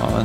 Ja,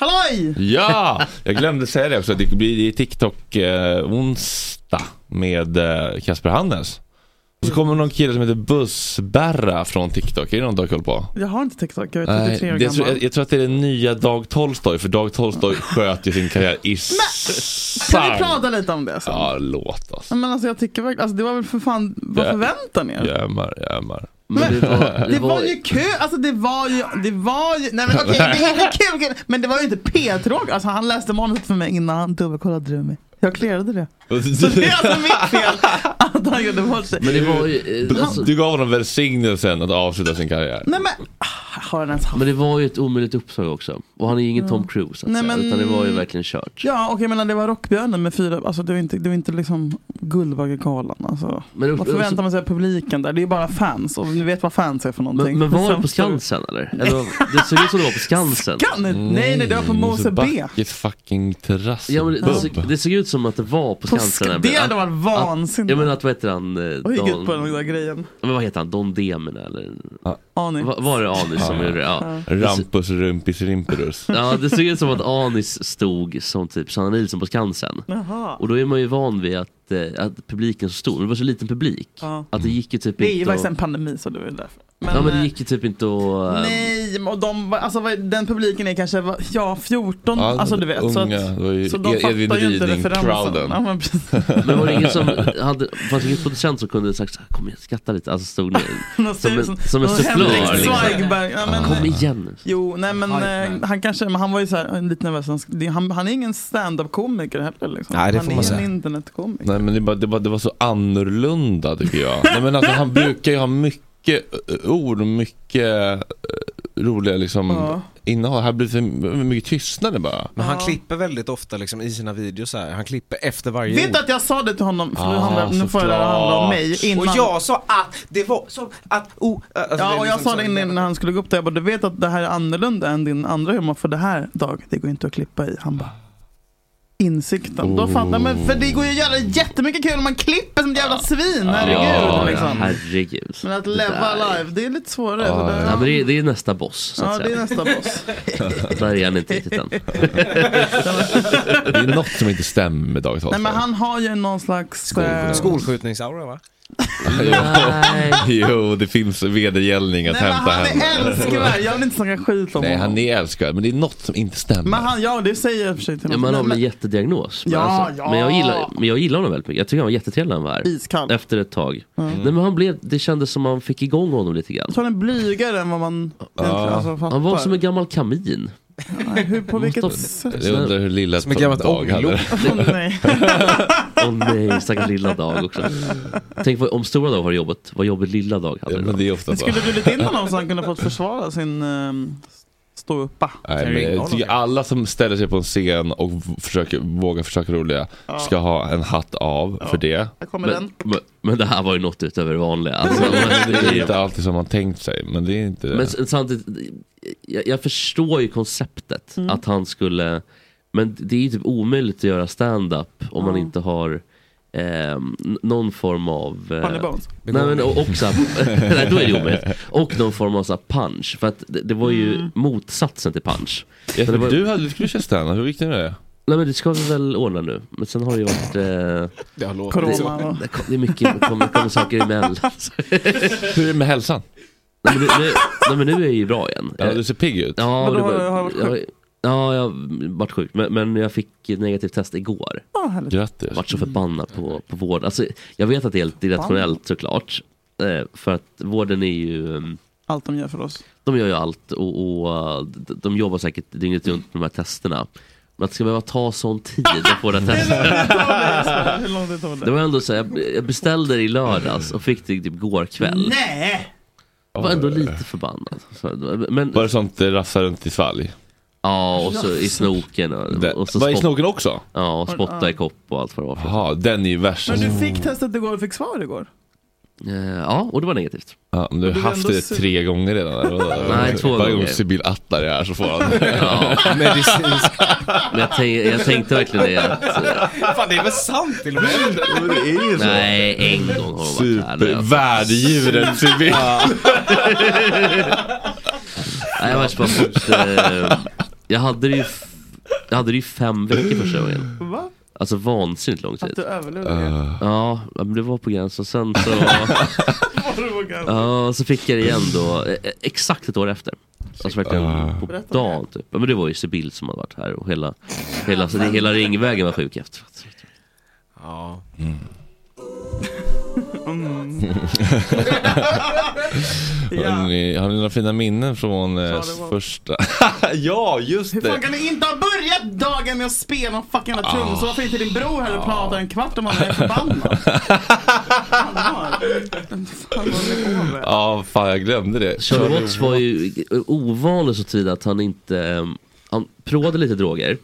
Halloj! Ja, jag glömde säga det också. Det blir det är TikTok eh, onsdag med eh, Kasper Hannes. Och så kommer någon kille som heter Bussberra från TikTok. Är det någon du har koll på? Jag har inte TikTok, jag vet inte, det är Nej, typ tre år det, tror- gammal. jag, jag tror att det är den nya Dag Tolstoj, för Dag Tolstoj sköt ju sin karriär i Kan vi sank. prata lite om det sen? Ja, låt oss. Ja, Men alltså jag tycker verkligen, alltså det var väl för fan, vad Ja. förväntar ni er? Jämar, jämar. Men det var, Det var ju kul, alltså det var ju, det var ju, nej men okej, det är kul, kul, men det var ju inte P-tråkigt, alltså han läste manuset för mig innan han dubbelkollade det med mig. Jag clearade det. Så det är alltså mitt fel att han gjorde bort sig. men det var ju, eh, alltså, Du gav honom välsignelsen att avsluta sin karriär. Nej men, ah, har han ens haft? men det var ju ett omöjligt uppdrag också. Och han är ju ingen Tom Cruise så att Nej, säga, men- utan det var ju verkligen kört. Ja och jag menar det var Rockbjörnen med fyra, alltså det var inte, det var inte liksom Guldbaggegalan alltså. Men, upp- Vad förväntar man sig av publiken där? Det är ju bara fans och ni vet vad fans är för någonting. Liksom. men, men var det på Sen- Skansen eller? eller det såg ut som det var på Skansen. Kan, nej nej det var Mm. på Mose B. Mosebacke fucking terrass. Ja, men det, det, såg, Bubb. det såg ut som att det var på På Skansen. sk- det nämligen. hade Att- varit vansinnigt. Ja men att vad heter han? eh, och gick ut på Don, den där grejen. men vad heter han? Don Demina eller? Ja, Ani. Va, var det Anis som Ja. gjorde det? Ja. Rampus rumpis rimperus. ja, det såg ut som att Anis stod som typ Sanna Nilsson på Skansen. Jaha. Och då är man ju van vid att, eh, att publiken är så stor. Det var så liten publik. Ja. Att det gick ju typ Det är ju inte faktiskt en att... pandemi så det är väl därför. Ja men det eh, gick ju typ inte att... eh, Nej, och de, var- alltså, vad- den publiken är kanske va- ja, 14, Ja, alltså du vet. så, unga, att, det var ju så de Ed- fattar Edvin ju inte Ryding, referensen. crowden. Ja, men precis. Men var det ingen som hade, fanns det ingen producent som kunde sagt så här, kom igen skratta lite, alltså stod ner. Någon Som en- ser som en någon sufflör, Henrik liksom. Zweigbergk. Ja, men, eh, Kom igen nu. Jo, nej men Hype man. eh, han kanske, men han var ju så här, eh, lite nervös. Han, sk- det- han, han är ingen stand-up-komiker heller liksom. Nej, det han får är man säga. en internetkomiker. Nej men det, bara, det, bara, det var så annorlunda tycker jag. Nej, men alltså, han brukar ju ha mycket eh, ord och mycket eh, roliga liksom, Ja. innehåll. Här blir det för mycket tystnad bara. Men han Ja. klipper väldigt ofta liksom, i sina videos så här. Han klipper efter varje Vet ord. du att jag sa det till honom, för nu Ah, handlar- nu får det såklart. handla om mig innan. Och jag sa att det var som att... Oh, alltså, det ja, är och jag liksom sa det så- innan när han skulle gå upp där, jag bara, du vet att det här är annorlunda än din andra humor, för det här, Dag, det går inte att klippa i. Han bara, insikten. Då fattar man, för det går ju att göra jättemycket kul om man klipper som ett jävla svin, herregud. ja, liksom. herregud. Men att Det leva där är- alive, det är lite svårare. Ja, så där- Ja, men det, är, det är nästa boss så att ja, det är nästa säga. boss. Där är han inte riktigt än. Det är något som inte stämmer med Dagens Nej Avslöjare. men han har ju någon slags... eh, Skolskjutningsaura va? Nej. Jo, det finns vedergällning att Nej men hämta han hem. är älskvärd, jag vill inte snacka skit om Nej, honom. han är älskvärd, men det är något som inte stämmer. Men han, ja det säger jag i och för sig till Ja, honom. man har väl en men, jättediagnos. Men, Ja, alltså, ja. men, jag gillar, men jag gillar honom väldigt mycket. Jag tycker han var jättetrevlig när han var här. iskall. Mm. Jag Efter ett tag. Nej, men han blev, det kändes som han fick igång honom lite grann. tror han är blygare än vad man egentligen alltså, fattar. Han var som en gammal kamin. Nej, Hur, på vilket Måste- sätt? Jag undrar hur lilla Som ett gammalt Dag hade ånglok. det. Åh, nej. Åh nej, stackars lilla Dag också. Tänk vad, om stora Dag har jobbet, vad jobbet lilla Dag hade. Ja, då. men det är ofta Men Alltså. så. skulle du bjudit in honom så han kunde fått försvara sin um, ståuppa? Nej, men jag tycker alla som ställer sig på en scen och v- försöker, vågar försöka roliga ska ha en hatt av för det. Här kommer men, den. men, men det här var ju något utöver det vanliga. Alltså, Det är men, inte alltid som man tänkt sig, men det är inte det. men s- samtidigt, jag, jag förstår ju konceptet Mm. att han skulle, men det är ju typ omöjligt att göra stand-up om man inte har ehm, n- någon form av... eh, Barney Bones. Nej men och, och så här, nej, då är det omöjligt. Och någon form av så här punch. För att det, det var ju Mm. motsatsen till punch. Ja, det var- för du, hade, du skulle köra standup, hur gick det med det? Nej men det ska vi väl ordna nu. Men sen har det ju varit... Eh, Det har låtit så. Corona. va? det, kom, det är mycket, det kommer, kommer saker emellan. Hur är det med hälsan? Nej men, nu, nu, nej men nu är jag ju bra igen. Ja, Eh, du ser pigg ut. Ja, Vadå, det var- har- har du varit jag- Ja, jag har varit sjuk. Men, men jag fick negativt test igår. Ja, härligt. Grattis. Vart så förbannad på, på vård. Alltså, jag vet att det är helt irrationellt såklart. Eh, För att vården är ju... ehm, Allt de gör för oss. De gör ju allt och, och uh, d- de jobbar säkert dygnet runt med de här testerna. Men att det ska behöva ta sån tid att få det här testet. Hur lång tid tar Det det? var ändå så här, jag- jag beställde det i lördags och fick det typ igår kväll. Nej! Jag var ändå lite förbannad. Så, Men, Var det sånt eh, rafsa runt i svalg? ja, och så i snoken och, Det- och så Var i spott- snoken också? ja, och spotta i kopp och allt vad det var för. Jaha, den är ju värst. Men du fick testet igår och fick svar igår. Eh, Ja, och det var negativt. Ja, men du har Du är haft ändå det sur. tre gånger redan. eller? Nej, två Varje gång gånger. Sibyl Attar är här så får han det. Ja, Medicinskt. men jag, tänk, jag tänkte verkligen det att, eh, Fan det är väl sant till och med? är ju nej, en gång har hon varit här. nu, alltså. Supervärddjuren Sibyl. Nej, jag, var bara fort, eh, jag hade det ju f- jag hade det ju fem veckor första gången. Va? Alltså vansinnigt lång Att tid. du överlevde det? Ja, men det var på gränsen. Sen så, Var du vågad? ja, så fick jag det igen då, eh, exakt ett år efter. Alltså verkligen på Berätta om dagen typ. Ja, Men det var ju Sibyl som hade varit här och hela, hela, så det, hela ringvägen var sjuk efteråt. Ja. Har Ja. ni- Har ni några fina minnen från eh, det var- första? ja, just Hur fan det. kan ni inte ha börjat dagen med att spela någon fucking jävla trummis? Varför är inte din bror här och pratar en kvart om han är förbannad? Allvar. Fan, vad håller ni på med? Ja, fan jag glömde det. Charlie Watts var ju ovanlig så tid att han inte, eh, han provade lite droger.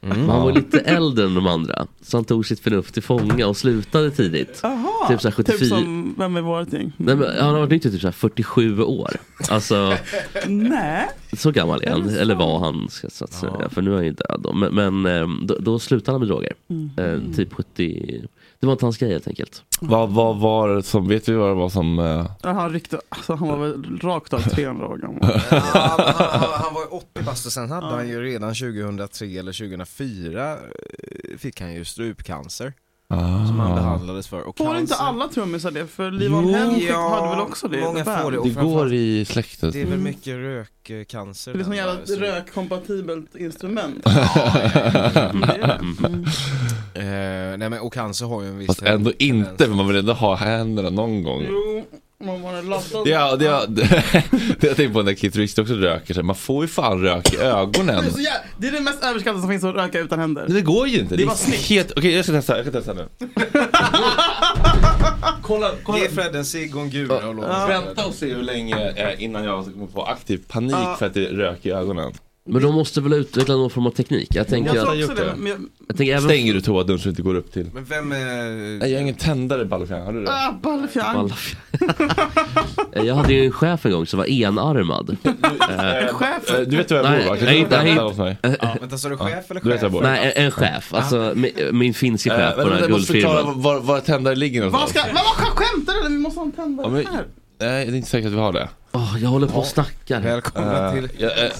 Men han var lite äldre än de andra. Så han tog sitt förnuft till fånga och slutade tidigt. Jaha, Typ så här 74. som vem är vårt gäng? Nej, men han har varit nykter typ så här 47 år. Alltså, Nej, Så gammal är Är han, det eller så? var han, ska- så att säga, för nu är han ju död. Då. Men, men ehm, då, då slutade han med droger. Mm. Eh, typ 70, det var inte hans grej helt enkelt. Vad vad var det som, vet vi vad det var som... eh, Han, ryckte, alltså, han var väl rakt av 300 år gammal. Ja, han, han, han- han var ju 80 bast och sen hade han ju redan 2003 eller 2004 eh, fick han ju strupcancer Ah. som han behandlades för. Och Får inte cancer- alla trummisar det? För Liv Holm Henrik hade väl också det? många Bam. får det. Och Det går framförallt- i släktet. Det är väl mycket rökcancer. Det är den ett sånt där, så- jävla rökkompatibelt instrument. Mm. Eh, nej men och cancer har ju en viss typ. Fast ändå tendens. inte, för man vill ändå ha händerna någon gång. Jo, man bara lastar. Det jag, det, jag, det jag tänkte på när Keith Richards också röker, så här, man får ju fan rök i ögonen. Det är så jä- Det är det mest överskattade som finns att röka utan händer. Nej, det går ju inte. Det, var är snyggt. helt... Okej, jag ska testa, jag ska testa nu. kolla, kolla. Ge Fred en cigg och en gula och låt oss- Vänta och se hur länge eh, innan jag kommer på aktiv panik Ja. för att det rök i ögonen. Men de måste väl utveckla någon form av teknik. Jag tänker, Jag Jag jag har tror gjort också det. det. Men jag, jag tänker även Stänger du toadörren så det inte går upp till? Men vem är... Nej, jag har ingen tändare i Ballofjärn, har du det? ah, ballfjärn. Alla f- Eh, jag hade ju en chef en gång som var enarmad. Eh, Chef. eh, du vet vad jag Nej, bor va? Kan nej, du berätta nej. Eh, åt mig? Vänta, sa du chef eller Du vet jag chef? bor. Nej, en, en chef. Alltså min, min finske Eh, chef på vänta, den här jag måste förklara guldfirman. var, var tändare ligger Vad någonstans. ska, vad, vad skämtar du? eller? Vi måste ha en tändare Ja, men- här. Nej, det är inte säkert att vi har det. Åh, jag håller på och snackar. här. Välkomna till Ja, eh,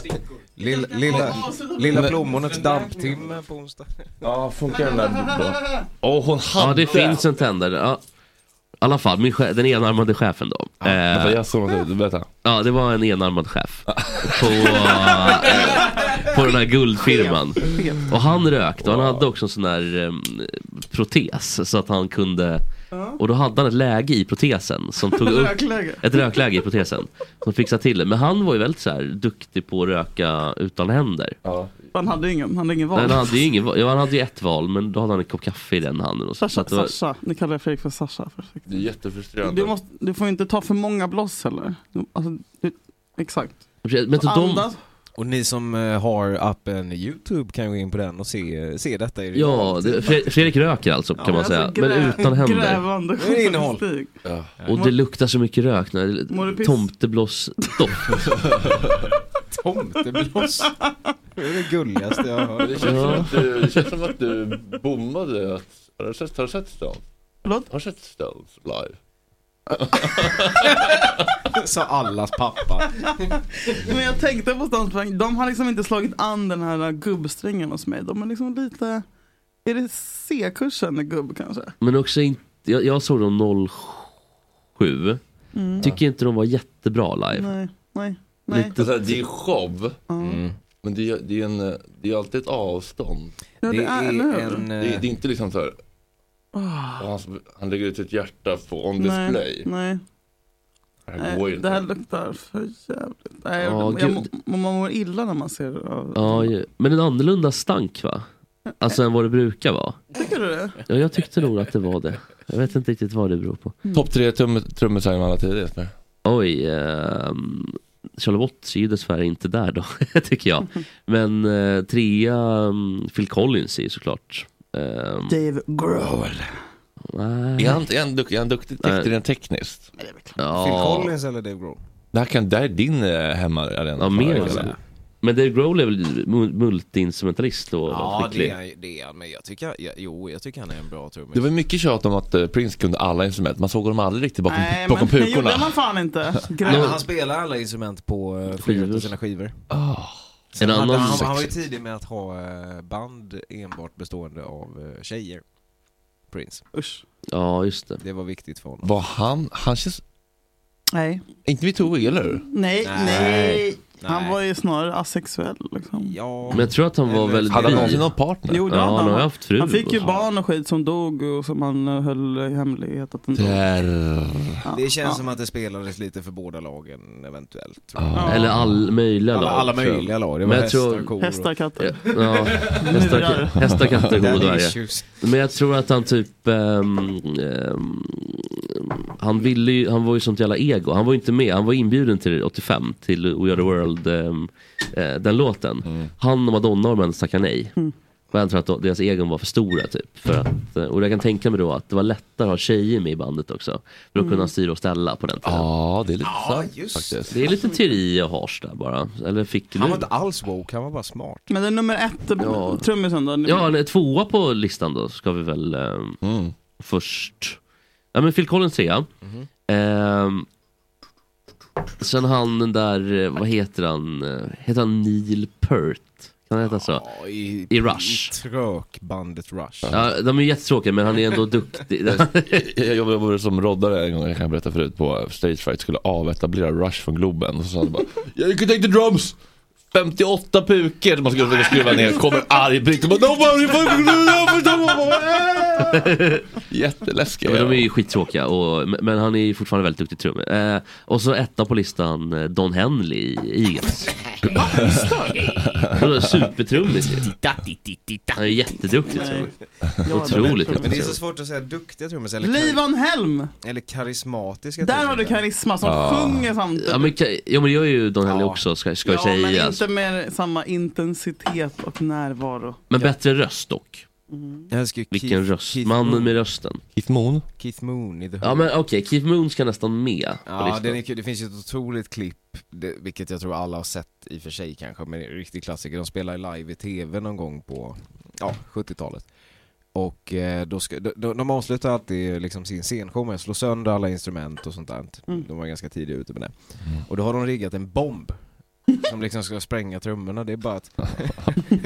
lilla, lilla, lilla plommonets damptimme på onsdag. ja, funkar den där då? Åh, hon hade! Ja, det finns en tändare. Ja. I alla fall, min chef, den enarmade chefen då. Eh, Vänta, jag såg något. Berätta. Ja, det var en enarmad chef på, eh, på den här guldfirman. Och han rökte och han hade också en sån där em, protes så att han kunde och då hade han ett läge i protesen som tog upp Rökläge. ett rökläge i protesen som fixade till det. Men han var ju väldigt så här duktig på att röka utan händer. Han hade ingen, han hade ingen Men val. han hade ju ingen, ja, han hade ju ett val men då hade han en kopp kaffe i den handen. Och så, så Sasha, att det var, Sasha. Nu kallar jag Fredrik för Sasha. Perfekt. Det är jättefrustrerande. Du, måste, du får inte ta för många blås heller. Du- Alltså, du, exakt. men så de, Andas. Och ni som eh, har appen YouTube kan gå in på den och se, se detta i ja, det, Fre- Fredrik röker alltså kan man Alltså, säga. grä- men utan händer. Grävande Det är innehåll. journalistik. Och det luktar så mycket rök Mår du när piss? tomteblåsdoft. Tomteblås. Det är det gulligaste jag har hört. Det känns, som att du, det känns som att du bommade. Att, har, du sett, har du sett Stones? Förlåt? Har du sett Stones live? Sa allas pappa. Men jag tänkte på Stansbank, de har liksom inte slagit an den här gubbsträngen hos mig. De är liksom lite, är det C-kursen i gubb kanske? Men också inte, jag, jag såg dem 07. Tycker inte de var jättebra live. Mm. Nej, nej, nej. Alltså, Det är, så här, det är show. Mm. Men det är, det, är en, eh, det är alltid ett avstånd. Ja, Det är eller hur? en... Det är, Ah. eh, det är inte liksom så här. Han, han lägger ut ett hjärta på on Nej, display. nej. Det här går ju nej. Det inte. här luktar för jävligt. Nej, jag, Ja, jag, gud. må- man mår illa när man ser det. av- Ja, ju- men en annorlunda stank va? Alltså än vad det brukar vara. Tycker du det? Ja, jag tyckte nog att det var det. Jag vet inte riktigt vad det beror på. Mm. Topp tre trum, trummisar genom alla tider Jesper. Oj, ehm, Charlie Watts är ju dessvärre inte där då, tycker jag. Men eh, trea, mm, Phil Collins är ju såklart. ehm, Dave Grohl. nej. Är han, är han, dukt, är han duktig Nej. tekniskt, rent tekniskt? Phil Ja. Collins eller Dave Grohl? Det här, kan, det här är din eh, hemmaarena. Ja, mer Fan, än så. eller? Men Dave Grohl är väl mu- multiinstrumentalist och skicklig? är, det är han. Men jag tycker, jag, jo, jag tycker han är en bra Det trummis. var mycket tjat om att eh, Prince kunde alla instrument. Man såg honom aldrig riktigt bakom, Nej, bakom men det gjorde pukorna. man fan inte. Nej, men Grön. han spelar alla instrument på eh, Skivor. Ah. skivor. på sina skivor. Han, En annan... han, han var ju tidig med att ha eh, band enbart bestående av eh, tjejer. Prince. Usch. Ja, just det. Det var viktigt för honom. Var han, han känns, Nej. inte mitt huvud eller hur? Nej, Nej. nej. Han Nej. var ju snarare asexuell liksom. Ja, Men jag tror att han var Eller- väldigt Hade han bi. någonsin någon partner? Jo, det Ja, hade han har ju han. haft fru. Han fick ju och så. barn och skit som dog och som han eh, höll i hemlighet att han dog. Ja, det känns ja. som att det spelades lite för båda lagen eventuellt. Tror jag. Ja. Eller all möjliga Alla, lag, alla tror jag. möjliga lag. Det var Men jag hästar, tror- kor och... Hästar, Ja, katter. ja. hästar, Murar. hästar, katter, god Daddy varje. issues. Men jag tror att han typ... ehm, ehm, han ville ju, han var ju sånt jävla ego. Han var ju inte med. Han var inbjuden till 85, Mm. Mm. till We Are The World, ehm, eh, den låten. Han och Madonna och de andra tackade nej. Och jag tror att då- deras egon var för stora typ. För att, eh, och jag kan tänka mig då att det var lättare att ha tjejer med i bandet också. För Mm. att kunna styra och ställa på den tiden. Ja, det är lite Ja, sant just faktiskt. Det är lite teori och hars där bara. Eller fick du? Han var inte alls woke, han var bara smart. Men det är nummer ett, Ja. trummisen då? Ja, nej, tvåa på listan då ska vi väl ehm, först. Ja men Phil Collins trea. Ehm, sen han den där, eh, vad heter han? Eh, Heter han Neil Peart? Kan han heta så? Ja, i, I Rush. I trökbandet Rush. Ja, de är ju jättetråkiga men han är ändå duktig. Jag jobbade som roddare en gång, jag kan berätta förut, på Stage Fright skulle avetablera Rush från Globen och så sa han bara You can take the drums! 58 pukor som man skulle försöka skruva ner, kommer arg britt och bara Nobody fucking knows!" Jätteläskiga Ja, de är ju skittråkiga, och, men- men han är ju fortfarande väldigt duktig trumme. Eh, och så etta på listan, eh, Don Henley i Eagles. Han är Supertrummis ju. Han är jätteduktig trummis. Otroligt Men det duktig är så trummis. svårt att säga duktiga trummisar eller, kar- Livon Helm! eller karismatiska Där har du trummisar. karisma som Alltså, sjunger samtidigt. Ja men, ka- ja men jag är ju Don Henley Ja. också ska, ska Ja, jag men säga. inte med samma intensitet och närvaro. Men bättre röst dock. Jag älskar ju Vilken Keith, röst. Keith Mannen Moon. med rösten. Keith Moon? Keith Moon i The Who. Ja men okej, Keith Moon ska nästan med på Ja, den listan. är kul. Det finns ju ett otroligt klipp, det, vilket jag tror alla har sett i och för sig kanske, men det är en riktig klassiker. De spelar ju live i tv någon gång på ja, 70-talet. Och eh, då ska, de, de, de avslutar alltid liksom sin scenshow med att slå sönder alla instrument och sånt där. De var ganska tidiga ute med det. Mm. Och då har de riggat en bomb som liksom ska spränga trummorna. Det är bara att...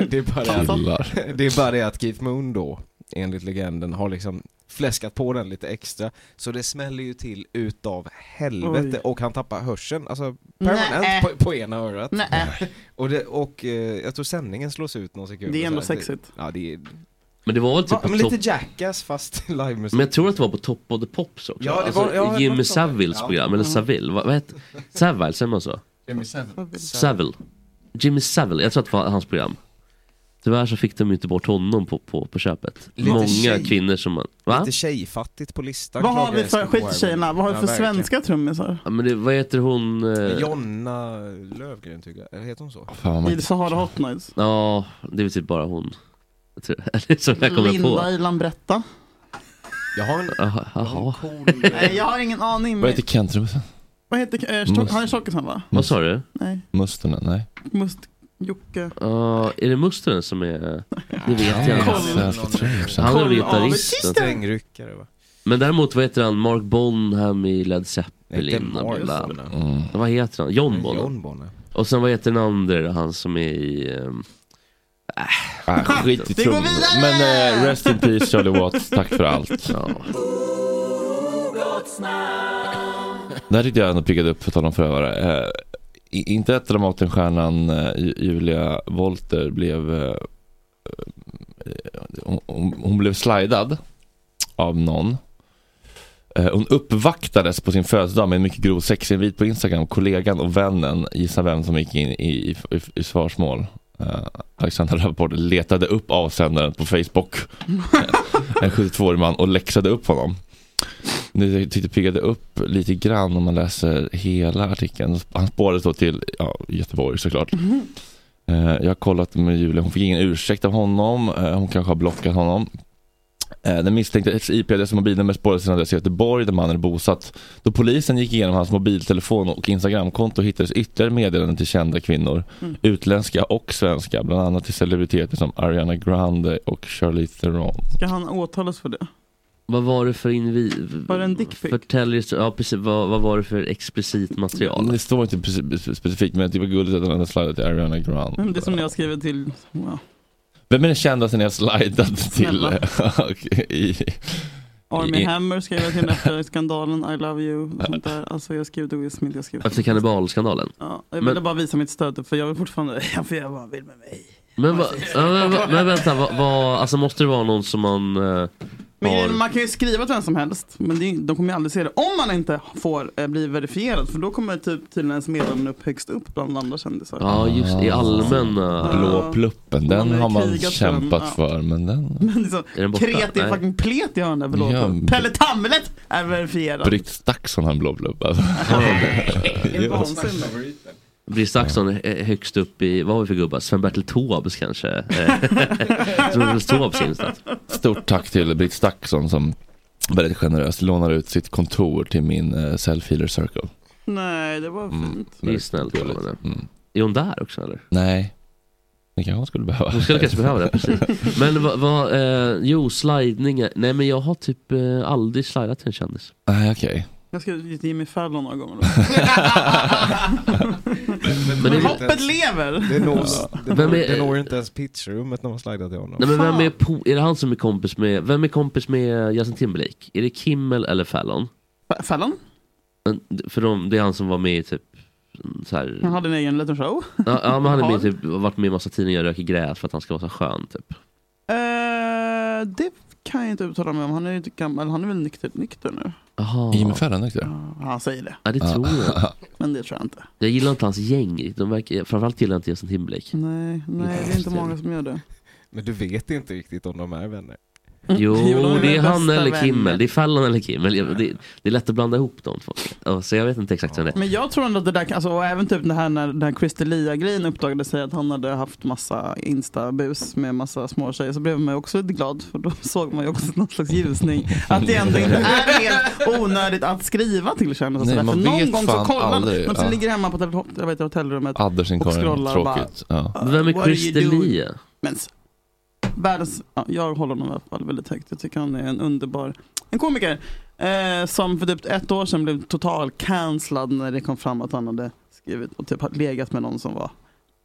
det, är bara det, att Killar. det är bara det att Keith Moon då, enligt legenden, har liksom fläskat på den lite extra. Så det smäller ju till utav helvete Oj. och han tappar hörseln, alltså Nä. permanent på, på ena örat. Nej, Och, det, och eh, jag tror sändningen slås ut någon sekund. det är ändå Så här, sexigt. Ja det är, Men det var väl typ va, på men topp... lite Jackass fast livemusik. Men jag tror att det var på Top of the Pops också. Ja, det var- ja, det var alltså, Jimmy något sånt där. Savilles Ja. Mm. program, eller Saville, vad, vad heter Saville, säger man så? Saville. Jimmy Saville, jag tror att det var hans program. Tyvärr så fick de ju inte bort honom på, på, på köpet. Lite Många tjej. kvinnor som man... Va? Lite tjejfattigt på listan. Vad har klagar vi för, Eskil skit i Wilde. tjejerna, vad har vi Ja, för verkligen. svenska trummisar? Ja, men det, vad heter hon? eh, Jonna Lövgren tycker jag, eller heter hon så? Fan vad man I Sahara Hot Nights? Ja, det är väl typ bara hon. Jag tror- Eller som jag kommer Linda på. i Lambretta? Jag har en, Jaha, jag har en Jaha, cool... Nej, jag har ingen aning. Vad heter Kent Rumsen? Vad heter eh, Stock- Mus- Han är tjockisen va? vad sa du? Nej. Mustonen? Nej. Must... Jocke. Ja, är det Mustonen som är... Det vet jag inte. Koll. Svenska trumsen. Han är väl Koll av gitarristen. Strängryckare va? Men däremot, vad heter han? Mark Bonham i Led Inte Zeppelin. och bla. Morrison. nej. Mm. Vad heter han? John Bonham. John Bonham. Och sen vad heter den andra han som är i... ehm, äh, Ah, skit i Vi går trummor. vidare! Men eh, Rest in Peace Charlie Watts, tack för allt. ja. Det här tyckte jag ändå piggade upp för att tala om förövare. Eh, i- inte att Dramatenstjärnan eh, Ju- Julia Volter blev eh, eh, hon- hon, hon blev slidad av någon. Eh, hon uppvaktades på sin födelsedag med en mycket grov sexinvit på Instagram. Kollegan och vännen, gissa vem som gick in i, i, i, i svarsmål. Eh, Alexandra Rappaport letade upp avsändaren på Facebook. Eh, en 72-årig man och läxade upp honom. Det tyckte piggade upp lite grann om man läser hela artikeln. Han spårades då till ja, Göteborg såklart. Eh, Jag har kollat med Julia, hon fick ingen ursäkt av honom. Eh, Hon kanske har blockat honom. Eh, Den misstänktes IP-adress och mobilnummer spårades till en adress i Göteborg där mannen är bosatt. Då polisen gick igenom hans mobiltelefon och Instagramkonto hittades ytterligare meddelanden till kända kvinnor. Utländska och svenska, bland annat till celebriteter som Ariana Grande och Charlize Theron. Ska han åtalas för det? Vad var det för invi... Var det en dickpic? Förtäljer... Ja, precis. Vad, vad var det för explicit material? Det står inte precis- specifikt men jag tycker det var gulligt att han hade slidat till Ariana Grande. Det är som när jag skriver till... Wow. Vem är den kändaste ni har slidat till? Snälla. Okej, i- Army I- Hammer skrev jag till efter skandalen I love you och sånt där. Alltså jag skrev till Will Smith, jag skrev... Efter kannibalskandalen? Ja, jag ville Men- bara visa mitt stöd för jag vill fortfarande... Jag får göra vad han vill med mig. Men, va, ja, men, va, men vänta, vad... vad- alltså måste det vara någon som man... eh, Men har... grejen, man kan ju skriva till vem som helst, men det, är- de kommer ju aldrig se det. Om man inte får eh, bli verifierad, för då kommer typ tydligen ens meddelanden upp högst upp bland andra kändisar. Ja, just i allmänna... Ah. Blå pluppen, den Man har har man krigat för den, kämpat ja. för men den... Men liksom, Är den borta? kreti, Nej. fucking plet i hörnet, förlåt. Ja, men- Pelle Tamlet är verifierad. Britt Staxon har en blå plupp alltså. Det är vansinnigt. Brice Axson är högst upp i, vad har vi för gubbar? Sven-Bertil Taubes kanske? Eh, Sven-Bertil Taubes instat. Stort tack till Britt Stackson som väldigt generöst lånar ut sitt kontor till min uh, self-healer circle. Nej, det var Mm. fint. Det är snällt av henne. Mm. Är hon där också eller? Nej, det kanske hon skulle behöva. Hon skulle kanske behöva det, precis. Men vad, vad eh, jo, slidningar. Nej men jag har typ eh, aldrig slidat till en kändis. Nej, okej. Jag ska till Jimmy Fallon några gånger. Men det är- Hoppet lever! Det nås, det, Vem når, är- det når inte ens pitchrummet när man slidar till honom. Nej men vem Fan. är, po- är det han som är kompis med, vem är kompis med Justin Timberlake? Är det Kimmel eller Fallon? Fa- Fallon, Men, För de, det är han som var med i typ så här, han hade en egen liten show. ja, ja, men han är med, i typ, varit med i massa tidningar och röker gräs för att han ska vara så skön typ. Eh, det kan jag inte uttala mig om. Han är ju inte gammal. Han är väl nykter, nykter nu? Jaha. Jimmy Fallon också. Ja, han säger det. Ja, det tror jag. Men det tror jag inte. Jag gillar inte hans gäng riktigt. De verkar, framförallt gillar jag inte Justin Timberlake. Nej, nej det är inte många som gör det. Men du vet inte riktigt om de är vänner. Jo, Jo, de är det är han bästa eller vänner. Kimmel. Det är Fallon eller Kimmel. Jag- Det, det är lätt att blanda ihop de två. Ja, Så jag vet inte exakt vem det är. Men jag tror ändå att det där, kan- alltså, och även typ det här när den här Christelia-grejen uppdagade sig att han hade haft massa instabus med massa små tjejer så blev man ju också lite glad för då såg man ju också någon slags ljusning. Att det ändå inte är helt onödigt att skriva till kändisar Nej, sådär. För man någon vet gång så fan kollar man, aldrig, de som ja. ligger hemma på telefon- jag vet, hotellrummet. Och Addersinkorgen, scrollar bara. tråkigt. Ja. Vem What är are you doing? Christelia? Men s- världens, ja, jag håller honom i alla fall väldigt högt. Jag tycker han är en underbar en komiker. Eh, som för typ ett år sedan blev total cancellad när det kom fram att han hade skrivit och typ hade legat med någon som var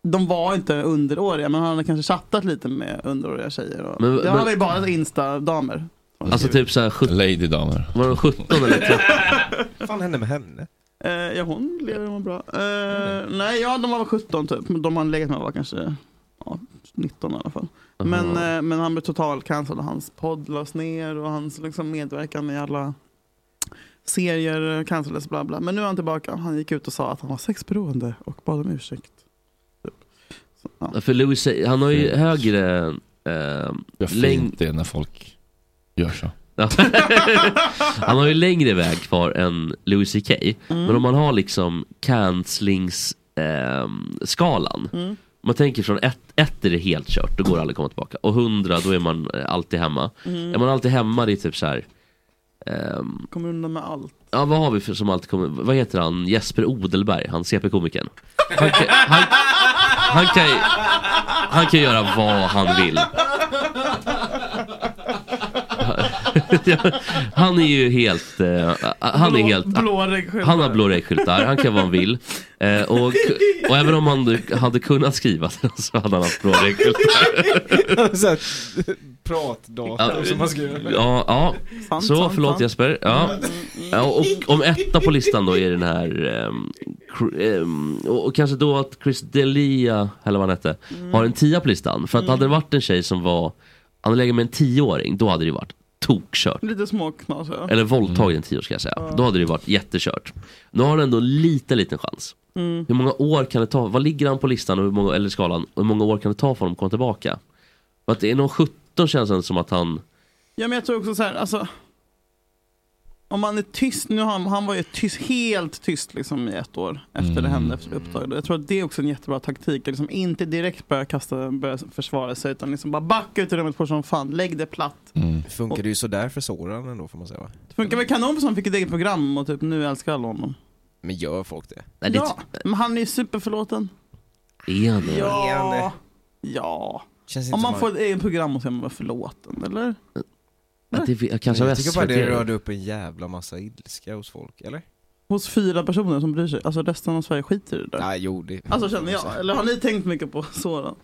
de var inte underåriga men han hade kanske chattat lite med underåriga tjejer. Och, Men- det men- var ju bara instadamer. Alltså typ såhär 17, Ladydamer. var de 17 eller 13? Vad fan hände med henne? Eh, ja hon lever och mår bra. Eh, nej ja de var 17 typ. Men de han legat med var kanske ja, 19 i alla fall. Men, Jaha. eh, men han blev total cancelled och hans podd lades ner och hans liksom, medverkan i alla serier cancellades bla bla. Men nu är han tillbaka. Han gick ut och sa att han var sexberoende och bad om ursäkt. Typ. Så, ja. Ja, För Louis, han har ju Fint. högre... Eh, Vad Läng- fint det är när folk gör så. ja. han har ju längre väg kvar än Louis CK. Men om man har liksom cancelingsskalan. Eh, skalan. Mm. man tänker från ett, ett är det helt kört, då går det aldrig att komma tillbaka. Och hundra, då är man eh, alltid hemma. Är man alltid hemma, det är typ så här. ehm, Kommer undan med allt. ja, vad har vi för, som alltid kommer, vad heter han, Jesper Odelberg, han CP-komikern. Han kan, han, han, kan, ju- han kan göra vad han vill. Han är ju helt, eh, han är Blå- helt, blåögd skillnad. han har blå regskyltar, han kan vara vad han vill. Eh, och, och även om han hade kunnat skriva så hade han haft blå regskyltar. Så här, Pratdata som man ska göra. Ja, ja. Sant, Så sant, förlåt sant. Mm, Jesper. Ja. Ja, och om etta på listan då är den här ehm, Cr- ehm, och, och kanske då att Chris Delia, eller vad han hette, Mm. har en tia på listan. För att hade det varit en tjej som var, han hade legat med en tioåring, då hade det varit tokkört. Lite småknas. ja. Eller våldtagit en tio ska jag säga. Då hade det varit jättekört. Nu har han ändå en liten, liten chans. Mm. Hur många år kan det ta? Vad ligger han på listan och hur många, eller skalan? Och hur många år kan det ta för honom att komma tillbaka? För att inom 17 känns det som att han... Ja men jag tror också så här, alltså. Om man är tyst, nu har han, han var ju tyst, helt tyst liksom i ett år efter Mm. det hände, efter det uppdagade. Jag tror att det är också en jättebra taktik, att liksom inte direkt börja, kasta, börja försvara sig utan liksom bara backa ut i rummet på som fan, lägg det platt. Funkar det ju sådär för Soran ändå får man säga va? Det funkar väl kanon för som fick ett eget program och typ nu älskar alla honom. Men gör folk det? Nej, det typ- Ja, men han är ju superförlåten. är han det? Ja. Ja. Känns Om som man får ett eget program och sen vara förlåten, eller? Att det, jag kanske jag har tycker bara SVT. det rörde upp en jävla massa ilska hos folk, eller? Hos fyra personer som bryr sig. Alltså resten av Sverige skiter i det där. Nej, jo det... Alltså känner jag. Eller har ni tänkt mycket på sådant?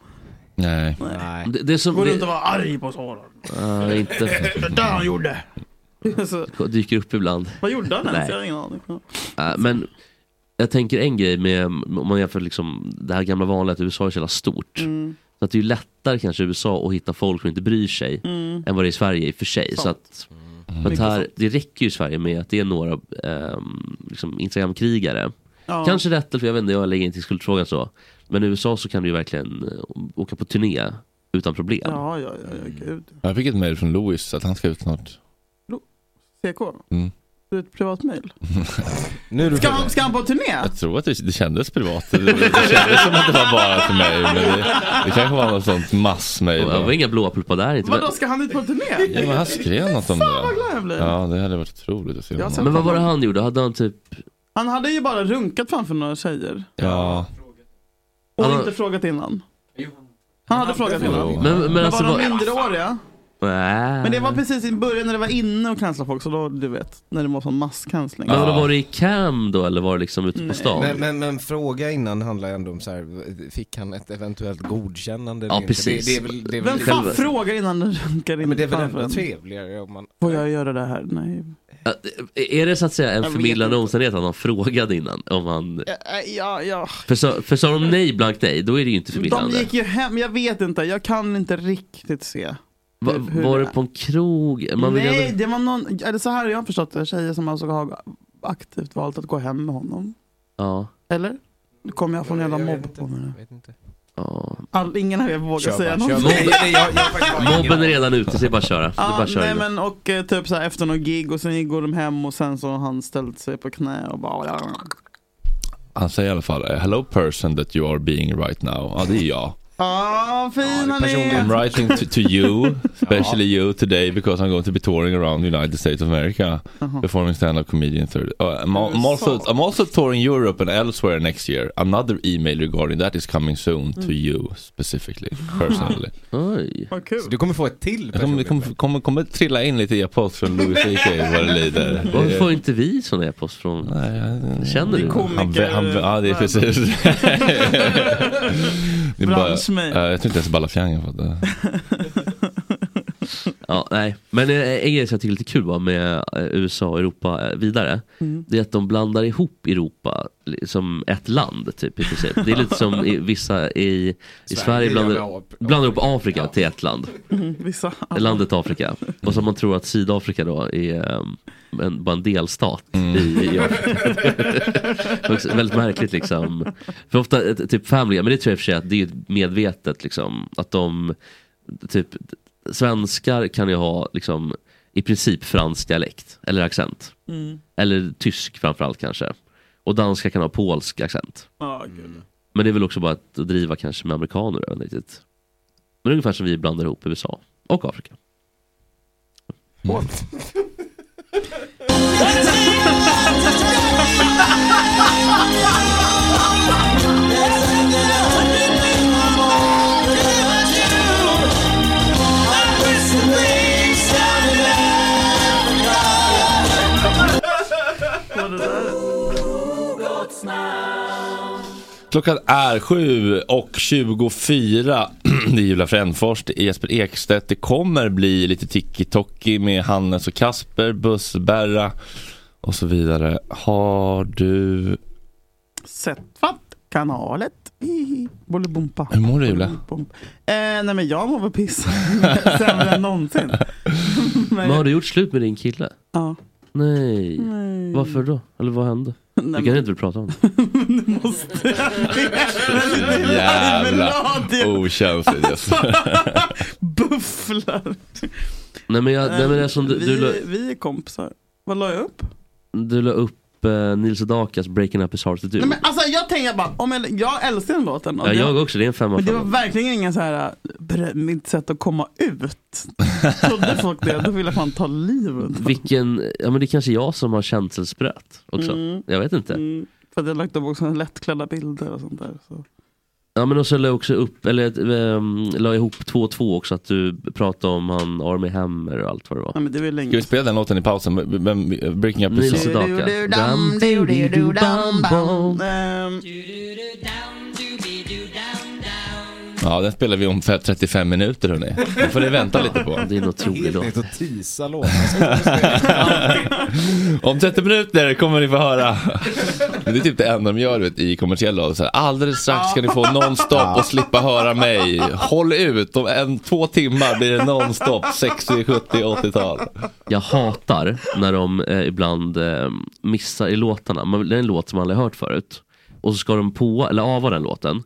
Nej. Nej. Det, det som Går det, runt och vara arg på Soran. Ja, inte Det där han gjorde. Alltså, dyker upp ibland. vad gjorde han ens? Nej. Jag har ingen aning. Ja, Eh, men jag tänker en grej med, om man jämför liksom det här gamla vanliga att USA är så jävla stort. Mm. Så att det är ju lättare kanske i USA att hitta folk som inte bryr sig än vad det är i Sverige i och för sig. Så Mm. Sant. att, för att här, det räcker ju i Sverige med att det är några ehm, liksom Instagram-krigare. Ja. Kanske rätt eller för jag vet inte, jag lägger inte i skuldfrågan så. Men i USA så kan du ju verkligen eh, åka på turné utan problem. Ja, ja, ja, ja gud. Jag fick ett mejl från Louis att han ska ut snart. CK? Mm. ut privat mejl? Nu är du Ska han, ska han på turné? Jag tror att det, det kändes privat. Det, det kändes som att det var bara till mig. Men det, det kanske var något sånt massmejl. Och Det var inga blåpulpa där inte. Vadå, ska han ut på turné? Ja, men han skrev något om Vad det. glad jag blir. Ja, det hade varit otroligt att se Jag har honom. sett- Men vad var det han gjorde? Hade han typ... Han hade ju bara runkat framför några tjejer. Ja, Och Han- inte frågat innan. Han hade frågat innan. jo. Men, men, Men alltså... Äh. var Var... de minderåriga? Nej. Men det var precis i början när det var inne och cancella folk, så då du vet, när det var sån masscancelling. Men vadå, var det i cam då eller var det liksom ute på Nej. stan? Men, men, men fråga innan handlar ju ändå om så här, fick han ett eventuellt godkännande eller Ja, inte? precis. Det, det är väl, det är väl, Vem lite- fan Själv- frågar innan den runkar in men det är väl framför ändå en? trevligare om man... Får jag göra det här? Nej. Ja, Är det så att säga en Jag vet förmildrande inte. omständighet att han frågade innan? Om han... Ja, ja, ja. För, sa, för sa de nej blankt nej, då är det ju inte De förmildrande. gick ju hem, jag vet inte, jag kan inte riktigt se. Va, hur var det det är. på en krog? Man vill Nej, ändå... det var någon, eller så här har jag förstått det, tjejer som alltså har aktivt valt att gå hem med honom. Ja. Eller? Nu kommer jag få en jävla Jag vet mobb inte. på mig nu. Vet inte. ja. All, ingen av er vågar Kör säga bara, något. kör bara. Nej, nej, jag- jag har faktiskt bara ingen Mobben är aning. redan ute, så det är bara att köra. det är Ja, bara att köra nej igång. men och eh, typ så här, efter någon gig och sen går de hem och sen så har han ställt sig på knä och bara han säger i alla fall eh, Hello person that you are being right now. Ja, det är jag. Ja, fin det är han är! personligt. I'm writing to, to you, especially you today because I'm going to be touring around the United States of America Jaha. performing stand-up comedian third. Uh, I'm, al- I'm also I'm also touring Europe and elsewhere next year. Another email regarding that is coming soon to you specifically, personally. Mm. Oj. Vad Så kul! Du kommer få ett till Jag kommer, det personligt kommer, kommer, kommer trilla in lite e-post från Louis CK vad det lider. Varför får inte vi sån e-post från... Nej, jag- Känner du? kom- Han, vä- han, vä- ja, det är precis. det är bara, Branschmejl. Ja, jag tror inte ens Balafiang har fått det. Ja, nej. Men eh, en grej som jag tycker är lite kul va, med eh, USA och Europa eh, vidare. Det är att de blandar ihop Europa li- som ett land typ i princip. Det är lite som i, vissa i, i Sverige blandar, blandar ihop Afrika till ett land. Vissa. Landet Afrika. Och så man tror att Sydafrika då är eh, en, bara en delstat i, i Afrika. Också väldigt märkligt liksom. För ofta eh, typ Family, men det tror jag i och för sig att det är ju medvetet liksom. Att de, typ svenskar kan ju ha liksom i princip fransk dialekt eller accent. Eller tysk framförallt kanske. Och danska kan ha polsk accent. Ja, gud. Men det är väl också bara att driva kanske med amerikaner, jag vet inte riktigt. Men ungefär som vi blandar ihop USA och Afrika. Klockan är 7 och 24. Det är Julia Frändfors, det är Jesper Ekstedt. Det kommer bli lite tiki-toki med Hannes och Kasper, Bussberra och så vidare. Har du... Sätt fatt kanalet. Hihi. Bolibompa. Hur mår du Julia? Bolibompa. Eh, nej men jag mår väl piss. Sämre än någonsin. men, Men har du gjort slut med din kille? Ja. Nej. Nej. Varför då? Eller vad hände? Nej, Du kan men, inte vill prata om det. du måste. Jävla okänsligt Jesper. Bufflar. Nej men, jag, nej, men det är som du, vi, du, la, vi är kompisar. Vad la jag upp? du la upp eh, Nils och Dakas Breaking Up Is Hard To Do. Nej, men alltså, jag tänker bara, om jag, jag älskar den låten. och ja, det- jag också, det är en femma Men det var femma. verkligen ingen så här, bre- mitt sätt att komma ut. Trodde folk det, då ville jag fan ta livet av Vilken, ja men det är kanske jag som har känselspröt också. Mm. Jag vet inte. Mm, för att jag lagt upp också lättklädda bilder och sånt där. Så. Ja men och så la jag också upp, eller um, la ihop två och två också att du pratade om han Army Hammer och allt vad det var. Ja, men det är väl Ska vi länge spela den låten i pausen? Vem- vem- Breaking up Nils is och Daka. Dam, Dam, di, di, du, dam, bom. Ehm, Ja, den spelar vi om för 35 minuter hörni. Den får ni vänta lite på. Det är en otrolig Helt låt. nytt att tisa låtar. Om 30 minuter kommer ni få höra. Men det är typ det enda de gör du vet, i kommersiell radio. Så här, Alldeles strax ska ni få nonstop och slippa höra mig. Håll ut, om en, två timmar blir det nonstop 60, 70, 80-tal. Jag hatar när de eh, ibland eh, missar i låtarna. Man, det är en låt som man aldrig hört förut. Och så ska de på, eller ava den låten.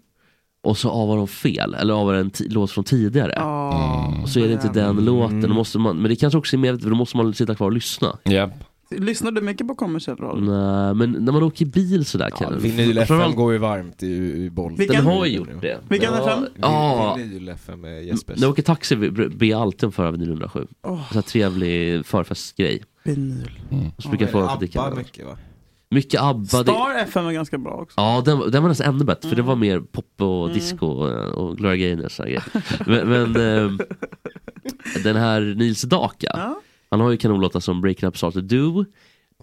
Och så avar de fel, eller avar en ti- låt från tidigare. ja. Och så är det inte den låten. Då måste man, men det kanske också är medvetet, för då måste man sitta kvar och lyssna. Japp. Lyssnar du mycket på kommersiell roll? Nej, men när man åker bil sådär Ja, kan det- vinyl FM Framförallt- går ju varmt i, i boll. Vilken- Den har ju gjort det. Vilken Ja, är fem? Ja, Vinyl FM med när Jespers. jag åker taxi ber ber jag alltid om förra vinyl 107. Åh, Så här trevlig förfestgrej. vinyl. Och så brukar jag få dem att dricka Abba öl. mycket va? Mycket ABBA. det- Star FM är ganska bra också. Ja, den, den var nästan ännu bättre för det Mm. var mer pop och disco och, och Gloria Gaynor och sådana grejer. Men, men ehm, den här Nils Daka, Ja. han har ju kanonlåtar som Breaking Up Start to Do,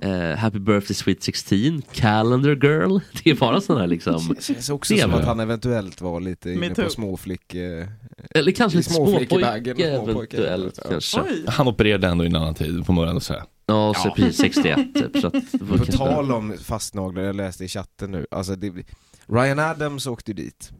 eh, Happy Birthday Sweet 16, Calendar Girl. Det är bara sådana här liksom. Det känns också Det är som väl- att han eventuellt var lite inne Metoo. på småflick... eh, Eller kanske I lite småflick i småpojke baggen och småpojke, eventuellt ja. kanske. Oj, Han opererade ändå i en annan tid, får man ändå säga. Ja, och CPI 61 typ. Så att det var På kanske- tal om fastnaglar, jag läste i chatten nu, alltså det, Ryan Adams åkte ju dit.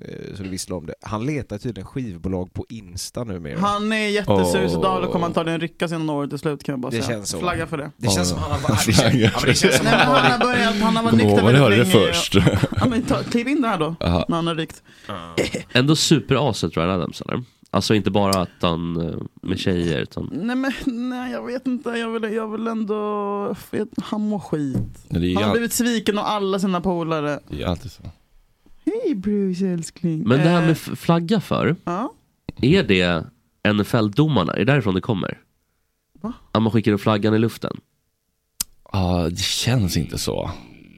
eh, Så du visste om det. Han letar tydligen skivbolag på Insta numera. han är jättesur så Åh. Dahlia kommer antagligen ryckas innan året är slut kan jag bara Det säga. känns så. Flagga för det. Det känns som han har varit... Flaggar. Ja, men det känns som Nej, men han har han varit... har börjat, han har varit Kommer ihåg nykter vad ni hörde det väldigt länge. först. Ja, men ta, kliv in det här då, Aha. när han är ryckt. Ändå superaset Ryan Adams eller? Alltså inte bara att han eh, med tjejer utan Nej men nej, jag vet inte, jag vill, jag vill ändå, vet, han mår skit. Men Det är ju Han har all- blivit sviken av alla sina polare. det är ju alltid så. Hej Bruce älskling. Men det här med Eh, f- flagga för, ja. är det NFL-domarna? Är det därifrån det kommer? Va? Att man skickar upp flaggan i luften? Ja, det känns inte så.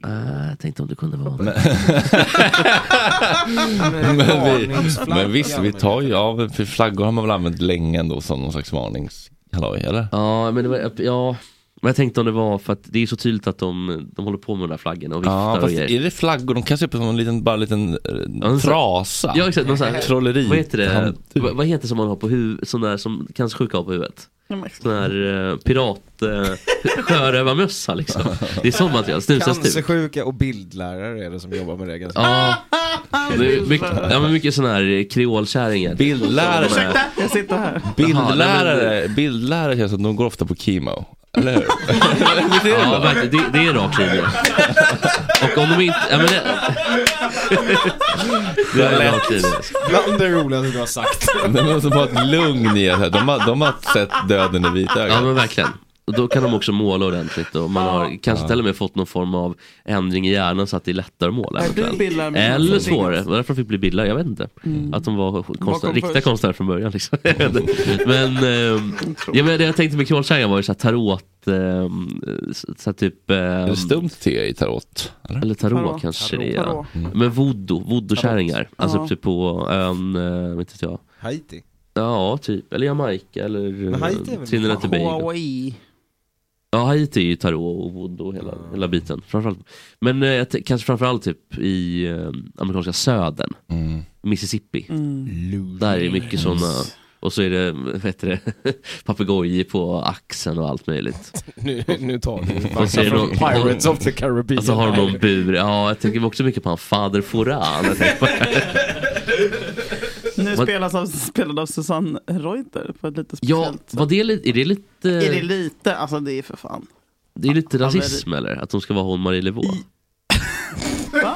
Äh, jag tänkte om det kunde vara Men, vi, Varningsflagga, men visst, vi tar ju av, för flaggor har man väl använt länge ändå som någon slags varningshalloj, eller? Ja, men det var, ja, men jag tänkte om det var för att det är så tydligt att de, de håller på med de där flaggorna och viftar Ja, och fast grejer. är det flaggor? De kan se ut som en liten, bara en liten eh, men så- trasa. Ja, exakt, någon sån här, Trolleri. vad heter det? Handduk. Vad, vad heter det som man har på huvudet, sån där som kanske sjuka har på huvudet? Ja, men- Sån här eh, pirat, eh, sjörövarmössa liksom. Det är sånt material, snusas typ. Cancersjuka och bildlärare är det som jobbar med det ganska Ja, Ah, det är mycket, ja, men mycket sån här kreolkärringar. Bildlärare. Ursäkta, jag sitter här. Jaha, nej, Bildlärare, bildlärare känns som att de går ofta på chemo. Eller hur? Ja, verkligen. Det, det är rak linje. Och om de inte... Ja, men det, det är rak linje. Bland det roligaste du har sagt. De måste ha ett lugn i det. De har, de har sett döden i vitögat. Ja, men verkligen. Och då kan de också måla ordentligt och man har kanske till och med fått någon form av ändring i hjärnan så att det är lättare att måla. Är du eventuellt. bildlärare? Eller svårare, Det var därför de fick bli bildlärare, jag vet inte. Att de var konstnär, Bakom riktiga Mm. först. konstnärer från början. Liksom. men, ehm, ja, men det jag tänkte med krålkärringar var ju så här tarot, ehm, så så här typ... Är ehm, det stumt te i tarot? Eller? Mm. Eller tarot, Tarot. kanske det är. Vadå? Men voodoo, voodoo-kärringar. Alltså Ja. typ på ön, eh, vet inte jag. Haiti. Ja, typ. Eller Jamaica eller Men Haiti är väl eh, Trinidad och Tobago. Hawaii. Ja, Haiti är ju tarot och voodoo och hela, hela biten. Framförallt. Men eh, jag t- kanske framförallt typ i eh, amerikanska södern, Mm. Mississippi. Mm. Där är det mycket sådana. Och så är det, vad heter det, papegojor på axeln och allt möjligt. Nu, nu tar vi Vad säger från du? Pirates of the Caribbean. Alltså har de någon bur. Ja, jag tänker också mycket på han Fader Foran. Jag tänker på Nu Vad- spelas av, spelad av Susanne Reuter på ett lite Ja, speciellt var det, li- är det lite... Är det lite? Alltså det är för fan. Det är lite Ja, men- rasism eller? Att de ska vara hon Marie Leveau? Va?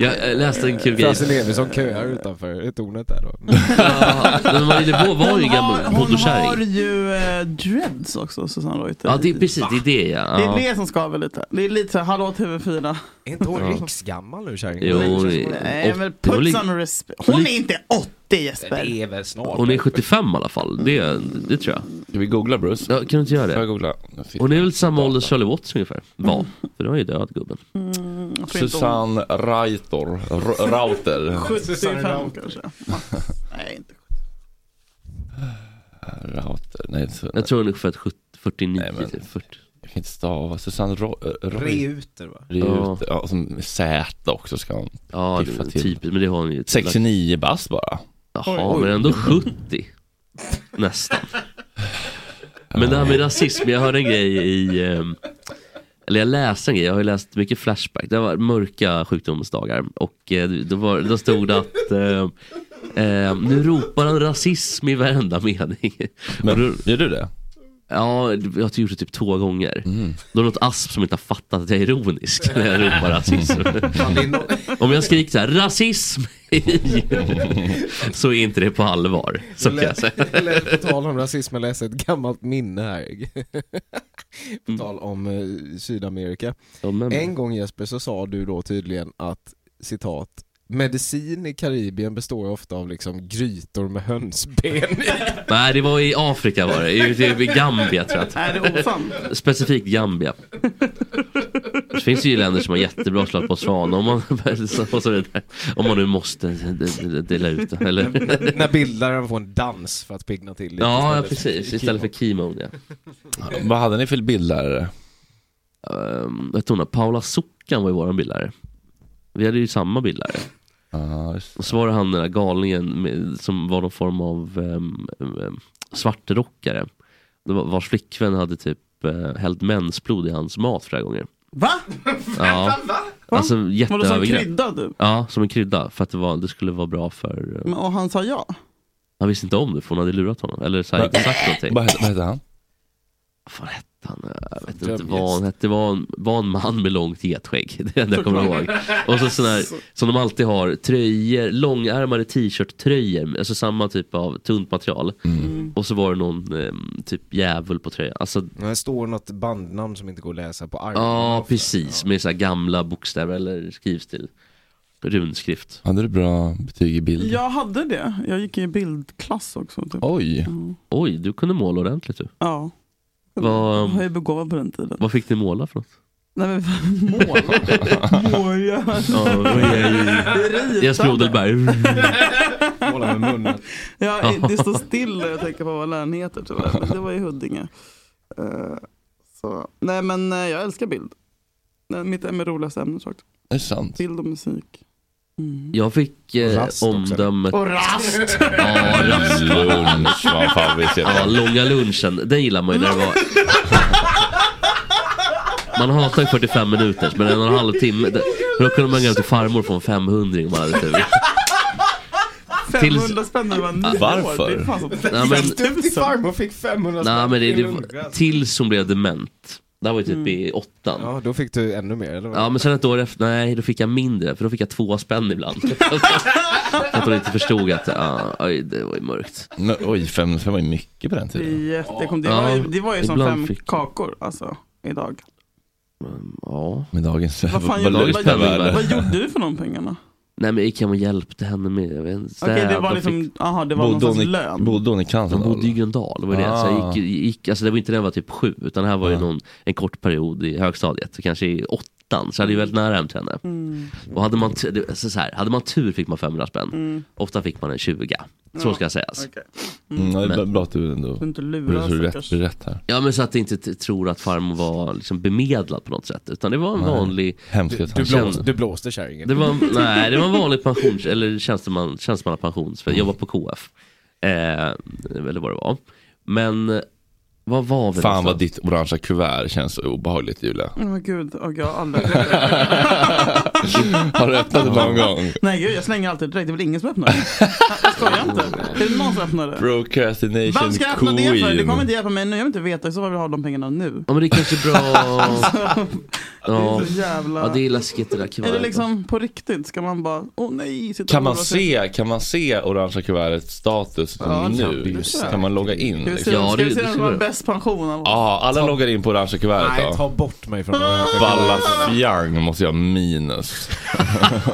Jag eh, läste en kul grej. Frasse Levisson köar utanför tornet där då. Ja, men Marie Leveau var ju Hon har, gammal hon har bodokärring. ju eh, dreads också, Susanne Reuter. Ja, det är precis, det är det Det är ja. det som skaver lite. Det är lite så här, hallå TV4. Är inte hon Ja. riksgammal nu kärringen? Jo, hon Nej, är, men och, hon, put är, some respect. Hon är inte 80 Jesper. Det är väl snart. hon är 75 i alla fall, det, det tror jag. Ska vi googla Bruce? Ja, kan du inte göra Får jag det? googla? Hon är väl samma ålder som Charlie Watts ungefär? Var. För då är ju död gubben. Jag tror inte hon- Mm. Susanne Reuter. R- Rauter. 75 kanske. Nej, inte. Rauter. Nej, så, Jag tror hon är ungefär 70, 49, Nej, men- typ, 40. jag kan inte stava. Susanne Ro- eh, Reuter. Reuter va? Ja. Ja. Ja, som Z också ska hon. Ja, det Piffa är till. typiskt. Men det har hon ju. 69 bast bara. Jaha, men ändå 70. Nästan. Men det här med rasism, jag hörde en grej i... ehm, Eller jag läste en grej, jag har ju läst mycket Flashback. Det var mörka sjukdomsdagar. Och eh, då, var, då stod det att... ehm, ehm, nu ropar han rasism i varenda mening. Men, gör du det? Mm. Ja, jag har gjort det typ två gånger. Då är det något asp som inte har fattat att jag är ironisk när jag ropar rasism. Om jag skriker så här, rasism! i", så är inte det på allvar. Så kan jag säga. Eller på tal om rasism, jag läser ett gammalt minne här. på tal om eh, Sydamerika. Mm. Ja, men- En gång Jesper så sa du då tydligen att citat Medicin i Karibien består ofta av liksom grytor med hönsben i." Nej, det var i Afrika var det. I, i, i Gambia tror jag. Är det osant? att- Specifikt Gambia. Det finns ju länder som har jättebra slag på svan om man, och så vidare. om man nu måste dela ut det. Eller? När bildläraren får en dans för att pigna till lite Ja, ja, istället. precis. Istället för Kimon. Ja. Vad hade ni för bildlärare? Ehm, Vad hette hon då? Paula Sockan var ju våran bildlärare. Vi hade ju samma bildlärare. Ja, just Och så var det han den där galningen med, som var någon form av um, um, svartrockare. Det var, vars flickvän hade typ uh, hällt mensblod i hans mat flera gånger. Va? Ja, alltså Vadå som jätteövergrepp. krydda du? Ja, som en krydda. För att det, var, det skulle vara bra för... eh, Men- Och han sa ja. Han visste inte om det för hon hade lurat honom. Eller så här, inte sagt någonting. Vad hette- vad hette han? Vad fan hette han? Jag vet inte vad han hette. Det var en, var en man med långt getskägg. Det är det enda jag kommer ihåg. Och så sådana här, som de alltid har, tröjor, långärmade t-shirt-tröjor. Alltså samma typ av tunt material. Och så var det någon eh, typ djävul på tröjan. Alltså, Ja, Det står något bandnamn som inte går att läsa på armen. ja precis. Med så här gamla bokstäver eller skrivstil. Runskrift. Hade du bra betyg i bild? Jag hade det. Jag gick i bildklass också. Typ. Oj, Oj, du kunde måla ordentligt du. Ja. Jag Vad, um, var ju begåvad på den tiden. vad fick ni måla för något? Nej men måla? Jesper Odelberg. Måla med munnen. ja, i- det står still när jag tänker på vad läraren heter tyvärr. Men det var i Huddinge. Eh, så. Nej men eh, jag älskar bild. Nej, Mitt ämne är roligaste ämne sagt. det är sant. Bild och musik. Mm. Jag fick Och eh, rast också, omdömet... Och rast! Ja, rast. Lunch, vad fan vi ser. Ja, långa lunchen, den gillar man ju när det var Man hatar ju 45 minuters men en och en halv timme det- Då kunde man gå till farmor från 500 om man hade tur 500 spänn när man var nio år. Varför? Det är fan som Nej men, Du till farmor fick 500 nej, spänn men det, i det, var- lunchen. tills hon blev dement Det här var ju typ Mm. i åttan Ja, då fick du ännu mer eller? vad? Ja men sen ett år efter, nej då fick jag mindre för då fick jag två spänn ibland För att hon inte förstod att, ja, oj, det var ju mörkt Men, oj, fem, fem var ju mycket på den Det, är tiden. jätte- kom- det, var ju, det var ju som Ibland fem fick- kakor alltså, idag. Ja Med dagens Vad fan vad gjorde, dagens vad, pengar gjorde, är. vad gjorde du för de pengarna? Nej men gick hem och hjälpte henne med, jag vet inte, Okej, det städ, var de fick- liksom, jaha, det var någon Bodde sorts hon i- lön. Bodde hon i De bodde i Kansas? Gröndal, var det ah. så jag gick, gick, alltså det var inte när jag var typ sju, utan det här Ah. var ju någon, en kort period i högstadiet, så kanske i åttan, så jag hade ju väldigt nära hem till henne. Mm. Och hade man, t- det- så så här, hade man tur fick man 500 spänn, ofta fick man en 20 så ska jag sägas. Mm. Ah, Okej. Mm, ja, det är bra att du ändå Du inte du lura är så rätt, stackars. du är rätt här. Ja men så att jag inte t- tror att farmor var liksom bemedlad på något sätt, utan det var en vanlig Hemska Du, tankar. blåste, du blåste kärringen. det var, nej, det var en vanlig pensions eller tjänsteman, tjänstemannapension. För jag var på KF. Eh, eller vad det var. Men vad var vi Fan vad någonstans? ditt orangea kuvert känns så obehagligt Julia. Åh gud, åh, jag har aldrig öppnat det. Har du öppnat det någon gång? Nej gud, jag slänger alltid direkt. Det är väl ingen som öppnar det? Jag skojar inte. Är det någon som öppnar det? Vem Procrastination ska jag öppna det för? Det kommer queen. inte hjälpa mig nu. Jag vill inte veta. I Så fall vill jag ha de pengarna nu. Alltså, Ja men det är kanske bra... ja. Det är så jävla... ja det är läskigt det där alltså. Är det kuvertet. liksom på riktigt? Ska man bara, åh nej. sitta Kan och man oroa sig? se, kan man se orangea kuvertets status Ja, det nu? kan du se. Kan man logga in? Ska vi se, Liksom? Ja, ska vi det- se det vem ska som har vi- bäst pension av oss? Ja, alla loggar in på orangea Nej, kuvertet då. ta bort mig från den här. Ballafiang måste jag ha minus.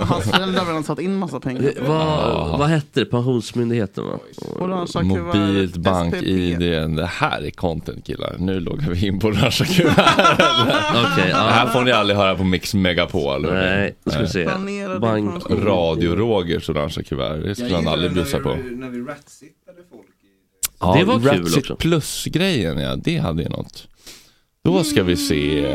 Hans föräldrar har redan satt in massa pengar. Eh, Det- Eh, Vad, vad hette det? Pensionsmyndigheten va? Orangea kuvert, Mobilt bank-id. SPP. Det här är content killar. Nu loggar vi in på orangea kuvertet. Okej, Det ja. här får ni aldrig höra på Mix Megapol. Nej, nu ska vi se. Planerade Bank... pension. Radio-Rogers orangea kuvert. Det skulle han aldrig bjussa på. När vi ratsittade folk. Det var kul Ratsit också. plus-grejen ja, det hade ju något. Då ska vi se.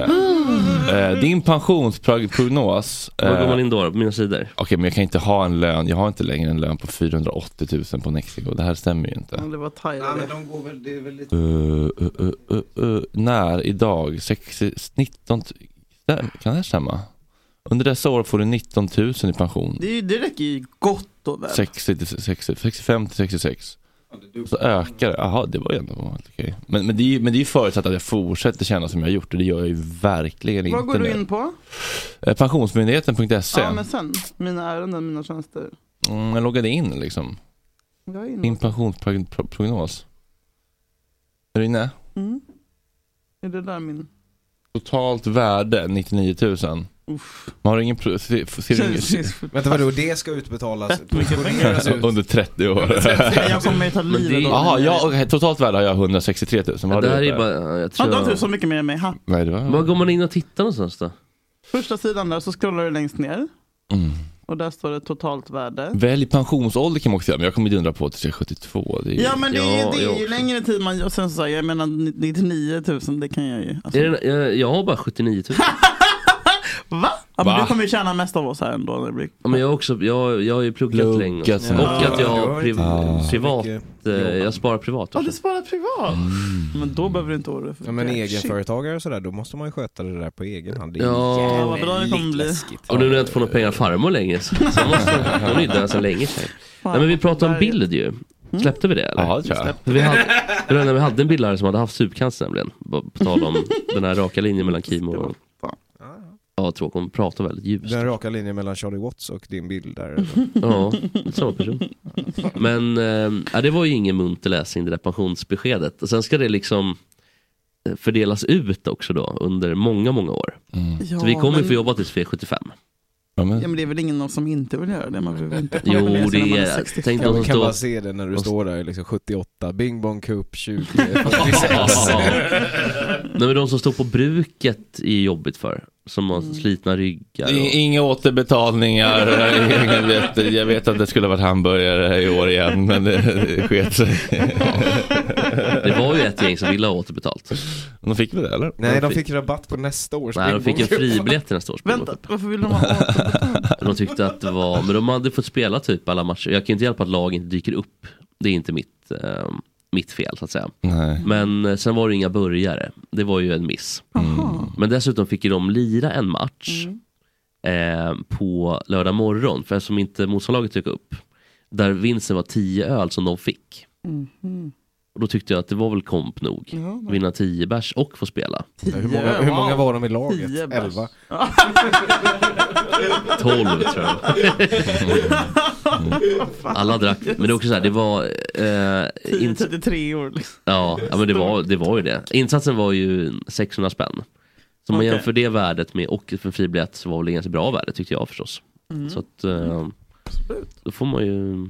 Eh, din pensionsprognos. Eh, Vad går man Okej, in då? På mina sidor? men jag kan inte ha en lön. Jag har inte längre en lön på 480 000 på Nexiko. Det här stämmer ju inte. Det var Thailand. de går väl, det är väl lite... Uh, uh, uh, uh, uh, när idag? 60, 19, där, kan det här stämma? Under dessa år får du 19 000 i pension. Det, är ju- det räcker ju gott och väl. 60 till 60, 65 till 66. Så ökar det. Jaha, det var ju ändå helt okej. Men, men, det är ju- men det är ju förutsatt att jag fortsätter tjäna som jag har gjort och det gör jag ju verkligen inte Vad går du nu. in på? Eh, Pensionsmyndigheten.se. Ja, men sen. Mina ärenden, mina tjänster. mm, jag loggade in liksom. Jag är Min inne. pensionsprognos. Är du inne? Mm. Är det där min... Totalt värde 99 000. Man Uff. har ingen... pro- Ser, ser du ingen Vänta vadå, det ska utbetalas? portioneras Alltså, ut. Alltså, under 30 år. Jag kommer ju ta Men det- livet av Jaha, mig. ja, okej, totalt värde har jag 163 000. Vad har Det du här är ju för? bara, jag Ja, tror du har inte jag... så mycket mer än mig. Ha. Nej, det var... Var går man in och tittar någonstans då? Första sidan där så scrollar du längst ner. Mm. Och där står det totalt värde. Välj pensionsålder kan man också göra, men jag kommer dundra på tills jag är 72. Det är ju... Ja men det är, Ja, det jag är ju också. längre tid man... Och sen så, jag menar 99 000, det kan jag ju. Alltså, Är det, jag, jag har bara 79 000. Va? Ja, men Va? du kommer ju tjäna mest av oss här ändå. När det blir... Ja, men jag, har också, jag, jag har ju pluggat Pluggat länge. som Och att jag har priv, Ah. privat, Mycket. eh, jag sparar privat. Ja, du sparar privat. Men då behöver du inte oroa dig för Ja, men det. egenföretagare och sådär, då måste man ju sköta det där på egen hand. Det är Ja. jävligt Ja, vad bra det kommer bli. läskigt. Och nu när jag inte får några pengar av farmor längre så, så måste jag, hon är ju död sedan länge sedan. Fan, Mm. Nej men vi pratade om där är- bild ju. Släppte vi det eller? Ja, det tror jag. För Vi hade, det var när vi hade en bildlärare som hade haft supercancer nämligen. På på tal om den här raka linjen mellan Kim och... Ja, tråkigt. Hon pratar väldigt ljust. Den raka linjen mellan Charlie Watts och din bild där. Ja, samma person. Men eh, ja, det var ju ingen munter läsning det där pensionsbeskedet. Och sen ska det liksom eh, fördelas ut också då under många, många år. Mm. Ja, Så vi kommer men... få jobba tills vi är 75. Ja, Ja, men... men det är väl ingen som inte vill göra det? Man vill väl inte Jo, man vill läsa när det man är... 60. Tänk Jag de kan som står... bara se det när du står där liksom 78, Bing Bong Cup 20, 46. Ja. Nej, men de som står på bruket är jobbigt för. Som Mm. har slitna ryggar. I- Och... Inga återbetalningar, jag vet, jag vet att det skulle ha varit hamburgare i år igen men det, det sket sig. Det var ju ett gäng som ville ha återbetalt. De fick väl det eller? Nej, de fick rabatt på nästa års Nej, de Bing Bong fick Cup. en fribiljett till nästa års Vänta, bröllop. varför vill de ha De tyckte att det var, men de hade fått spela typ alla matcher. Jag kan ju inte hjälpa att lag inte dyker upp. Det är inte mitt, eh, mitt fel så att säga. Nej. Men eh, sen var det inga börjare. Det var ju en miss. Jaha. Men dessutom fick ju de lira en match Mm. eh, på lördag morgon. För eftersom inte motståndarlaget dök upp. Där vinsten var 10 öl som de fick. Mm. Och då tyckte jag att det var väl komp nog. Vinna 10 bärs och få spela. Hur många, hur många var de i laget? Tio bärs. 11? 12 tror jag. Alla drack. Men det är också så här, det var... Eh, Tio, ins- 33 år liksom. ja, ja, men det var, det var ju det. Insatsen var ju 600 spänn. Så om man Okej. jämför det värdet med och för fribiljett så var väl det ganska bra värde tyckte jag förstås. Mm. Så att eh, då får man ju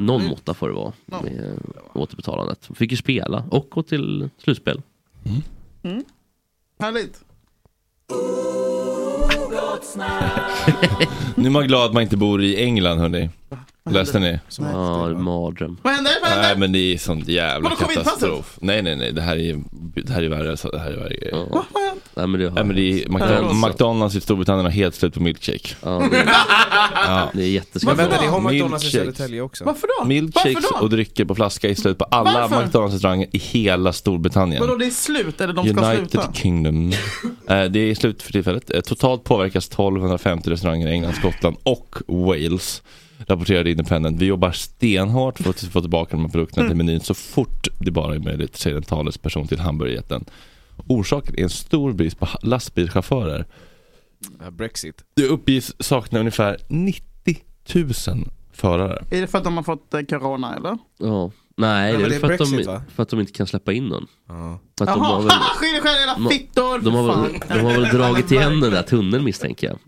någon måtta får det vara med eh, återbetalandet. Fick ju spela och gå till slutspel. Mm. Härligt. Nu är man glad att man inte bor i England hörni. Läste ni? Som Ja, mardröm. Vad händer? Vad Nej händer? men det är sånt jävla Vadå, kom inte fast katastrof. Nej nej nej, det här är, det här är värre. så- Det här är värre. Ja. Nej, men det har, Nej, men det är, McDonald's, McDonalds i Storbritannien har helt slut på milkshake. ja, det, det är Men jätteskönt. vänta, det har McDonalds i Milkshakes. Södertälje också. Varför då? Milkshakes Varför då? och drycker på flaska är slut på alla Varför? McDonalds-restauranger i hela Storbritannien. Vadå, det är slut? Eller de ska United sluta? Kingdom. Eh, det är slut för tillfället. Eh, totalt påverkas 1250 restauranger i England, Skottland och Wales. Rapporterade Independent. Vi jobbar stenhårt för att få tillbaka de här produkterna Mm. till menyn så fort det bara är möjligt, säger en talesperson till hamburgerjätten. Orsaken är en stor brist på ha- lastbilschaufförer. Ja, Brexit. Det uppges sakna ungefär 90 000 förare. Är det för att de har fått eh, corona eller? Ja. Nej, det är men väl det för, är att de, Brexit, va? för att de inte kan släppa in någon. Ja. För Att de Jaha, har väl, skilj själv de- era fittor! de har för väl, fan. de har väl dragit igen den där tunneln misstänker jag.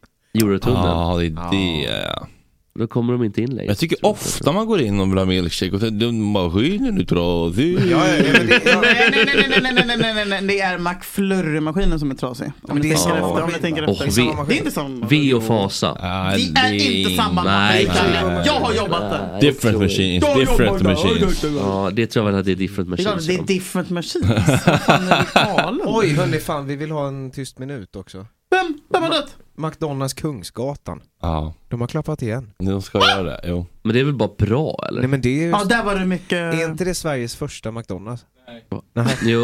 Eurotunneln. Ja, det är det. ja. Då kommer de inte in längre. Jag tycker ofta man går in och vill ha milkshake och så- de bara "Maskinen är trasig. Ja, ja, ja, men det, ja, Nej, nej, nej, nej, nej, nej, nej, nej, nej, nej, det är McFlurry-maskinen som är trasig. Om ni det tänker är samma efter. Om ni maskin, tänker va? Och efter. vi- Det är inte samma. V och Fasa. Ah, Det är inte samma Nej, maskin. nej. Jag har jobbat där. Different machines, Jag jobbar different där. machines. Ja, det tror jag väl att det är different Det är klart, machines. det är different machines. Vad fan är det galen? Oj hörni, fan vi vill ha en tyst minut också. Vem? Vem har dött? McDonalds Kungsgatan. Ja, De har klappat igen. de ska göra det. Jo. Men det är väl bara bra eller? Nej men det är ju... Ja, där var det Är mycket... inte det Sveriges första McDonalds? Jo, nej,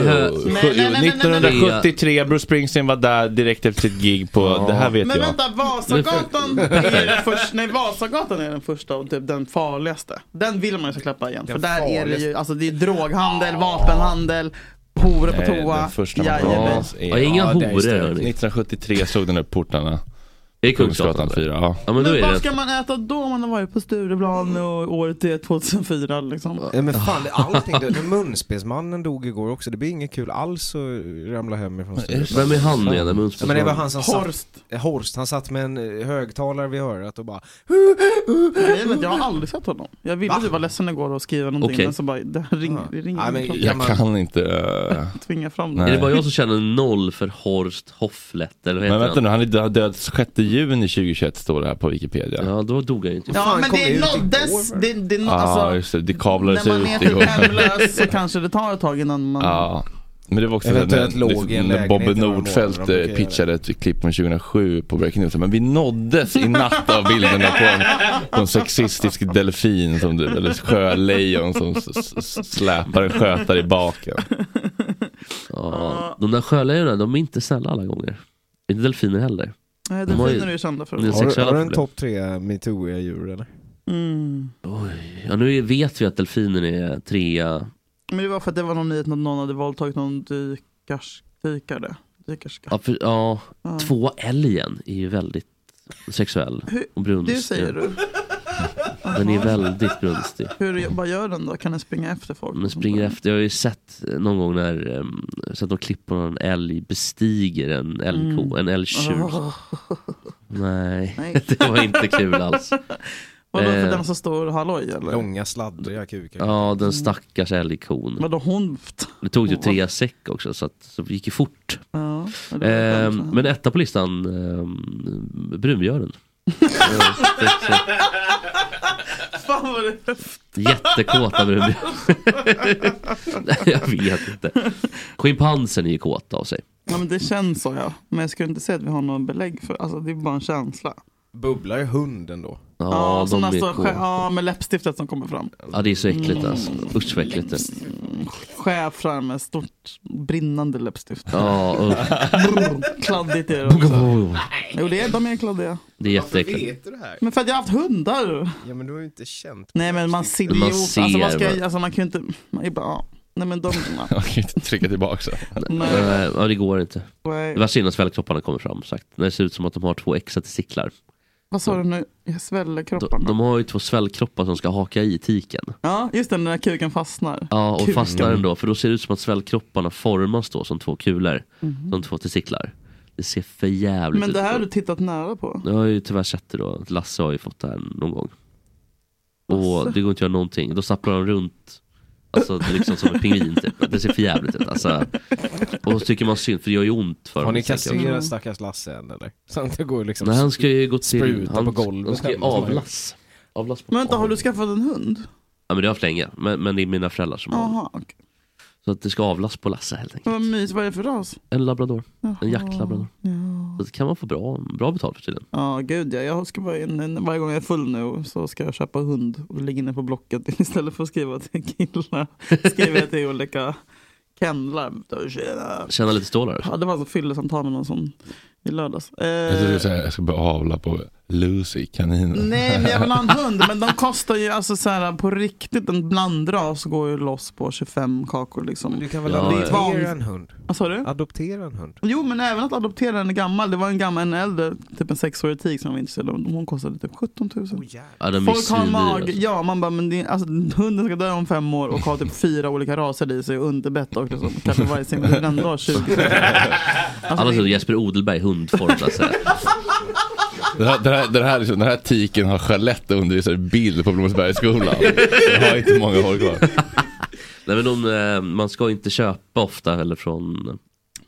hö- Sju- nej, nej, nej, nej. 1973, Bruce Springsteen var där direkt efter sitt gig på, Ja. det här vet Men jag. vänta, Vasagatan är den första, nej Vasagatan är den första och typ den farligaste. Den vill man ju så klappa igen. För Den där är det ju, farligaste. alltså det är droghandel, vapenhandel, horor på Nej, toa. Den första Jajamän. McDonalds är- Ja, inga Ja, det är horor, liksom. stort. hörni. 1973 såg den upp portarna. Är det Kungsgatan? Kungsgatan eller? 4, ja. Ja men då Men är vad det ska man äta då om man har varit på Stureplan och året är 2004 liksom? Nej men fan, det- allting. det- men Munspelsmannen dog igår också. Det blir inget kul alls att ramla hemifrån Sture. Vem är han nu igen? Ja, men det var han som satt, Horst. eh, Horst, han satt med en eh, högtalare vid örat och bara Nej, men jag har aldrig sett honom. Jag ville Va? du var ledsen igår och skriva någonting Okej. men så bara, det ringer, Ah. det ringer Nej, men klockan. kan Jag man, kan inte... eh, tvinga fram Nej. Är det. det bara jag som känner noll för Horst Hofflet eller vad heter Men vänta han? nu, han är död- död 6 juni 2021 står det här på Wikipedia. Ja då dog han ju inte. Ja fan men kom det det är ut nåddes, igår? det, det är nå- Ah, Ja, alltså, just det. Det kablades när man är ut typ igår. hemlös så kanske det tar ett tag innan man... Ja. Men det var också Eventuellt när- låg i en när lägenhet i Bobby några månader, Nordfeldt de brukar eh, göra pitchade ett klipp från 2007 på Breaking News. Men vi nåddes i natt av bilderna på en, på en sexistisk delfin som, du- eller sjölejon som s- s- s- släpar en skötare i baken. Ja. De där sjölejonen, de är inte snälla alla gånger. Inte delfiner heller. Nej, de har ju- delfiner är ju kända för det är det. har du, sexuella har du en problem. topp tre metooiga djur eller? Mm. Ja nu vet vi att delfinen är trea. Men det var för att det var någon nyhet att någon hade våldtagit någon dykars, dykare. Dykerska. Ja, för, ja Ja. två älgen är ju väldigt sexuell. Hur- Och brunstig. Det säger du. Den är väldigt brunstig. Hur, vad gör den då? Kan den springa efter folk? Men springer efter. Jag har ju sett någon gång när, um, sett någon klipp på någon älg bestiger en älgko, Mm. en älgtjur. Åh, Nej, nej. det var inte kul alls. Vadå för Eh. den som står halloj eller? Långa sladdriga kukar. Ja, den Mm. stackars älgkon. Vadå hon? Det tog ju tre säck också, så, att, så det gick ju fort. Ja, det var Eh, kanske- men etta på listan, eh, brunbjörnen. Fan vad det... Jättekåta brunbjörn. Nej, jag vet inte. Schimpansen är ju kåta av sig. Ja, men det känns så ja. Men jag skulle inte säga att vi har någon belägg för Alltså det är bara en känsla. Bubblar ju hunden då? Ja, Ja, de sådana är så kåta. ja med läppstiftet som kommer fram. Ja, det är så äckligt alltså. Usch vad äckligt det är. Schäfrar med stort brinnande läppstift. Ja, usch. Brr, Kladdigt är det också. Jo, det är, de är kladdiga. Det är jätteäckligt. du det här? Men för att jag har haft hundar. Ja men du har ju inte känt Nej men man ser Man ju. Alltså, man, ser, ska, alltså, man kan ju inte. Man är bara, ja. Nej men de. Man kan inte trycka tillbaka. Nej. Nej, Eh, ja, det går inte. Det nej. värsta är när svällkropparna kommer fram. Sagt. När det ser ut som att de har två testiklar. Vad sa du nu? Jag sväller De, kropparna. de har ju två svällkroppar som ska haka i tiken. Ja just det, när den där kuken fastnar. Ja, och Kuken. fastnar den då. För då ser det ut som att svällkropparna formas då som två kulor. Som två testiklar. Det ser för jävligt Mhm. Men det här har du ut. tittat nära på. Jag har ju tyvärr sett det då. Lasse har ju fått det här någon gång. Och det går inte att göra någonting. Då stapplar de runt. Alltså det är liksom som en pingvin typ. Det ser för jävligt ut. Alltså. Och så tycker man synd för det gör ju ont för Har ni misstänker jag. Mm. kastrerat stackars Lasse än eller? Så han inte går liksom... Nej, han ska ju gå till... spruta Han, på golvet han ska ju hemma som avlass. avlass på Men vänta, har du skaffat en hund? Ja, men det har jag haft länge. Men, men det är mina föräldrar som har Jaha, okej. Så att det ska avlass på Lasse helt enkelt. Vad mysigt, vad är det för ras? En labrador. En Jaha. jaktlabrador. Ja, Så det kan man få bra, bra betalt för tiden. ja gud ja. Jag ska bara in, in, varje gång jag är full nu så ska jag köpa hund och ligga inne på Blocket istället för att skriva till killar. Skriver jag till olika kennlar. Då, tjena. Tjäna lite stålar också. Ja, det var alltså fyllesamtal med någon som i lördags. Jag Eh, skulle säga, jag ska börja avla på Lucy, kaninen. nej men jag vill ha en hund. Men de kostar ju alltså så här på riktigt. En blandras går ju loss på 25 kakor Men liksom. Du kan väl Ja, ja. adoptera en hund? Vad sa du? Adoptera en hund? Jo men även att adoptera en gammal. Det var en gammal, en äldre, typ en sexårig tik som jag var intresserad av. Hon kostade typ 17 000. Ja, de är Folk har svindyra, mag, alltså. ja man bara, men det, alltså, hunden ska dö om fem år och ha typ fyra olika raser i sig och underbett och liksom, kanske varje sin men den ändå har 20 Alla alltså, tror det, Jesper Odelberg, hundform Lasse. Den här, den, här, den, här, liksom, den här tiken har Charlotte och undervisar bild på Blommensbergsskolan. Den har inte många hår kvar. Nej men de, eh, man ska inte köpa ofta eller från,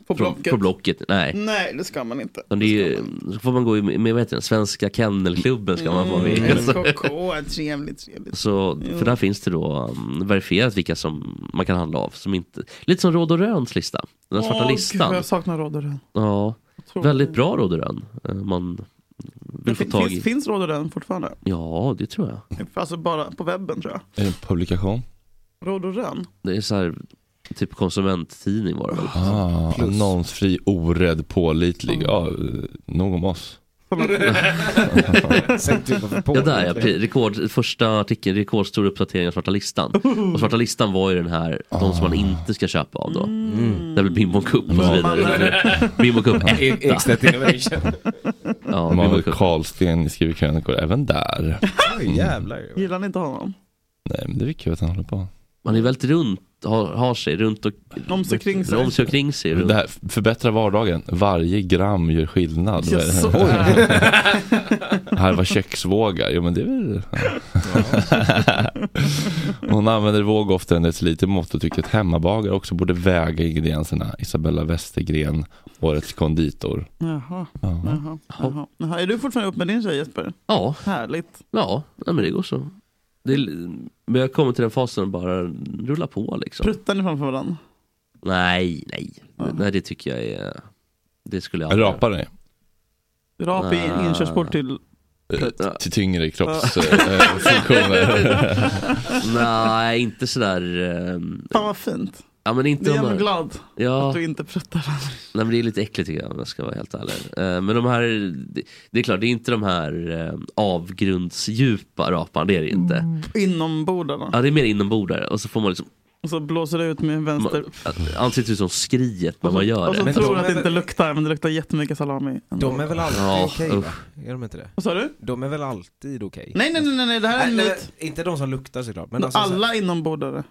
på från, blocket. från Blocket. Nej. Nej det ska man inte. Men det är ju, så får man gå i, med vad heter den, Svenska Kennelklubben ska man Mm. vara med i. SKK, trevligt trevligt. Så, för där finns det då um, verifierat vilka som man kan handla av. Som inte, lite som Råd och Röns lista. Den här svarta Åh, gud, listan. jag saknar Rodderön. Ja. tror Väldigt bra Roderön. Eh, Man Det vill få fin- tag finns, i. finns Rodoren fortfarande? Ja, det tror jag. Alltså bara på webben tror jag. Är det en publikation? Rodoren. Det är så här, typ konsumenttidning var det väl? Ah, Plus. annonsfri, orädd, pålitlig. Ja, eh, nog om oss. Sänkt typ för på. Ja, där ja. Pre- Rekord, första artikeln, rekordstor uppdatering av Svarta listan. Och Svarta listan var ju den här, de Ah. som man inte ska köpa av då. Mm. Det är väl Bimbo Cup och så vidare. Bimbo Cup 1. E- Ekstedt Innovation. Ja, De har Bimbo väl Cup. Karlsten skriver krönikor även där. Mm. Oj jävlar. Gillar ni inte honom? Nej, men det är väl kul att han håller på. Man är väldigt runt, har, har sig runt och Om sig kring sig. om sig och kring sig. Det här, förbättra vardagen. Varje gram gör skillnad. Jag såg Här var köksvågar. Jo men det är väl... Hon använder våg oftare än deciliter mått och tycker att hemmabagare också borde väga ingredienserna. Isabella Westergren, Årets konditor. Jaha, Ja. jaha, jaha. jaha. Är du fortfarande uppe med din tjej Jesper? Ja, Härligt. ja, nej, men det går så. Det är, men jag kommer till den fasen och bara rulla på liksom. Pruttar ni framför varandra? Nej, nej. Nej, det tycker jag är... Det skulle jag aldrig- Rapar dig. Rap i Ah. inkörsport till... Eh, Till tyngre eh, kroppsfunktioner. Nej, inte sådär... ehm, Fan vad fint. Ja men inte Det de gör mig här, glad ja, att du inte pruttar. nej, men det är lite äckligt tycker jag om jag ska vara helt ärlig. Eh, Men de här, det, det är klart det är inte de här eh, avgrundsdjupa raparna, det är det inte. Mm. Inombordarna. Ja det är mer inombordare och så får man liksom, Och så blåser det ut med vänster. man, ansiktet ut som skriet när Och så, man gör och så det. tror de du att det är inte väl- luktar, men det luktar jättemycket salami. ändå. De är väl alltid Ja, okej va? Är de inte det? Vad sa du? De är väl alltid okej? Nej, nej, nej, nej, nej, det här är en Nej, myt. nej, Inte de som luktar såklart, men alltså, Alla inombordare.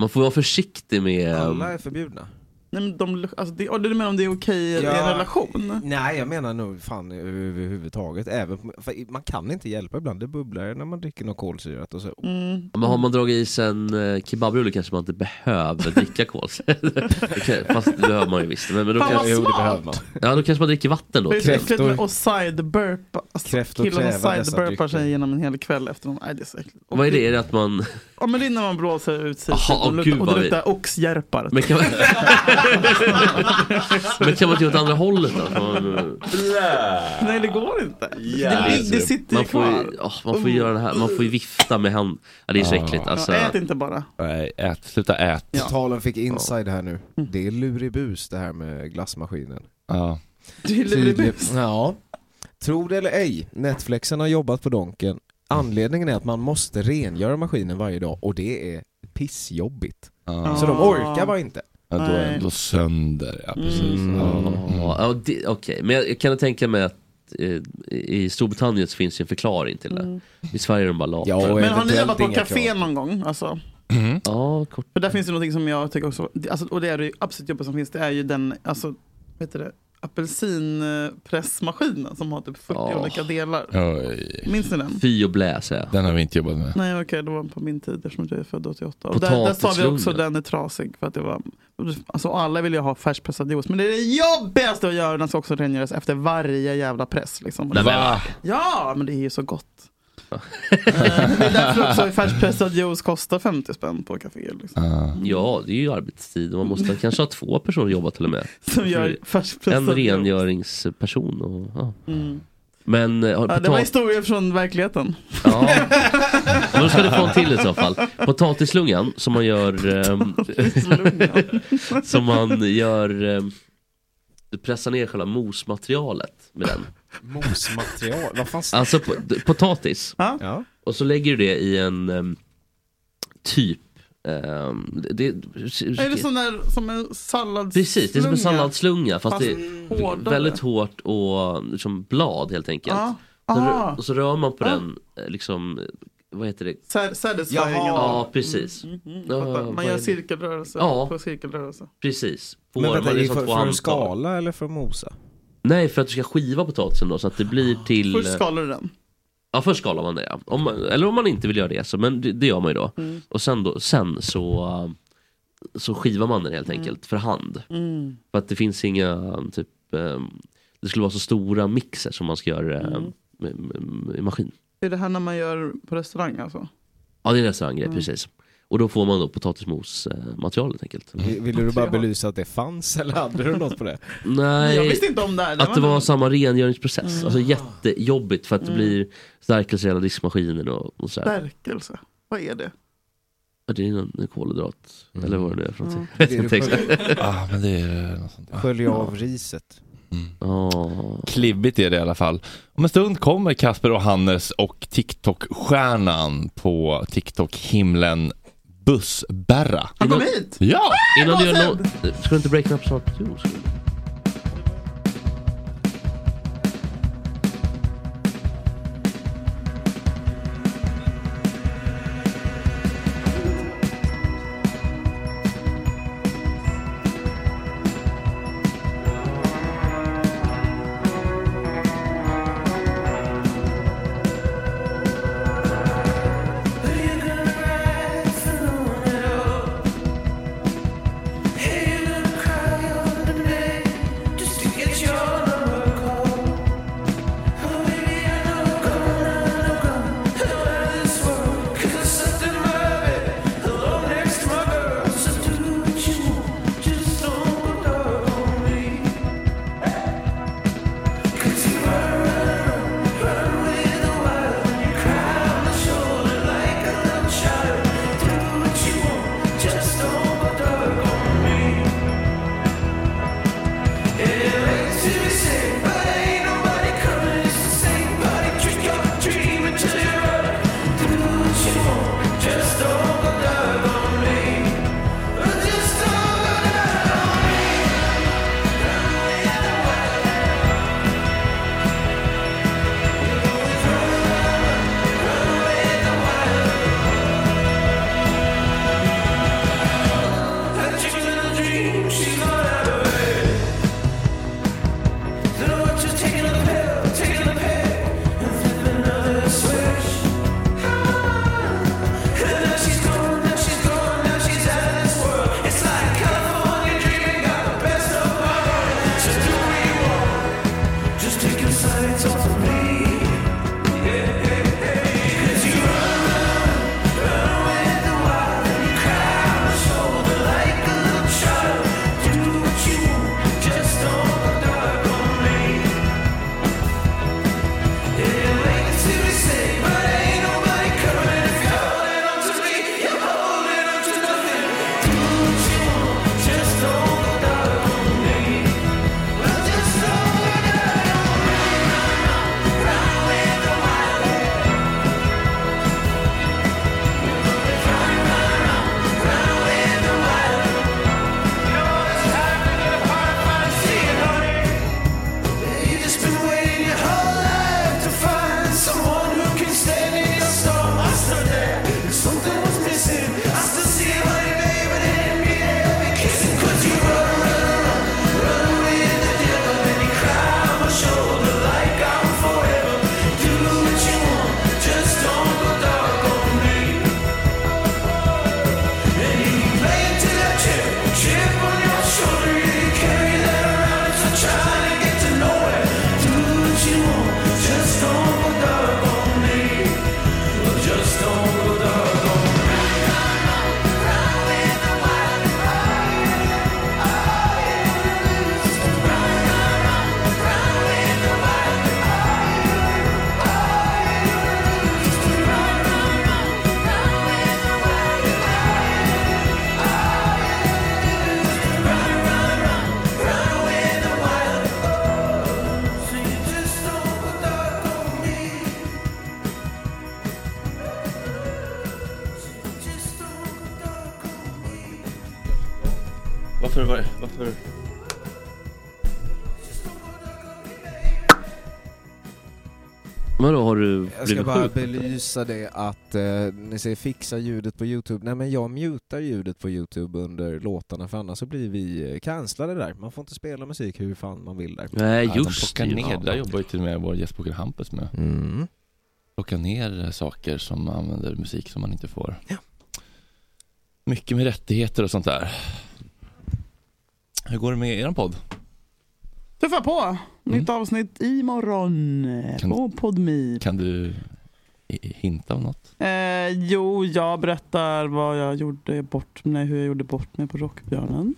Man får vara försiktig så med, um, här, alla är förbjudna. Nej, men de, luk- alltså, det, och du menar om det är okej i en Ja. relation? Nej jag menar nog fan överhuvudtaget, även, på- för man kan inte hjälpa ibland, det bubblar när man dricker något kolsyrat och så Mm. men har man dragit i sig en eh, kebabrulle kanske man inte behöver dricka kolsyra. Det kan- Fast det behöver man ju visst. Men, men då, Fan, kanske, vad Jo det smart. behöver man. ja, då kanske man dricker vatten då. Det är så kräftor. äckligt med och sideburpa. Alltså, Kräftor killarna kräva dessa sideburpar sig drycker. genom en hel kväll efter någon. Nej, det är så äckligt. Och Vad är det- det? Är det att man... Ja men det är när man blåser ut sig Jaha, och, det gud, Typ luktar- och vad det luktar oxhjärpar. Men kan man, men kan man inte göra åt andra hållet då? Att Man, Nej det går inte. Yeah. det, blir- det sitter ju alltså, man får kvar. Mm. ju, åh, man får ju göra det här, man får ju vifta med hand. Ja, det är så äckligt alltså. ja, ät inte bara. Nej, ät. Sluta ät. Ja. Mm. Totalen fick inside här nu. Det är luribus det här med glassmaskinen. Ja. Du är luribus. Ja. Tror det eller ej, Netflixen har jobbat på Donken. Anledningen är att man måste rengöra maskinen varje dag och det är pissjobbigt. Ja. Så de Ah. orkar bara inte. Ja, då är Nej. den då sönder. Ja, precis. Mm, Ja. ja, ja, det- Okej, men jag, jag kan tänka mig att eh, i Storbritannien så finns ju en förklaring till det. I Sverige är de bara lata. Ja, och Mm. Men har ni eventuellt jobbat på inga café krav. någon gång? Alltså, Ja, kort. för där finns det någonting som jag tycker också, alltså, och det är det ju absolut jobbigaste som finns, det är ju den, alltså, vad heter det, apelsinpressmaskinen som har typ 40 Ja. olika delar. Oj, Minns ni den? Fy och blä säger jag. den har vi inte jobbat med. Nej okej, det var på min tid eftersom att jag är född 88. Och där, där sa vi också Potatisugnen. den är trasig för att det var, alltså alla vill ju ha färskpressad juice. Men det är det jobbigaste att göra, den ska också rengöras efter varje jävla press. Liksom. Nej, men, Va? Ja, men det är ju så gott. Eh, det är därför också färskpressad juice kostar 50 spänn på kaféer. Liksom. Ja. ja, det är ju arbetstid och man måste kanske ha två personer att jobba till och med. Som gör En färskpressad juice. rengöringsperson och ja. Mm. Men eh, har Ja, det var potat- historier från verkligheten. Ja. Men då ska du få en till i så fall. Potatisslungan som man gör... ehm, som man gör... ehm, du pressar ner själva mosmaterialet med den. Mosmaterial, vad fan s- Alltså po- d- potatis. Ja. Och så lägger du det i en ehm, typ... ehm, det, Är det sån där, som en salladslunga? Precis, det är som en salladsslunga fast, Fast det är hårdare. väldigt hårt och som blad helt enkelt. Ja. Så rö- Ah. och så rör man på Ah. den eh, liksom, eh, vad heter det? Sa- Satisfying. Jaha. eller? Ja, precis. Ja, mm, Fattar. vad Man gör är det? cirkelrörelse Ja. på cirkelrörelse. Precis. På, Men man vänta, är är det liksom för, som två för att handtag. skala eller för att mosa? Nej, för att du ska skiva potatisen då så att det blir till... Ah. eh, Först skalar du den. Ja, först skalar man det ja. Om man, eller om man inte vill göra det, så, men det, det gör man ju då. Mm. Och sen, då, sen så, äh, så skivar man den helt Mm. enkelt för hand. För att det finns inga, typ, äh, det skulle vara så stora mixer som man ska göra Mm. äh, med, med, med maskin. Det är det här när man gör på restaurang alltså. Mm. Ja, det är en restaurang grej, precis. Och då får man då potatismosmaterial helt enkelt. Mm. Vill- Ville du bara belysa att det fanns eller hade du något på det? Nej, Jag visste inte om det Mm. här. att det var samma rengöringsprocess. Alltså jättejobbigt för att Mm. det blir stärkelse i hela diskmaskinen och, och sådär. Stärkelse. Vad är det? Ja, Det är någon kolhydrat, Mm. eller vad det nu är för någonting. Det Jag du vet inte exakt. sköljer- ah, men det är eh, något sånt. Ah. Sköljer av riset. Ja. Mm. Klibbigt är det i alla fall. Om en stund kommer Kasper och Hannes och TikTok-stjärnan på TikTok-himlen Bussberra. Han kom Innan- hit! Ja! Innan du gör Vad låt... Ska du inte breaka upp snart? Jo, ska du. Varför, var, varför? Vadå, har du Jag ska blivit bara sjuk? belysa det att eh, ni säger fixa ljudet på Youtube. Nej men jag mutar ljudet på Youtube under låtarna för annars så blir vi eh, cancellade där. Man får inte spela musik hur fan man vill där. Nej, Att de just plockar det. ner, ja. där jobbar ju till och med vår gästbokare Hampus med. Mm. Plocka ner eh, saker som använder musik som man inte får. Mycket med rättigheter och sånt där. Hur går det med er podd? Tuffa Mm. Eh, på! Nytt avsnitt imorgon Kan- på Podmi. Kan du hinta om något? Eh, jo, jag berättar vad jag gjorde bort mig, hur jag gjorde bort mig på Rockbjörnen.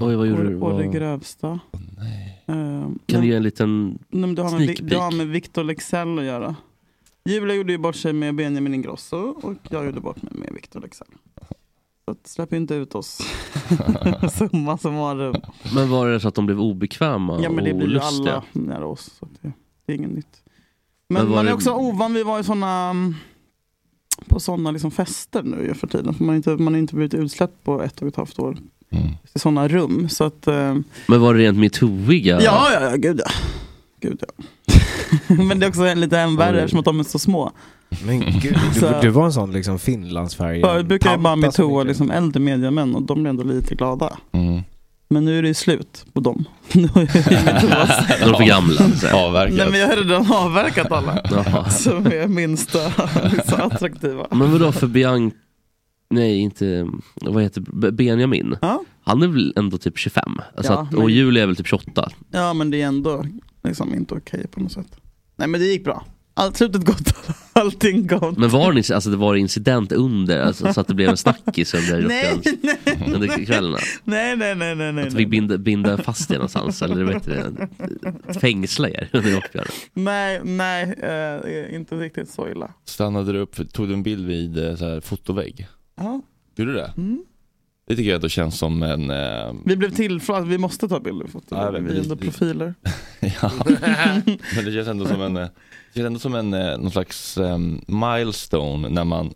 Oj, vad gjorde du? Å- Å det Vad- grövsta. nej. Eh, Kan nej, du ge en liten... nej, men det, har med, sneak Vi- det har peek? med Victor Leksell att göra. Julia gjorde ju bort sig med Benjamin Ingrosso och jag gjorde bort mig med Victor Leksell. Så att släpp inte ut oss. Summa summarum. Men var det så att de blev obekväma Ja men det och blir ju lustiga? alla nära oss. Så att det, det är inget nytt. Men Men var man är det- också ovan, vi var ju såna mm, på sådana liksom fester nu ju för tiden. För man har inte, man har inte blivit utsläppt på ett och ett halvt år. Mm. I sådana rum. Så att, eh, Men var det rent metooiga? ja, ja, ja, gud ja. Gud, ja. men det är också en- lite än värre Oj. eftersom att de är så små. Men Mm. gud, Så- du, du var en sån liksom Finlandsfärjan. Förut brukade jag bara pampa som metooa gick liksom äldre mediamän och de blev ändå lite glada. Mm. Men nu är det ju slut på dem. nu har jag metoas. De var för gamla. Så. här. Avverkat. Nej men jag har redan avverkat alla. Jaha. som är minst så attraktiva. Men vadå för Bianca... Nej, inte... Vad heter B- Benjamin? Ja. Han är väl ändå typ 25? Alltså Ja, att, men- Och Julia är väl typ 28? Ja men det är ändå liksom inte okej på något sätt. Nej men det gick bra. Allt slutet gott, allting gott. Men var det, alltså, det var incident under, alltså, så att det blev en snackis under, Nej, rocken- nej, under kvällarna? nej, nej, nej, nej, nej. Att vi binda, binda fast er någonstans, eller vet eh, du, fängsla er under rockbjörnen? Nej, nej, eh, inte riktigt så illa. Stannade du upp, tog du en bild vid eh, så här, fotovägg? Ja. Gjorde du det? Mm. Det tycker jag då känns som en... Eh, Vi blev tillfrågade, vi måste ta bilder och foton. Ja, det vi blir- är ändå profiler. ja. Men det känns ändå som en, eh, det känns ändå som en eh, någon slags eh, milestone när man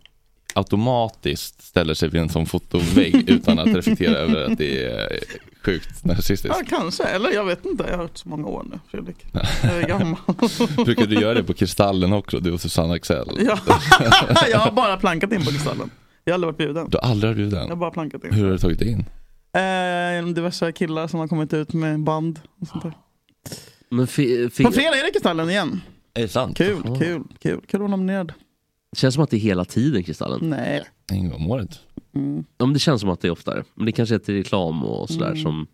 automatiskt ställer sig vid en sån fotovägg utan att reflektera över att det är eh, sjukt narcissistiskt. Ja, kanske. Eller jag vet inte, jag har hört så många år nu, Fredrik. Jag är gammal. Brukar du göra det på Kristallen också, du och Susanne Axel? Ja. jag har bara plankat in på Kristallen. Jag har aldrig varit bjuden. Du har aldrig varit Jag har bjuden? bara plankat in. Hur har du tagit det in? Eh, genom diverse killar som har kommit ut med band och sånt där. Men fi, fi, På fredag är det Kristallen igen. Är det sant? Kul, Jaha. kul, kul. Kul att vara nominerad. det känns som att det är hela tiden Kristallen. Nej. En gång om året. Mm. Ja, men det känns som att det är oftare. Men det kanske är till reklam och sådär Mm. som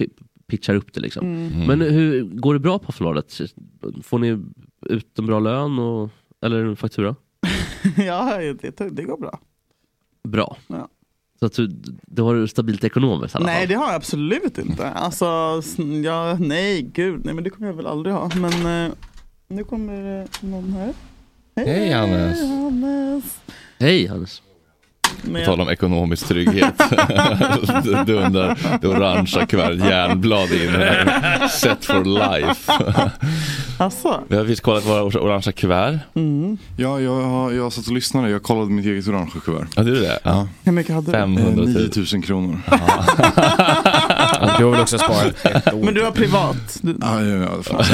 pi- pitchar upp det liksom. Mm. Mm. Men hur går det bra på förlaget? Får ni ut en bra lön och, eller en faktura? ja, det, det går bra. Bra. Ja. Så att du, du har stabilt ekonomiskt i alla Nej, fall. det har jag absolut inte. Alltså, sn- ja, nej, gud, nej, men det kommer jag väl aldrig ha. Men eh, nu kommer eh, någon här. Hej, Hannes. Hannes. Hej Hannes. Men På tal om ekonomisk trygghet. Dundrar det orangea kuvertet järnblad in här. Set for life. alltså, Vi har visst kollat våra or- orangea kuvert. mm. Ja, jag, har- jag satt och lyssnade. Jag kollade mitt eget orangea kuvert. Ja, du är det? Ja. hur mycket hade du? 500 Eh, 000. 9000 kronor. där. Du har väl också sparat ett år? Men du var privat. Du, Ja, ja, ja, fan.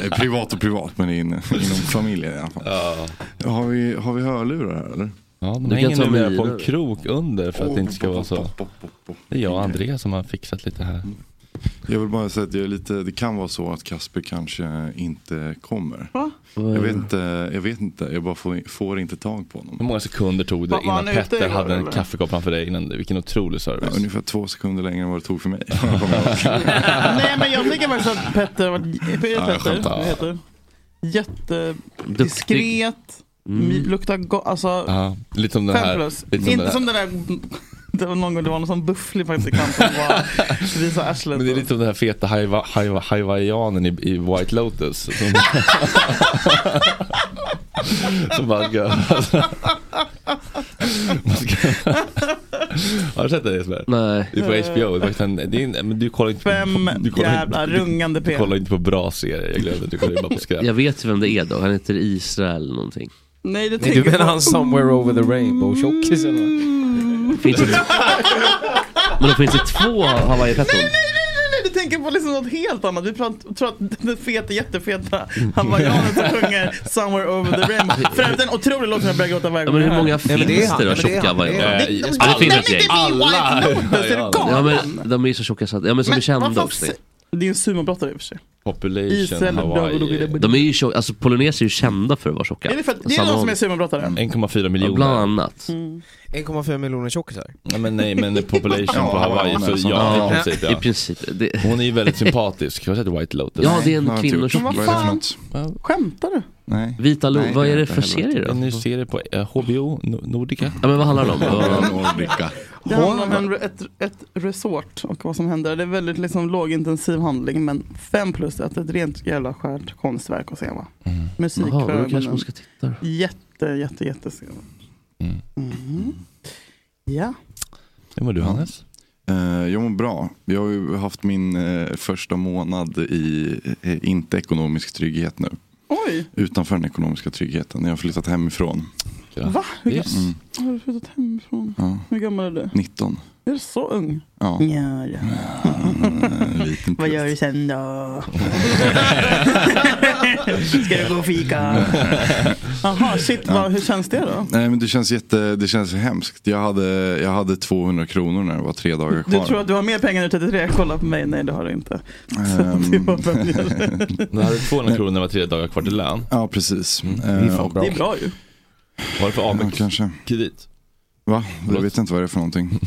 Det är privat och privat, men det är inne, inom familjen i alla fall. Ja. Har vi, har vi hörlurar här eller? Ja, de Du hänger kan ta numera med på en nu. krok under för att det inte ska vara så. Det är jag och Andreas som har fixat lite här. Jag vill bara säga att jag är lite, det kan vara så att Kasper kanske inte kommer. Jag Mm. vet inte, jag, vet inte, jag bara får, får inte tag på honom. Hur många sekunder tog det Var- var innan han ute Petter igår, hade en eller? kaffekopp framför dig? Innan, vilken otrolig Ja, service. ungefär två sekunder längre än vad det tog för mig. Kommer jag ihåg. Nej men jag tycker faktiskt att Petter har varit jag Petter, skämtar. vad heter du? Duktig. jättediskret, Mm. luktar gott, alltså Ja, lite som den fem här. plus. lite som Inte den som den där, det var någon gång det var någon sån bufflig praktikant som bara visade arslet. Men det är lite som den här feta haiva- haiva- hawaiianen i, i White Lotus. Som, som bara gör. Man ska- Har du sett det Jesper? Nej. Det är på HBO. Det är faktiskt en, det är en, men du kollar inte Fem på, du kollar jävla inte, du, rungande du p. kollar inte på bra serier. Jag glömde. Du kollar ju bara på skräp. Jag vet ju vem det är då. Han heter Israel eller någonting. Nej det Nej, tänker du jag menar på. han somewhere over the rainbow tjockis eller vad? Finns det... Men då finns det två Nej, nej, Hawaii-petton. nej, nej, nej, du tänker på liksom något helt annat. Vi prat, tror att den feta, jättefeta hawaiianen som sjunger “Somewhere over the rainbow”. För övrigt en otrolig låt som jag börjar gråta varje Ja, gång men hur jag hör den. många finns det är han. det då, Ja, men det är tjocka han. Det är Hawaii-petton? Eh, Jesper, Det- Ja, det finns Nej, ett men gäng. det är Alla White Lotus, är du galen? Ja men de är ju så tjocka så att, ja men som är vad kända fan också. sä- Det är ju en sumobrottare i och för sig. Population Israel, Hawaii. De är ju tjocka, alltså poloneser är ju kända för att vara tjocka. Är det, för att, det är Samma någon som håll. är sumobrottare? 1,4 Ja, Bland miljoner. annat. 1,4 miljoner tjockisar. Nej, men nej, men population på Hawaii. Så ja, i Ja, princip. I Ja. princip. Det, Hon är ju väldigt sympatisk. Har du sett White Lotus? ja, Nej, det är en har jag inte gjort. kvinnotjock. Vad är det för fan? något? Skämtar du? Nej. Vita Lo- Nej, vad det är har det jag för inte heller serie då? En ny serie på eh, HBO Nor- Nordica. Ja, men vad handlar det om? Vad- Nordica. Det handlar om en, ett, ett resort och vad som händer. Det är väldigt liksom lågintensiv handling men fem plus ett, ett rent jävla skärt konstverk att se va. Musik Mm. Jaha, för då ögonen. kanske man ska titta. då. Jätte, jätte, jätte sen. Mm. Mhm. Ja. Hur mår du Ja. Hannes? Eh, jag mår bra. Jag har ju haft min eh, första månad i eh, inte ekonomisk trygghet nu. Oj, Utanför den ekonomiska tryggheten. Jag har flyttat hemifrån. va? Hur, Yes. Mm. Har du flyttat hemifrån? Ja, Hur gammal är du? 19. Är du så ung? Ja. Ja, ja. Mm, Eh, liten Vad gör plus. du sen då? Ska du gå och fika? Jaha, shit, vad, hur känns det då? Nej men det känns, jätte, det känns hemskt. Jag hade, jag hade 200 kronor när det var tre dagar kvar. Du tror att du har mer pengar än 33? Kolla på mig. Nej, det har du inte. Ehm, Det var väl- Du hade 200 kronor när det var tre dagar kvar till lön. ja precis. Mm, det är Eh, fan och- bra. det är bra ju. Vad var det för Ja, kanske. Amex-kredit? Va? Jag Förlåt? vet inte vad det är för någonting.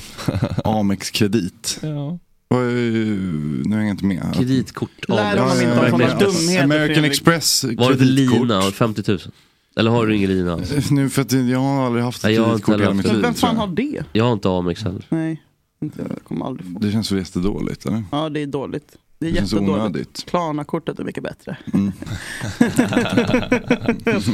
Amex kredit. Ja. Vad är- Nu hänger jag inte med. Kreditkort Lär honom inte ja, om sådana verkligen. dumheter. American Fredrik. Express Var det för lina? och kreditkort. 50 000? Eller har du ingen lina? Eh, Nu för att jag har aldrig haft Nej, ett jag har inte kreditkort i hela heller mitt haft Men liv. vem fan tror har jag. det? Jag har inte Amex heller. Nej, inte, jag kommer aldrig få. Det känns väl jättedåligt eller? Ja, det är dåligt. Det är Det känns jättedåligt. onödigt. Klarna-kortet är mycket bättre. Mm.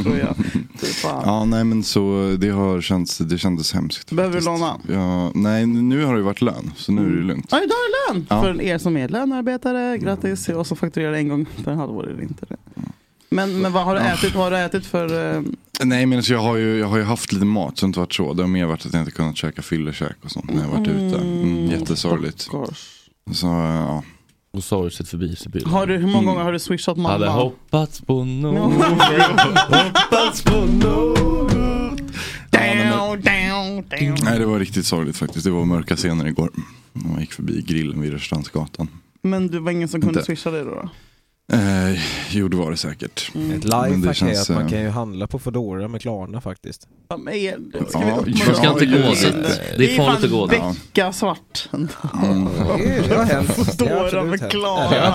tror jag. Fy fan. Ja nej men så det har känts, det kändes hemskt. Behöver du Mm. faktiskt. låna? Ja, nej nu har det ju varit lön så nu är det lugnt. Ja, idag är det lön Ja. Mm. för er som är lönearbetare. Grattis. Jag som fakturerar en gång per halvår är det inte det. Men, men vad har du ätit? Vad har du ätit för... eh, Nej men alltså, jag, har ju, jag har ju haft lite mat så det har inte varit så. Det har mer varit att jag inte kunnat käka fyllekäk och sånt när jag varit ute. Mm, jättesorgligt. Oh Gosh. Så eh, ja. Mm. Och sorgset förbi Sibylla. Har du, hur många gånger har du swishat mamma? Hade hoppats på något. Hoppats på något. Ja, nej, men- Down, down, down. Nej det var riktigt sorgligt faktiskt. Det var mörka scener igår. När man gick förbi grillen vid Rörstrandsgatan. Men det var ingen som kunde Inte. swisha dig då? då? Eh, jo det var det säkert. Ett Men det lifehack är känns, att man eh, kan ju handla på Foodora med Klarna faktiskt. Ja, men är det- Ja, uppmuntra jag Man Ja, ska dem inte det gå är- dit. Det är farligt att gå dit. Ja. Becka svart. Mm. Det har hänt. Så står de med Klara.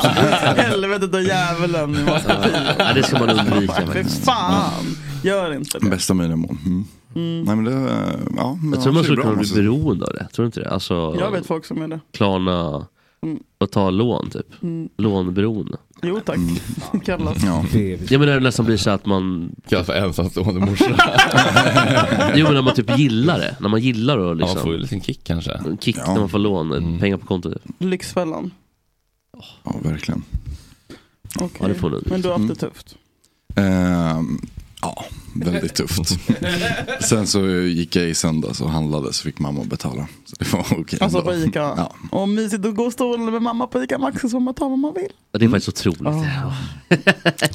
Helvetet och djävulen. i massa bilar. Nej, det ska man undvika Fy faktiskt. fan. Gör inte det. Bästa möjliga mån. Mm. Nej men det, eh, ja. men Jag annars tror man är det skulle bra, kunna bli alltså. beroende av det. Tror du inte det? Alltså, Jag vet folk som är det. Klarna Mm. och ta lån typ. Mm. Lånberoende. Jo tack. Mm. Kallas. Ja. Jag menar det nästan blir så att man, Kallas för ensamstående morsa. jo men när man typ gillar det. När man gillar och Ja, man får ju liksom, en liten kick kanske. en kick Ja. när man får lån, Mm. pengar på kontot. Lyxfällan. ja verkligen. Ja, Okej. det får du. Men du har haft det Mm. tufft. Ehm, ja, väldigt tufft. Sen så gick jag i söndags och handlade så fick mamma betala. Så det var okej. Alltså ändå. på Ica. Ja. Och mysigt att gå och stå med mamma på Ica Maxi så man tar vad man vill. Ja, Det är faktiskt otroligt. Ja.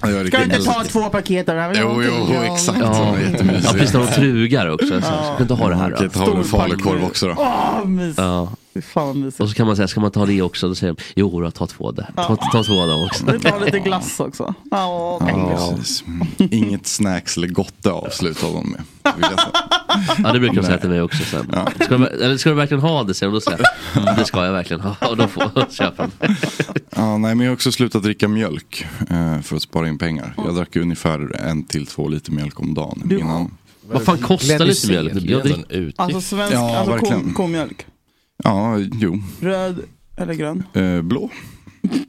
Jag gör riktigt mysigt. två paket av det här? Jo, jo, exakt. Ja. Det var jättemysigt. Ja, precis när de trugar också. Så, så, ska jag inte ha det här Okej, då. ta väl en Stor falukorv packning. också då. Åh, mysigt. Ja. Fy fan vad mysigt. Och så kan man säga, ska man ta det också? Då säger de, jo då, ta två av det. Ta, ta två av dem också. Vi tar lite glass också. Ja, tack. Ja, precis. Inget snacks eller gotte avslutar de med. vill jag säga. Ja det brukar de säga till mig också sen. Ska du, eller ska du verkligen ha det? Säger de. Då säger jag, "Mm, det ska jag verkligen ha. Och då får jag köpa den. Ja, nej, men jag har också slutat dricka mjölk eh, för att spara in pengar. Jag drack ungefär en till två liter mjölk om dagen. Du- Innan. Vad fan kostar lite Glenn mjölk? Det Jag blir ändå dricker, en utgift. Alltså svensk, Ja, alltså kom, verkligen. komjölk. Ja, jo. Röd eller grön. Eh, blå.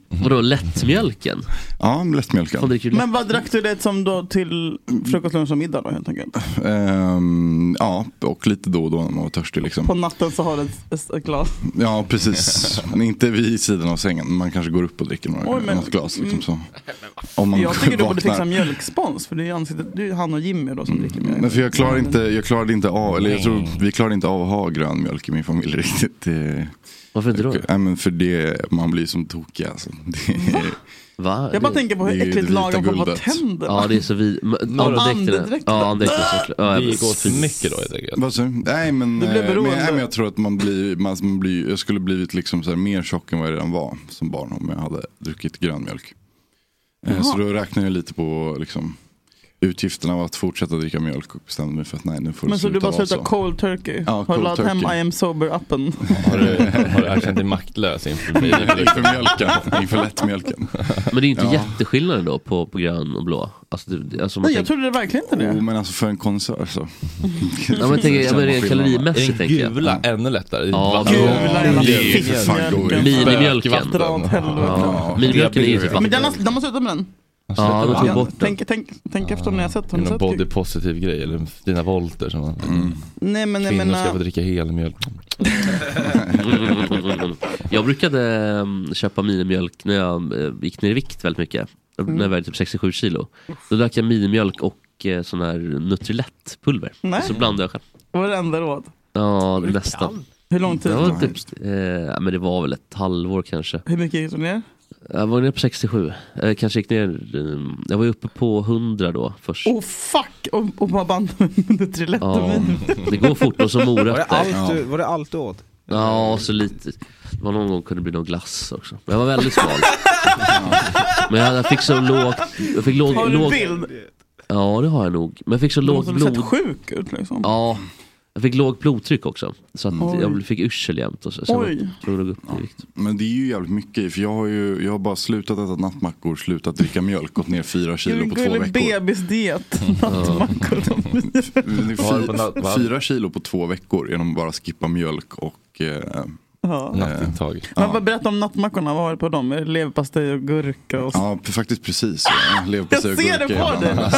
vadå lättmjölken? Ja, lättmjölkad. Fan dricker du lätt? Men vad drack du det som då till frukost, lunch och middag då helt enkelt? Ehm, ja, och lite då och då när man var törstig. På Liksom. natten så har du ett, ett glas. Ja, precis. Men inte vid sidan av sängen. Man kanske går upp och dricker några, Oj, men- mm. något glas. Liksom, så. Om man Jag tycker du borde vaknar. Mm. fixa mjölkspons för det är ju ansiktet, det är ju han och Jimmy då som dricker mjölk. Men för jag, klarar inte, jag klarade inte av, eller jag tror vi klarade inte av att ha grön mjölk i min familj riktigt. Det, Varför inte då? nej, men för det, man blir som tokig alltså. Det, Va? Jag bara Det- tänker på det är hur ju det äckligt vita lagen får på guldet. tänderna. Ja det är så vid... men- Ja, andedräkterna. andedräkterna. Ja andedräkterna såklart. Ja, Det jag gick åt vet. för mycket då helt enkelt. Vad sa du? Nej Du men, blev eh, men, beroende. nej, men jag tror att man blir, man, man blir, jag skulle blivit liksom så här mer tjock än vad jag redan var som barn om jag hade druckit grön mjölk. Eh, Så då räknar jag lite på liksom, utgifterna av att fortsätta dricka mjölk och bestämde mig för att nej nu får det Men så du sluta bara vara slutar så. cold turkey? Ja, har cold du laddat hem turkey. I am sober-appen? Har du, har du erkänt dig maktlös inför mig? Inför mjölken, inför lättmjölken. Men det är inte Ja. jätteskillnad då på, på grön och blå? Alltså, det, alltså man Nej jag tänker, trodde det verkligen inte Jo det. men alltså för en konsör så. ja, men jag tänker, ja, men rent Är kalorimässigt den tänker jag. gula ännu lättare? Ja, Vatten- gula jävla det är ju för fan fiskmjölken. godis. Minimjölken. Bökvatten. Dra åt helvete. Ja. Minimjölken är ju typ Men den oh. vatten. har, de har slutat med den. Ja, de tog Ja, bort den. tänk tänk, tänk efter när jag har sett Är det den. någon body positiv grej? Eller dina volter? Som man, Mm. Nej men jag kvinnor ska få menar. dricka helmjölk. Jag brukade ehm, köpa minimjölk när jag eh, gick ner i vikt väldigt mycket. Mm. När jag vägde typ 67 kilo. Då drack jag minimjölk och eh, sån här Nutrilett-pulver. Nej. Så blandade jag själv. Vad är det enda råd? Ja, nästan. Hur lång tid? Det var, Vad typ, eh, men det var väl ett halvår kanske. Hur mycket gick du ner? Jag var nere på 67. Jag kanske gick ner... eh, Jag var ju uppe på 100 då först. Oh fuck! Och, och bara band med Nutrilett och Ja, min. det går fort och så Var det morötter. allt du, var det allt du åt? Ja, så lite. Det var någon gång kunde det bli någon glass också. Men jag var väldigt smal. Men jag jag fick så lågt... Jag fick låg, Har du en låg, bild? ja, det har jag nog. Men jag fick så Du lågt måste ha sett blod... sjuk ut liksom. Ja, jag fick lågt blodtryck också. Så att Oj. jag fick yrsel jämt. Och så, så Oj. jag tror jag låg upp i vikt. Men det är ju jävligt mycket för jag har ju jag har bara slutat äta nattmackor, slutat dricka mjölk, gått ner fyra kilo på två Gullig veckor. bebisdiet. Nattmackor. Det är Vad har du på fy- natt- va? Fyra kilo på två veckor genom att bara skippa mjölk och eh, Ja. Nattintag. Men bara berätta om nattmackorna, vad har du på dem? Är det leverpastej och gurka? Och så? ja faktiskt precis. Jag, lever på Jag ser det på dig!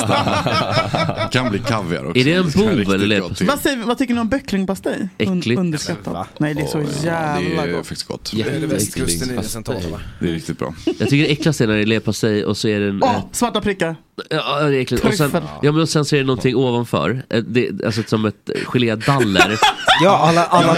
Det kan bli kaviar också. Är det en ska bov riktigt eller bra leverpastej? till. Vad, säger, vi- vad tycker ni om böcklingpastej? Äckligt. Va? underskattat. Nej det är så Det jävla är gott. faktiskt gott. Det är det västkusten i det Jätteäckligt. centrala va? Det är riktigt bra. Jag tycker det äckligaste är när det är leverpastej och så är det en... Åh, svarta prickar! Ja, det är äckligt. Och sen, Tryffel. ja, men och sen så är det någonting ovanför. Eh, Det, alltså som ett gelédaller Ja, alla, alla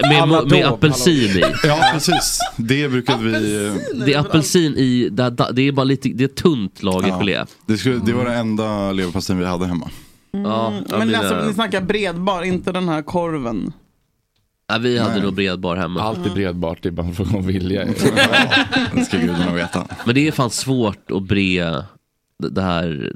med, med, med apelsin i. Ja, precis. Det brukade vi... eh, Det är apelsin i, det, här- det är bara lite, det är ett tunt lager Ja. gelé. Det, skulle, det var den enda leverpastejen vi hade hemma. Ja, ja, Men mina- alltså, ni snackar bredbar, inte den här korven. ja, vi hade Nej. nog bredbar hemma. Allt är bredbart, det är bara en fråga om vilja. Det ska gudarna veta. Men det är fan svårt att bre det det här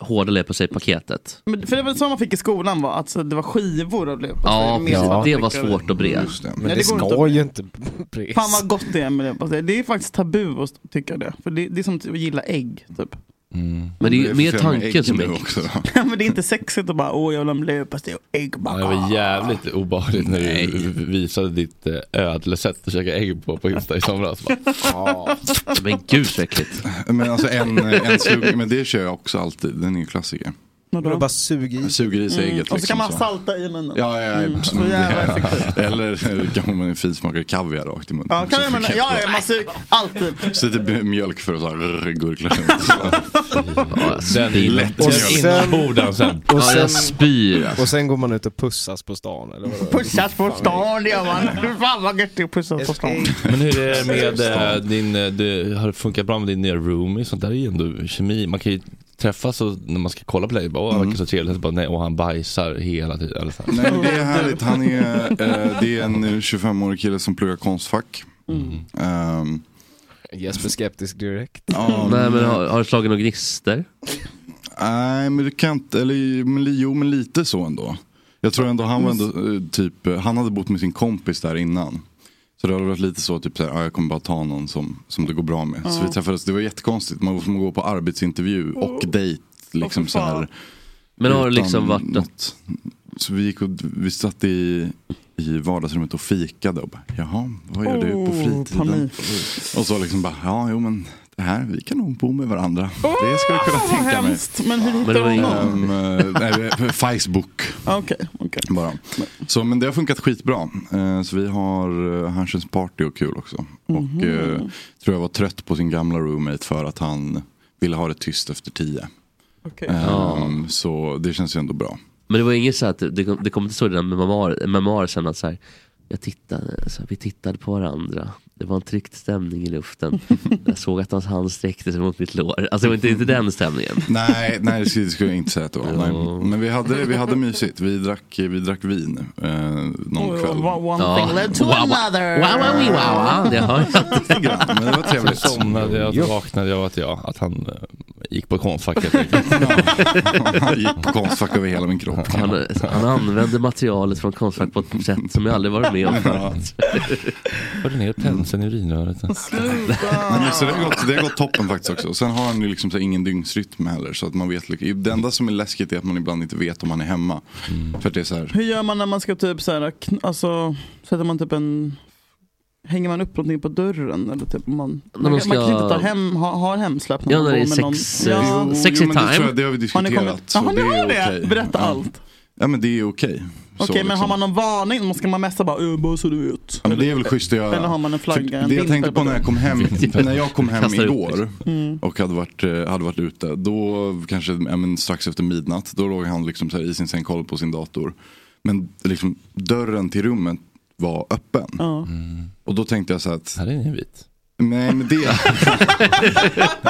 hårda leverpastejpaketet. Men, för det var så man fick i skolan va? Alltså det var skivor av leverpastej. Ja, med precis. svarta det var prickar. svårt att bre. Just det. Men Nej, det det går inte ska ju inte bres. Fan vad gott det är med leverpastej. Det är faktiskt tabu att tycka det. För det, det är som att gilla ägg typ. Mm. Men det är ju mer för fan med tanken ägg som nu är också. Men det är inte sexigt att bara åh jag vill ha en leverpastej och ägg. Ja, Bara, Det var jävligt obehagligt när du visade ditt eh, ödlesätt att käka ägg på på Insta i somras. Bara, Men gud så äckligt. Men alltså en, en slug, men det kör jag också alltid. Den är ju klassiker. Vadå? Du bara suger i. Jag suger i sig ägget Mm. Och så kan liksom. man Så. salta i munnen. Mm. Ja, ja, ja. Så jävla effektivt. Eller kan man en finsmakare kaviar rakt i munnen. Ja, kan jag så, mena, ja, ja, man suger alltid. så lite b- mjölk för att så här, gurgla ut. Ja, Den spyr. Och lättjävla sen- innan sen. Och Ja, jag sen, spyr. alltså. och sen går man ut och pussas på stan eller vadå? Pussas på stan, det gör man. Fy fan vad gött det är att pussas på stan. Men hur är det med eh, din, eh, det har det funkat bra med din nya roomie? Sånt där är ju ändå kemi. Man kan ju träffas och när man ska kolla på dig, bara, åh Mm. han verkar så trevlig, så bara, nej, och han bajsar hela tiden. Eller så här. Nej, men det är härligt. Han är, eh, det är en eh, 25-årig kille som pluggar Konstfack. Ehm, Jesper skeptisk direkt. ja, Nej men har, har det slagit några gnister? Nej, men det kan inte, eller men, li- jo men lite så ändå. Jag tror ändå han var ändå, eh, typ, eh, han hade bott med sin kompis där innan. Så det hade varit lite så, typ såhär, ah, jag kommer bara ta någon som, som det går bra med. Så vi träffades, det var jättekonstigt, man var som att gå på arbetsintervju och dejt. Liksom Åh, för så fan. här, Men har det utan liksom varit att något. Så vi gick och, vi satt i, i vardagsrummet och fikade och bara, jaha, vad gör du på fritiden? Och så liksom bara, ja jo men det här, vi kan nog bo med varandra. det skulle jag kunna Åh, vad tänka mig. hemskt. Men hur Men det hittar var du ingen- honom? Ehm, eh, nej, vi- Facebook Ah, Okej, okej. bara. Så, men det har funkat skitbra. Eh, Så vi har, eh, han känns party och kul också. Och Mhm. eh, tror jag var trött på sin gamla roommate för att han ville ha det tyst efter tio. okej. Ehm, Så det känns ju ändå bra. Men det var inget så att det, kom- det kom inte stå i dina memoar- memoarer sen att så här, jag tittade, så här, vi tittade på varandra. Det var en tryckt stämning i luften. Jag såg att hans hand sträckte sig mot mitt lår. Alltså det var inte, inte den stämningen. Nej, nej det skulle det skulle jag inte säga att det var. Ja. Nej. Men vi hade, vi hade mysigt. Vi drack, vi drack vin eh, någon Oj, kväll. One one Ja. thing led to Wow, wow. another. Wow, wow, wow, wow. Det hör jag. Lite grann, Men det var Så trevligt. somnade jag, så vaknade jag att jag, att han eh, gick på Konstfack helt enkelt. Han gick på Konstfack över hela min kropp. Han, han använde materialet från Konstfack på ett sätt som jag aldrig varit med om förut. Förde ner Mm. penseln i urinröret. Nej, men så det, har gått, det har gått toppen faktiskt också. Sen har han ju liksom så här ingen dygnsrytm heller. Så att man vet, liksom- det enda som är läskigt är att man ibland inte vet om man är hemma. Mm. För att det är så här, Hur gör man när man ska typ så här, kn- alltså sätter man typ en Hänger man upp någonting på dörren? Eller typ om man, När man, man man kan ska- inte ta hem, ha, ha hemsläpp Ja, när det är bor sex, eh, Ja. sex- Sexy Jo, men det, time. tror jag, det har vi Har ni diskuterat. kommit? Jaha, ni det har är det? okej. Berätta ja. allt. Ja men det är okej. Så, Okej, men har liksom. man någon varning? Ska man messa bara, "Eh, bara så du vet? Ja, men det är väl schysst att göra. Eller har man en flagga, För en det jag vinter tänkte på på när jag kom hem, när jag kom hem Kastar ut, igår Mm. och hade varit, eh, hade varit ute. Då kanske ja, men, strax efter midnatt, då låg han liksom så här i sin säng koll på sin dator. Men liksom, dörren till rummet var öppen. Ja. Och då tänkte jag så här att, Mm. Här är ni vit. nej men det...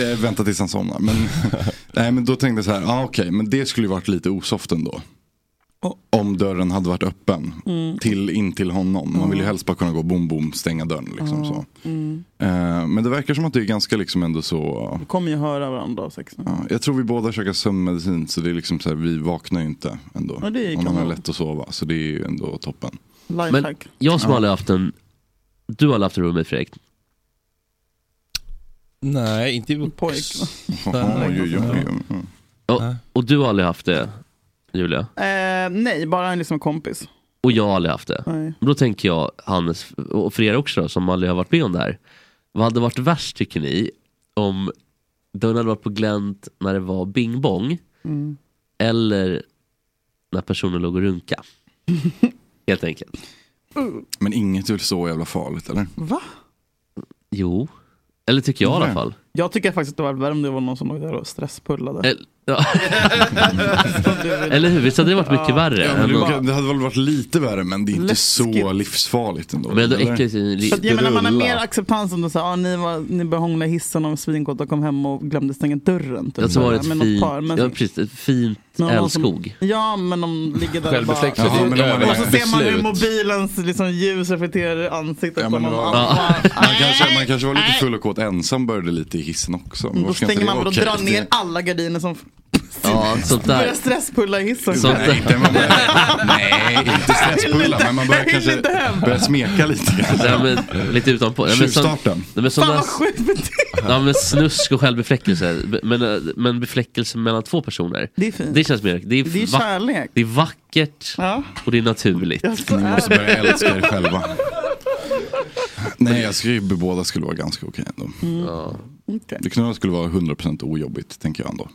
Jag Vänta tills han somnar. Men, nej men då tänkte jag så här, ah, okej men det skulle ju varit lite osoft ändå. Om dörren hade varit öppen Mm. till, in till honom. Man Mm. vill ju helst bara kunna gå bom bom stänga dörren. Liksom, så. Eh, men det verkar som att det är ganska liksom ändå så. Vi kommer ju höra varandra sex. ja, jag tror vi båda käkar sömnmedicin så det är liksom så här, vi vaknar ju inte ändå. Ja, det Om kan man har vara. lätt att sova så det är ju ändå toppen. Men Lifehack. jag som aldrig haft en, du har aldrig haft en roommate Fredrik? Nej, inte i Pojk. Oj, oj, oj, oj. Och, och du har aldrig haft det Julia? Eh, nej, bara en liksom kompis. Och jag har aldrig haft det. Nej. Då tänker jag, Hannes, och för er också då, som aldrig har varit med om det här. Vad hade varit värst tycker ni? Om dörren hade varit på glänt när det var Bing Bong. Mm. Eller när personen låg och runka. Helt enkelt. Men inget är väl så jävla farligt eller? Va? Jo. Eller tycker jag i alla Nej. fall. Jag tycker faktiskt att det var värre om det var någon som låg där och stresspullade. Eller, ja. eller hur? Visst hade det varit mycket värre? Ja, men än det, att- det hade väl varit lite värre men det är inte så Läskigt. livsfarligt ändå. men ändå eller? äckligt. i- För att jag menar man har rulla. mer acceptans om du säger ah, ni, var- ni började hångla i hissen och svinkåt och kom hem och glömde stänga dörren. Typ. Jag tror det var ett Men något fint, par, men- ja, precis, ett fint Men någon som- älskog. Ja, men de ligger där och bara... Självbefläkt. Jaha, men om man Och så är- ser man hur Beslut. mobilens liksom, ljus reflekterar i ansiktet på Ja, men det någon var- annan. Man kanske, man kanske var lite full och kåt ensam började lite i hissen också. Mm, Då Varför ska inte stänger det man vara och okej? drar ner alla gardiner som Ja, sånt där. börjar stresspulla i hissen. Så- Nej, inte, man börjar, nej, inte stresspulla men man börjar Jag hinner kanske inte hem. börja smeka lite. Ja, men, lite utanpå. Ja, men, sån, Tjuvstarten. ja, Fan men, såna, vad sjukt beteende. ja, men snusk och självbefläckelse. Be- Men, eh, men befläckelse mellan två personer. Det är fint. Det känns mer. Det är, Det är va- kärlek. det är vackert Ja. och det är naturligt. Ja, så Ni är måste det. börja älska er själva. Nej, jag skulle båda skulle vara ganska okej ändå. Mm. Okej. Det knulla skulle vara 100% ojobbigt, tänker jag ändå.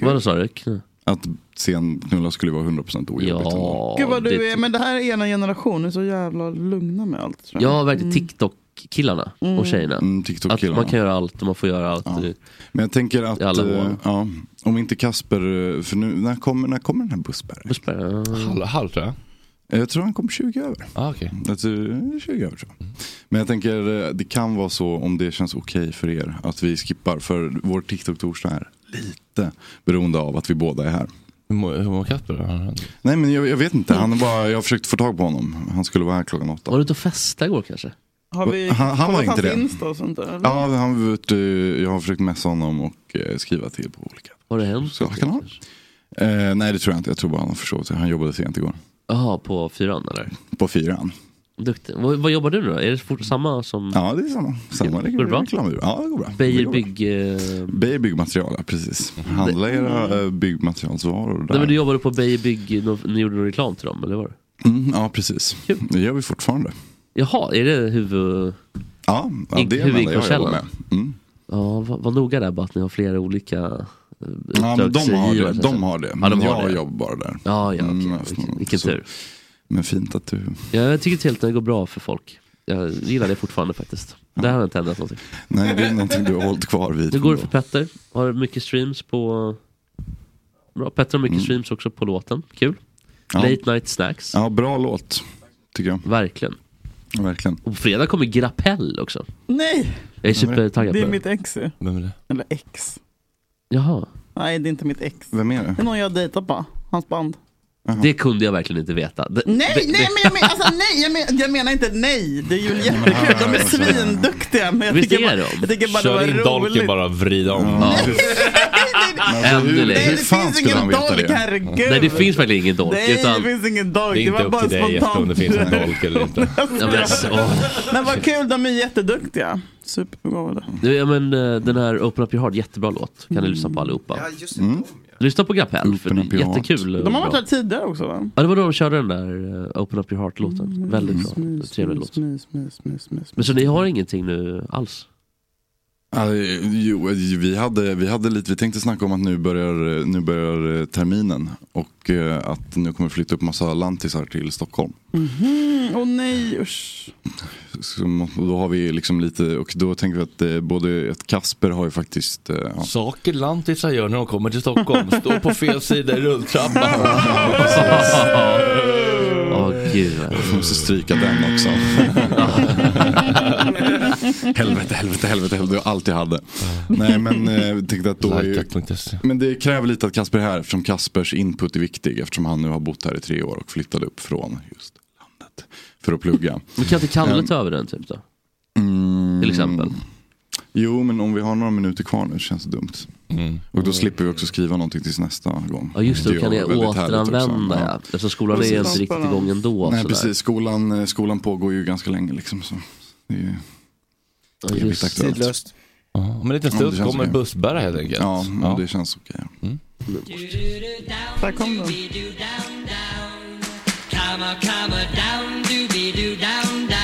Vadå sa du? Kn- Att se en knulla skulle vara 100% ojobbigt ändå. Ja, Gud vad du det- är, men det här är ena generationen, du är så jävla lugna med allt. Tror jag. Mm. Ja, verkligen TikTok-killarna och tjejerna. Mm, Att man TikTok-killarna. kan göra allt och man får göra allt. Det- Men jag tänker att, I alla eh, år. ja, om inte Kasper, eh, för nu, när kommer, när kommer den här bussbäraren? Puss på er. Halv, halv tror jag. Eh, Jag tror han kom 20 över. Ah, okej. Alltså, eh, 20 över tror jag. Men jag tänker eh, det kan vara så om det känns okej för er att vi skippar. För vår TikTok-torsdag är lite beroende av att vi båda är här. Hur mår- hur mår Kasper? då? Nej men jag, jag vet inte, han är bara, jag har försökt få tag på honom. Han skulle vara här klockan Var åtta. du ute och festade igår kanske? Har vi Han- han var kollat inte hans det. Insta och sånt där? eller? Ja, han, har varit, eh, jag har försökt messa honom och eh, skriva till på olika. Har det hänt? Så kan han. Eh, nej det tror jag inte, jag tror bara han har försovit sig. Han jobbade sent igår. Jaha, på fyran eller? På fyran. Duktig. Vad, vad jobbar du nu då? Är det fort samma som Ja, det är samma. samma. Det Går det bra? Reklamur. Ja, det går bra. Det Beijer går bra. bygg... Eh... Beijer byggmaterial, ja, precis. Handla era eh, byggmaterialsvaror Nej men du där. jobbade på Beijer bygg, nå- ni gjorde någon reklam till dem eller var det? Mm, ja, precis. Det gör vi fortfarande. Jaha, är det huvud... Ja, ja In- det är hur en gick enda jag jobbar Coachella? med. Mm. Ja, var, var noga där bara att ni har flera olika eh, Ja, men de har uppdragsgivare, det. så att De säga. har det. Ja, de har jag det. jobbar bara där. Ja, ja, okej. Mm, Vilken, vilken så- tur. Men fint att du... Ja, jag tycker till att det går bra för folk. Jag gillar det fortfarande faktiskt. Det här har inte ändrat någonting. Nej, det är någonting du har hållit kvar vid. Nu går det för Petter. Har mycket streams på... Bra, Petter har mycket streams också på låten. Kul. Ja. Late Night Snacks. Ja, bra låt. Tycker jag. Verkligen. Verkligen. Och på fredag kommer Grappell också. Nej, Jag är supertaggad det är på mitt det. ex ju. Vem är det? Eller ex. Jaha. Nej, det är inte mitt ex. Vem är det? Det är någon jag dejtar på. Hans band. Det kunde jag verkligen inte veta. Det, Nej, det, nej, men jag, men, alltså, nej jag, men, jag menar inte nej. Det är ju jättekul. De är svinduktiga. Men jag Visst tycker är bara- de? Jag tycker bara Kör in det var roligt. dolken bara och vrid om. Ja. Nej, Men alltså, hur, Äntligen. nej, hur det fan finns skulle ingen han veta dolk, det? herregud. Nej, det finns verkligen ingen dolk. Nej, utan, det finns ingen dolk. Det är Det, inte var upp till bara dig Jeppe om det finns en spontant. dolk eller inte. ja, men, alltså, åh. Men vad kul, de är jätteduktiga. Superbegåvade. Du, ja, men, eh, den här Open Up Your Heart, jättebra låt. Kan ni lyssna på allihopa. just det. Mm. Lyssna på Grappell, för det Open Up är Your Heart. jättekul. och De har varit bra. här tidigare också va? Ja, det var då de körde den där eh, Open Up Your Heart-låten. Mm. Väldigt bra. Trevlig låt. Mys, mys, mys, mys, Men mys. så ni har ingenting nu alls? Ja, jo, vi, hade, vi hade lite, vi tänkte snacka om att nu börjar, nu börjar eh, terminen och eh, att nu kommer flytta upp massa lantisar till Stockholm. Mhm. Åh nej, usch. Så må- då har vi liksom lite, och då tänker vi att eh, både att Kasper har ju faktiskt, eh, ja. Saker lantisar gör när de kommer till Stockholm. Står på fel sida i rulltrappan. Åh gud. vad- jag måste stryka den också. helvete, helvete, helvete, helvete, jag alltid hade. Nej men eh, vi tänkte att då är ju, Likeat.se. men det kräver lite att Kasper är här eftersom Kaspers input är viktig eftersom han nu har bott här i tre år och flyttade upp från just landet för att plugga. Men kan inte Kalle ta över den typ då? Till exempel. Mm. Jo, men om vi har några minuter kvar nu känns det dumt. Och då slipper vi också skriva någonting tills nästa gång. Mm. Ja just det, då kan är jag väldigt härligt också. återanvända Ja. ja. Eftersom skolan är ju inte riktigt igång ändå. Nej, sådär. precis. Skolan, eh, skolan pågår ju ganska länge liksom. Så. Det är ju Ja, evigt just. aktuellt. Tidlöst. Ja, Om en liten Ja, det stund känns kommer okej. bussbärare helt enkelt. Ja, Ja. ja, det känns okej. Mm. Där kom de.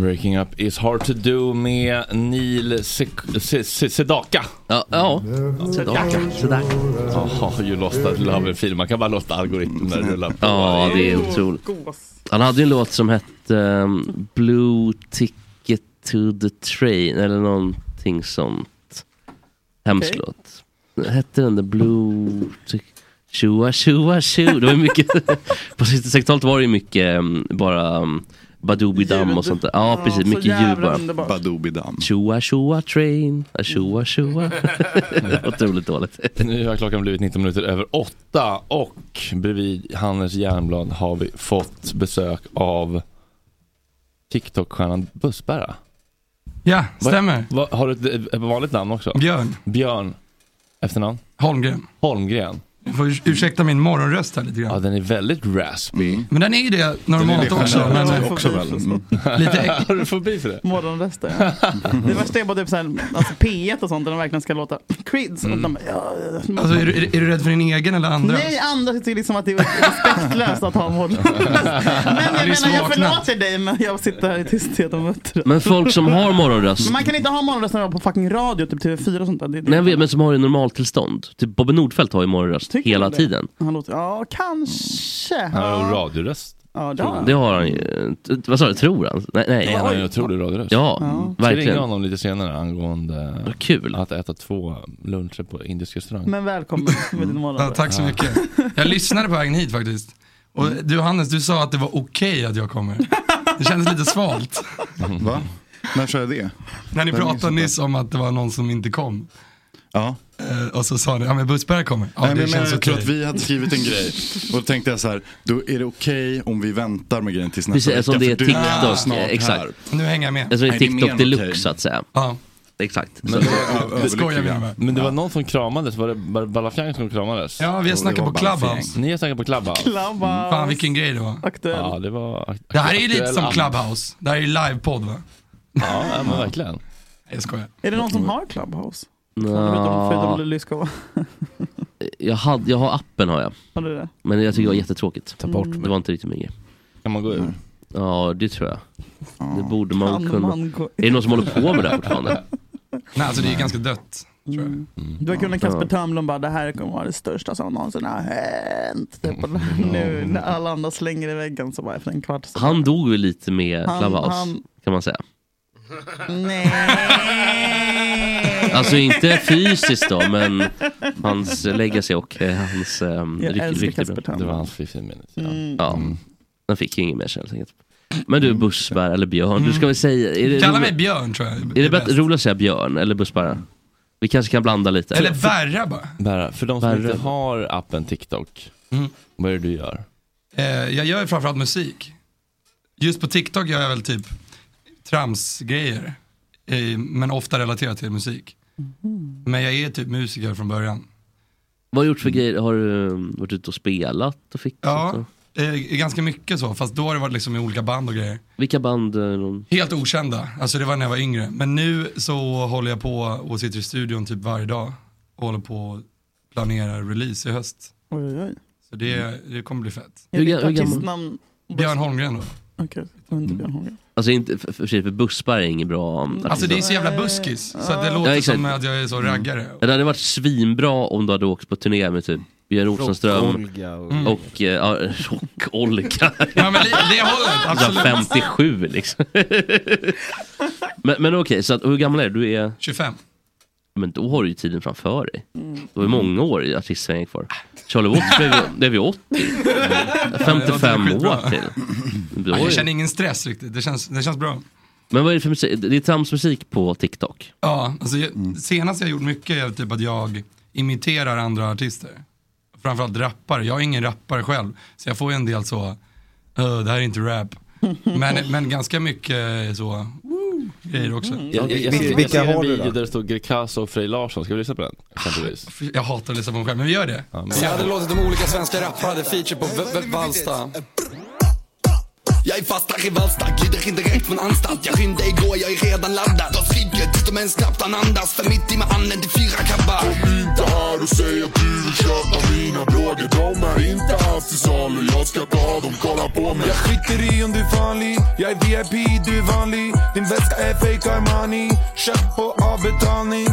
Breaking up is hard to do med Neil Sek- Se- Se- Sedaka. Ja, ja. Sådär. Sådär. Jaha, you lost that love fil. Man kan bara låta algoritmen där rulla på. eh, Ja, det är otroligt. Han hade ju en låt som hette ehm, Blue Ticket to the Train eller någonting sånt. Hemsk Okej. låt. Hette den där Blue Ticket? Tjoa tjoa tjo. Det var ju mycket, på 60-talet var det ju mycket ehm, bara um, Badoobidam och sånt där. Ja, precis. så Mycket ljud jävla bara. underbart. Badobidam. Tjoa tjoa train, Ah, tjoa tjoa. Otroligt dåligt. Nu har klockan blivit 19 minuter över 8 och bredvid Hannes Järnblad har vi fått besök av TikTok-stjärnan Bussbära. Ja, stämmer. Vad- Har du ett ett vanligt namn också? Björn Björn. Efternamn? Holmgren. Holmgren. får urs- ursäkta min morgonröst här lite Ja, grann. den är väldigt raspy. Mm. Men den är ju det normalt också. Men, generellt eh, också väl. Mm. lite äck- Har du fobi för det? Morgonröster. ja. Det värsta är bara typ såhär, alltså P1 och sånt där de verkligen ska låta creds. Och de bara, ja, ja, ja. alltså, är, du, är du- är du rädd för din egen eller andra? Nej, andra tycker liksom att det är respektlöst att ha morgonröst. Men jag är så menar, jag vakna. förlåter dig men jag sitter här i tysthet och muttrar. Men folk som har morgonröst, Men man kan inte ha morgonröst när man är på fucking radio, typ TV4 och sånt där. Det, det. nej, jag vet, men som har i normaltillstånd. Typ Bobby Nordfeldt har ju morgonröst Tycker hela du det? tiden. Han låter, ja kanske. Han har en Ja, radioröst. ja, det har han. Det har han ju. T- Vad sa du, tror han? Nej, nej. Han Ja, har ju en otrolig radioröst. Ska ringa verkligen. honom lite senare angående Vad Kul. att äta två luncher på indisk restaurang. Men välkommen med din Ja, morgonröst. tack så mycket. Jag lyssnade på vägen hit faktiskt. Och du Hannes, du sa att det var okej att jag kommer. Det kändes lite svalt. Va? När sa jag det? När ni Det är inget pratade sånt där. nyss om att det var någon som inte kom. Ja. Eh, Och så sa ni, ja men bussbärare kommer. Ja, Nej, men det jag menar, känns jag tror okej. att vi hade skrivit en grej. Och då tänkte jag så här, då är det okej om vi väntar med grejen tills nästa Precis, eftersom vecka. det är för du är TikTok, eh, snart här. exakt. Nu hänger jag med. Alltså det är Nej, det är mer TikTok än deluxe okej. så att säga. Ja, Exakt. Men då är jag det skojar vi överlycklig. med. Men det var någon som kramades, var det Bar- Balafjang som kramades? Ja, vi har snackat på var bara Clubhouse. Ni har snackat på Clubhouse? Klabba. Fan vilken grej det var. Aktuell. Ja, det var... ak- Det här är ju lite aktuell som app. Clubhouse. Det här är ju livepodd va? Ja, ja, men verkligen. Nej, Jag skojar. Är det någon som har Clubhouse? Förutom, förutom Nå, Lyskova. jag, hade, jag har appen har jag. Har du det? Men jag tycker det var jättetråkigt. Ta bort Det var inte riktigt min grej. Kan man gå ur? Ja, det tror jag. Det borde man Kan kunna. man gå Är det någon som håller på med det här fortfarande? Nej alltså det är ju ganska dött. Tror jag. Mm. Du har kunnat Kasper Törnblom bara, det här kommer vara det största som någonsin har hänt. Typ, och nu när alla andra slänger i väggen så bara efter en kvart. Så Han dog ju lite med Han- Clubhouse, han- kan man säga. nej. Alltså inte fysiskt då, men hans legacy och eh, hans um, Jag älskar rykte. Det Kasper var Törnblom. hans 15 minutes. Ja. Mm. Mm. Ja, den fick ju inget mer sen helt enkelt. Men du Bussbär eller Björn, du ska väl säga... Är det, Mm. Kalla rolig- mig Björn tror jag. är det bättre, bäst. roligt att säga Björn eller Bussbärare? Vi kanske kan blanda lite. Eller Berra bara. Bara, för de som Värre. inte har appen TikTok, Mm. vad är det du gör? Eh, jag gör ju framförallt musik. Just på TikTok gör jag väl typ tramsgrejer. Eh, men ofta relaterat till musik. Men jag är typ musiker från början. Vad har du gjort för grejer? Har du um, varit ute och spelat och fixat? Ja, och- eh, ganska mycket så. Fast då har det varit liksom i olika band och grejer. Vilka band? eh, någon- Helt okända. Alltså det var när jag var yngre. Men nu så håller jag på och sitter i studion typ varje dag. Och håller på och planerar release i höst. Oj, oj, oj. Så det, det kommer bli fett. Är Hur ditt ga- hur gammal- artistnamn? Björn Holmgren då. Okej, det var inte Björn Holmgren. Alltså inte, för, för, för Bussbär är ingen bra Mm. um, Alltså artist. det är så jävla buskis. Så att det låter exakt. Mm. som att jag är så raggare. Det hade varit svinbra om du hade åkt på turné med typ Björn Rosenström Olga och... och, eh, ja, och Olga. Ja men li- det hållet, absolut. 57 liksom. men men okej, så att, hur gammal är du? du? är 25. Men då har du ju tiden framför dig. Mm. Du har ju många år i artistsvängen kvar. Charlie Watts blev ju- blev ju 80. Ja, 55 det låter år till. Du har Jag ju- känner ingen stress riktigt, det känns, det känns bra. Men vad är det för musik? Det är tramsmusik på TikTok. Ja, alltså jag, senast jag gjort mycket är typ att jag imiterar andra artister. Framförallt rappare, jag är ingen rappare själv. Så jag får ju en del så, "Öh, det här är inte rap. Men, men ganska mycket eh, så, woo, grejer också. Jag, jag, jag, Vilka- ser- jag vilka ser en har du video då? där det står Greekazo och Frej Larsson, ska vi lyssna på den? Exempelvis. Jag hatar att lyssna på mig själv, men vi gör det. Jag hade låtit de olika svenska rappare hade feature på v- v- Vallsta. Jag är fast här i Vallsta, glider in direkt från anstalt. Jag rymde igår, jag är redan laddad. Tar flyget tills de ens knappt hann andas. För mitt i med handen till fyra grabbar. Kom inte här och säg att du vill köpa mina droger De är inte alls till salu Jag ska ta dem, kolla på mig Jag skiter i om du är vanlig. Jag är VIP, du är vanlig. Din väska är fake Armani. Köpt på avbetalning.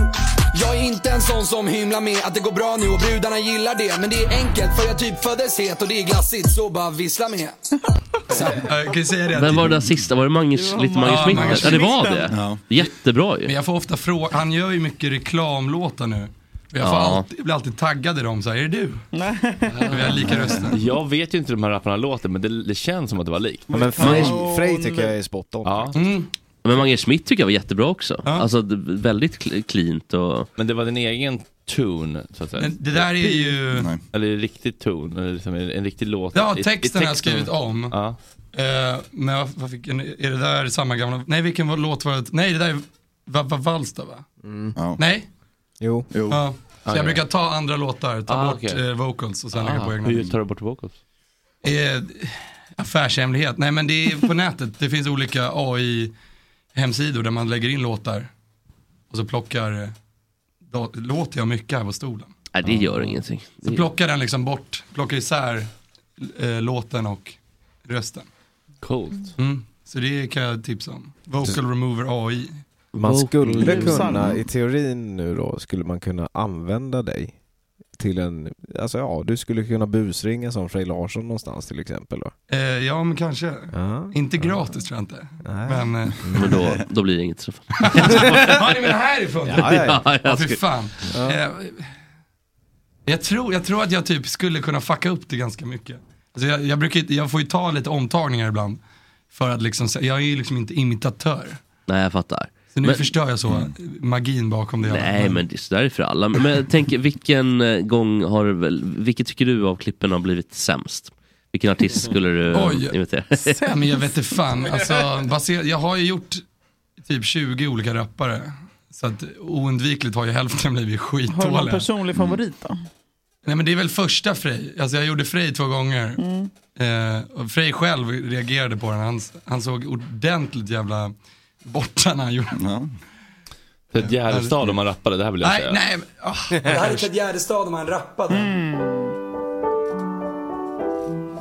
Jag är inte en sån som hymlar med att det går bra nu och brudarna gillar det. Men det är enkelt för jag typ föddes het och det är glassigt så bara vissla med. Ja, Jag Eh, kan ju säga det. Vem att- var det där sista? Var det Magnus, Det var lite Magnus Magnus Schmidt? Ja, det var Schmidt. det. Jättebra ju. Men jag får ofta fråga, han gör ju mycket reklamlåtar nu. Och Jag, får Ja. alltid, jag blir alltid taggad i dem, så här, är det du? Och Vi har lika röster. Jag vet ju inte hur de här rapparna låter, men det, det känns som att det var likt. Men Frej, Frej tycker jag är spot on. Ja, Mm. Men Mange Schmidt tycker jag var jättebra också. Ja. Alltså d- väldigt cl- cleant och... men det var din egen tune, så att säga. Men det där är ju, Nej. Eller riktig tune, eller liksom en, en riktig låt. ja I- i texten har jag texten. skrivit om. Ja. Eh, men vad, vad fick, är det där samma gamla, nej vilken var- låt var det? Nej det där är va, va, Vallsta va? Ja. Nej? Mm. Jo. Jo. Ja. Så jag brukar ta andra låtar, ta Oh. Ah, bort okej. eh, vocals och sen lägga på Ah, egna. hur tar du bort vocals? Eh, affärshemlighet. Nej men det är på nätet. Det finns olika AI-hemsidor där man lägger in låtar. Och så plockar, eh, då, låter jag mycket här på stolen. Nej, det gör ingenting. Så Det- plockar den liksom bort, plockar isär eh, låten och rösten. Coolt. Mm. Så det kan jag tipsa om. Vocal Remover AI. Man Vocal skulle user. kunna, i teorin nu då, skulle man kunna använda dig till en, alltså ja, du skulle kunna busringa som Frej Larsson någonstans till exempel då. Eh, ja men kanske. Ja. Inte gratis tror jag inte. Nej. Men, eh, Men då, då blir det inget träff. ja ni menar härifrån? Ja, ja, ja. Ja, Ja, jag fy skulle- fan. Eh, Jag, tror, jag tror att jag typ skulle kunna fucka upp det ganska mycket. Alltså jag, jag, brukar, inte- jag får ju ta lite omtagningar ibland. För att liksom, se- jag är ju liksom inte imitatör. Nej, jag fattar. Så nu Men- Mm. förstör jag så magin bakom det. Nej, men det sådär är för alla. Men- Men tänk, vilken eh, gång har du väl, vilket tycker du av klippen har blivit sämst? Vilken artist skulle du eh, Oj. imitera? Ja, men jag vet inte fan. Alltså, baser, jag har ju gjort typ 20 olika rappare. Så att oundvikligt har ju hälften blivit Har du någon skitdåliga. personlig favorit då? Nej men det är väl första Frej. Alltså jag gjorde Frej två gånger. Mm. Eh, och Frej själv reagerade på den. Han, han såg ordentligt jävla borta när han gjorde den. Ja. Det är ett Järvestad om man rappade, det här vill jag Nej, säga. nej. men- ah. Det här är Ted Gärdestad om han rappade.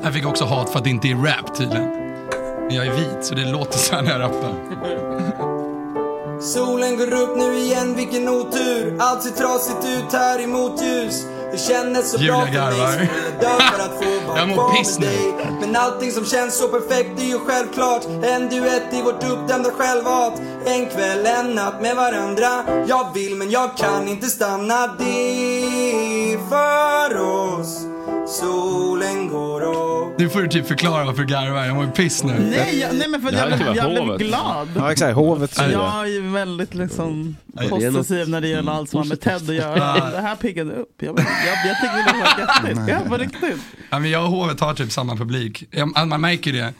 Jag fick också hat för att det inte är rap tydligen. Men jag är vit så det låter så här när jag rappar. Solen går upp nu igen, vilken otur. Allt ser trasigt ut här i motljus. Det kändes så Julia bra för mig garvar. som jag dör för att få vara Jag mår kvar piss nu. med dig. Men allting som känns så perfekt är ju självklart en duett i vårt uppdämda självhat. En kväll, en natt med varandra. Jag vill men jag kan inte stanna. Det är för oss. Solen går upp. Nu får du typ förklara varför du garvar. Jag mår ju piss nu. Nej, jag, nej men för att Det här jag, kan vara blev- jag blev hovet. glad. Ja exakt, hovet tror jag. Jag är ju väldigt liksom det är något- possessiv när det gäller allt som har med Ted att göra. Det här piggade upp. Jag, jag, jag tyckte det var göttigt. Ja, på riktigt. Ja, men jag och hovet har typ samma publik. Jag, man märker det.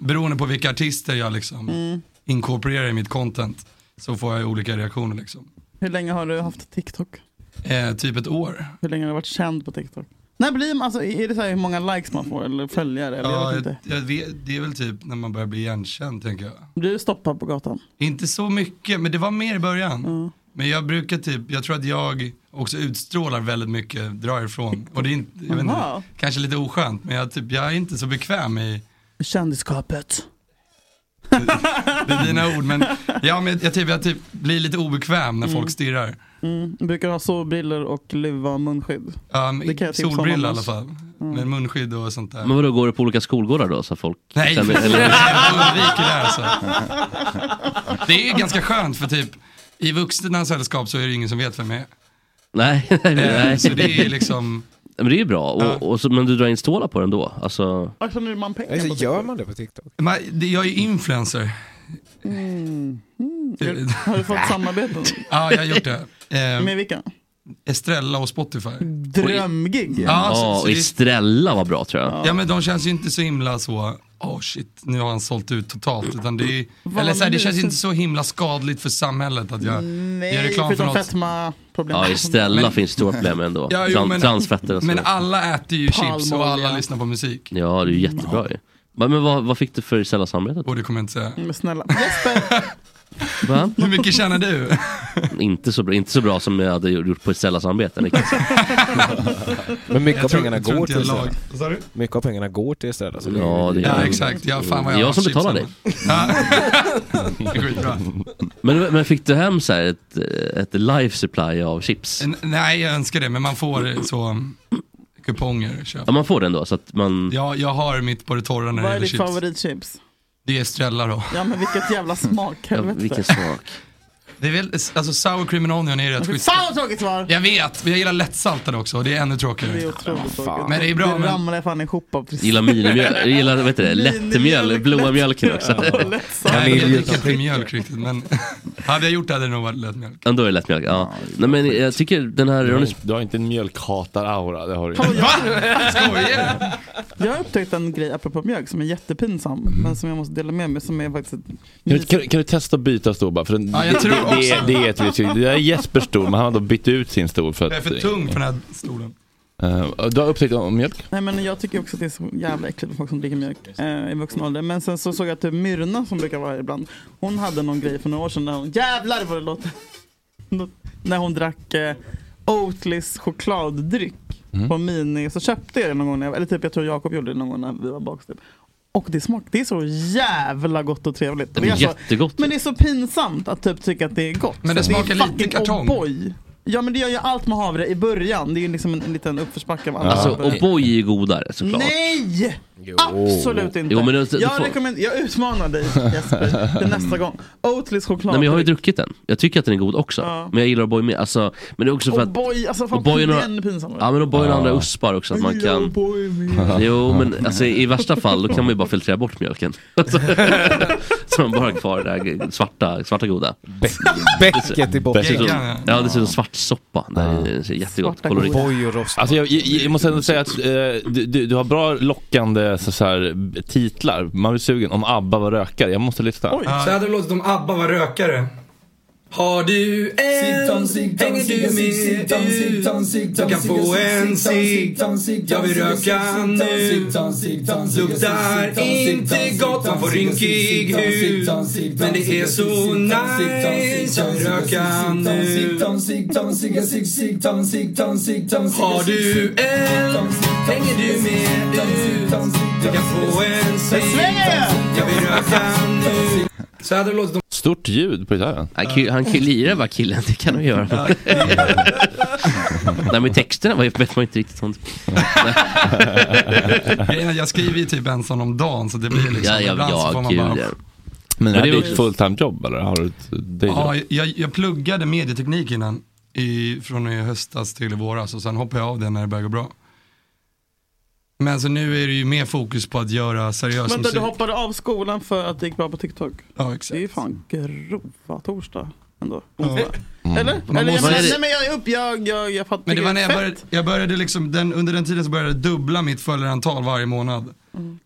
Beroende på vilka artister jag liksom Mm. inkorporerar i mitt content så får jag ju olika reaktioner liksom. Hur länge har du haft TikTok? Eh, typ ett år. Hur länge har du varit känd på TikTok? När blir man, alltså, är det så här hur många likes man får eller följare? Eller jag Ja, vet jag, inte. jag vet, det är väl typ när man börjar bli igenkänd tänker jag. Du stoppar på gatan. Inte så mycket, men det var mer i början. Mm. Men jag brukar typ, jag tror att jag också utstrålar väldigt mycket, drar ifrån. Och det är inte, jag vet Aha. inte, kanske lite oskönt, men jag, typ, jag är inte så bekväm i Kändisskapet. det är dina ord. Men, ja, men jag, typ, jag typ blir lite obekväm när folk stirrar. Mm. Brukar ha solbriller och luva och munskydd. Um, Det kan jag tipsa om solbrillor i alla annars. Mm. fall, med munskydd och sånt där. Men vadå, går du på olika skolgårdar då? Så att folk Nej, känner- jag eller, undviker det här alltså. Det är ganska skönt för typ, i vuxna sällskap så är det ingen som vet vem jag är. nej, nej, Eh, nej. Så det är liksom, Men det är ju bra. Ja. Och, och så, men du drar in stålar på den då? Alltså, Varför nu man pengar på Alltså, TikTok? gör man det på TikTok? man, det- jag är influencer. Gör- Mm. Har du fått samarbeten? Ja, jag har gjort det. Eh, Med vilka? Estrella och Spotify. Drömgig. Ja, så, ja, så och det, Estrella var bra tror jag. ja, men de känns ju inte så himla så, oh shit, nu har han sålt ut totalt. Utan det, är, eller så här, det känns ju inte så himla skadligt för samhället att jag gör Nej, reklam för förutom något. fetmaproblem. Ja, Estrella Men- finns stora problem ändå. Ja, jo, Tran- men- Transfetter och så. Men alla äter ju chips och alla Palmolja. lyssnar på musik. Ja, det är ju jättebra ju. Va- Men vad, vad fick du för Estrella-samarbetet? Och det kommer jag inte säga. Mm, Men snälla. Jesper, Va? Hur mycket tjänar du? Inte så, bra, inte så bra som jag hade gjort på Estrella-samarbeten. det kan jag säga. Men mycket av pengarna jag tror går inte till jag lag. Estrella. Vad sa du? Mycket av pengarna går till alltså. Estrella. så Ja, det Ja, gör exakt. Ja, fan vad Det är jag har som chips betalar hemma. Ja. det är skitbra. Men, men fick du hem så här ett, ett life supply av chips? N- Nej, jag önskar det, men man får så um, kuponger. Köp. Ja, man får den då så att man... Ja, jag har mitt på det torra när det vad är gäller ditt chips. favoritchips? Det är Estrella då. Ja men vilket jävla smak, Ja, helvete. vilken smak. Det är väl, alltså sour cream and onion är rätt Fy schysst. Fan vad tråkigt svar! Jag vet, men jag gillar lättsaltade också och det är ännu Det är tråkigare. otroligt tråkigt. fan. Men det är bra, det men ramlade fan ihop av precis. Gillar minimjölk, gillar vad heter det, Minimjölk, lättmjölk, blåa mjölken också. Lättsamt. Nej, jag Vanilj dricker utan inte mjölk riktigt, men hade jag gjort det hade det nog varit lättmjölk. Ja, då är det lättmjölk, ja. Nej men jag tycker den här, Du har, Ronny- inte- du har inte en mjölkhatar-aura, det har du inte. Va? Skojar du? Jag har upptäckt en grej apropå mjölk som är Mm. jättepinsam men som jag måste dela med mig som är faktiskt ett Kan, du- kan, du- kan du testa att byta stå bara? För den, Ja, jag tror det, är- det är ett visst Det där är Jespers stol, men han har då bytt ut sin stol för att... Jag är för tung för den här stolen. Eh, du har upptäckt om mjölk? Nej, men jag tycker också att det är så jävla äckligt med folk som dricker mjölk eh, i vuxen ålder. Men sen så såg jag att typ Myrna som brukar vara här ibland. Hon hade någon grej för några år sedan när hon, jävlar vad det låter. Nå- när hon drack eh, Oatlys chokladdryck Mm. på mini. Så köpte jag det någon gång, när jag, eller typ jag tror Jakob gjorde det någon gång när vi var bak. Typ. Och det smakar, det är så jävla gott och trevligt. Det är så, jättegott. men det är så pinsamt att typ tycka att det är gott. Men det är smakar lite fucking kartong. O'boy. Ja men det gör ju allt med havre i början. Det är ju liksom en, en liten uppförsbacke av allt. Alltså, O'boy är ju godare såklart. Nej! Absolut inte. Jo, men det- det jag, får- rekommend- jag utmanar dig Jesper till nästa gång. Oatlys choklad. Nej men jag har ju druckit den. Jag tycker att den är god också. Ja. Men jag gillar O'boy mer. Alltså, men det är också för Och att... boy, alltså fan, O'boy är det är några- ännu pinsammare. Ja men O'boy har andra uspar också. Att man kan... Jo men alltså, i värsta fall då kan man ju bara filtrera bort mjölken. Alltså, Så man bara har kvar det här svarta, svarta goda. Bäcket i botten. Dessutom, Geggan, ja. ja dessutom svart soppa. Det här är så jättegott. Svarta Kolorit. Boy och rost. Alltså jag, jag, jag måste ändå säga att eh, du, du, du har bra lockande så, så här, titlar. Man blir sugen. Om ABBA var rökare. Jag måste lyssna. Oj. Så hade det låtit om ABBA var rökare. Har du en hänger du med ut. Du kan få en cigg. Jag vill röka nu. Luktar inte gott, man får rynkig hud. Men det är så nice, jag vill röka nu. Har du en hänger du med ut. Du kan få en cigg. Jag vill röka nu. Så hade det låtit om Stort ljud på gitarren. Han kan ju- Han kan ju lira bara killen, det kan han ju göra. Nej men texterna var ju, vet man ju inte riktigt. Sånt. Grejen är att jag skriver ju typ en sån om dagen så det blir liksom Mm. Ja, ja, ibland så får ja, man gud bara ja. Men, det är är det också- ditt fulltime jobb eller har du ett dayjob? Ja, jag, jag pluggade medieteknik innan i, från i höstas till i våras och sen hoppade jag av det när det började gå bra. Men så nu är det ju mer fokus på att göra seriös Vänta, musik. du hoppade av skolan för att det gick bra på TikTok. Ja, Det är ju exakt. fan grova torsdag ändå. Eh, Ja. Mm. Mm. Eller? Man Eller jag måste- menar, Vad är det? nej men jag är upp, jag, jag, jag fattar. Men det var när jag Fett. började, jag började liksom, den, under den tiden så började jag dubbla mitt följarantal varje månad.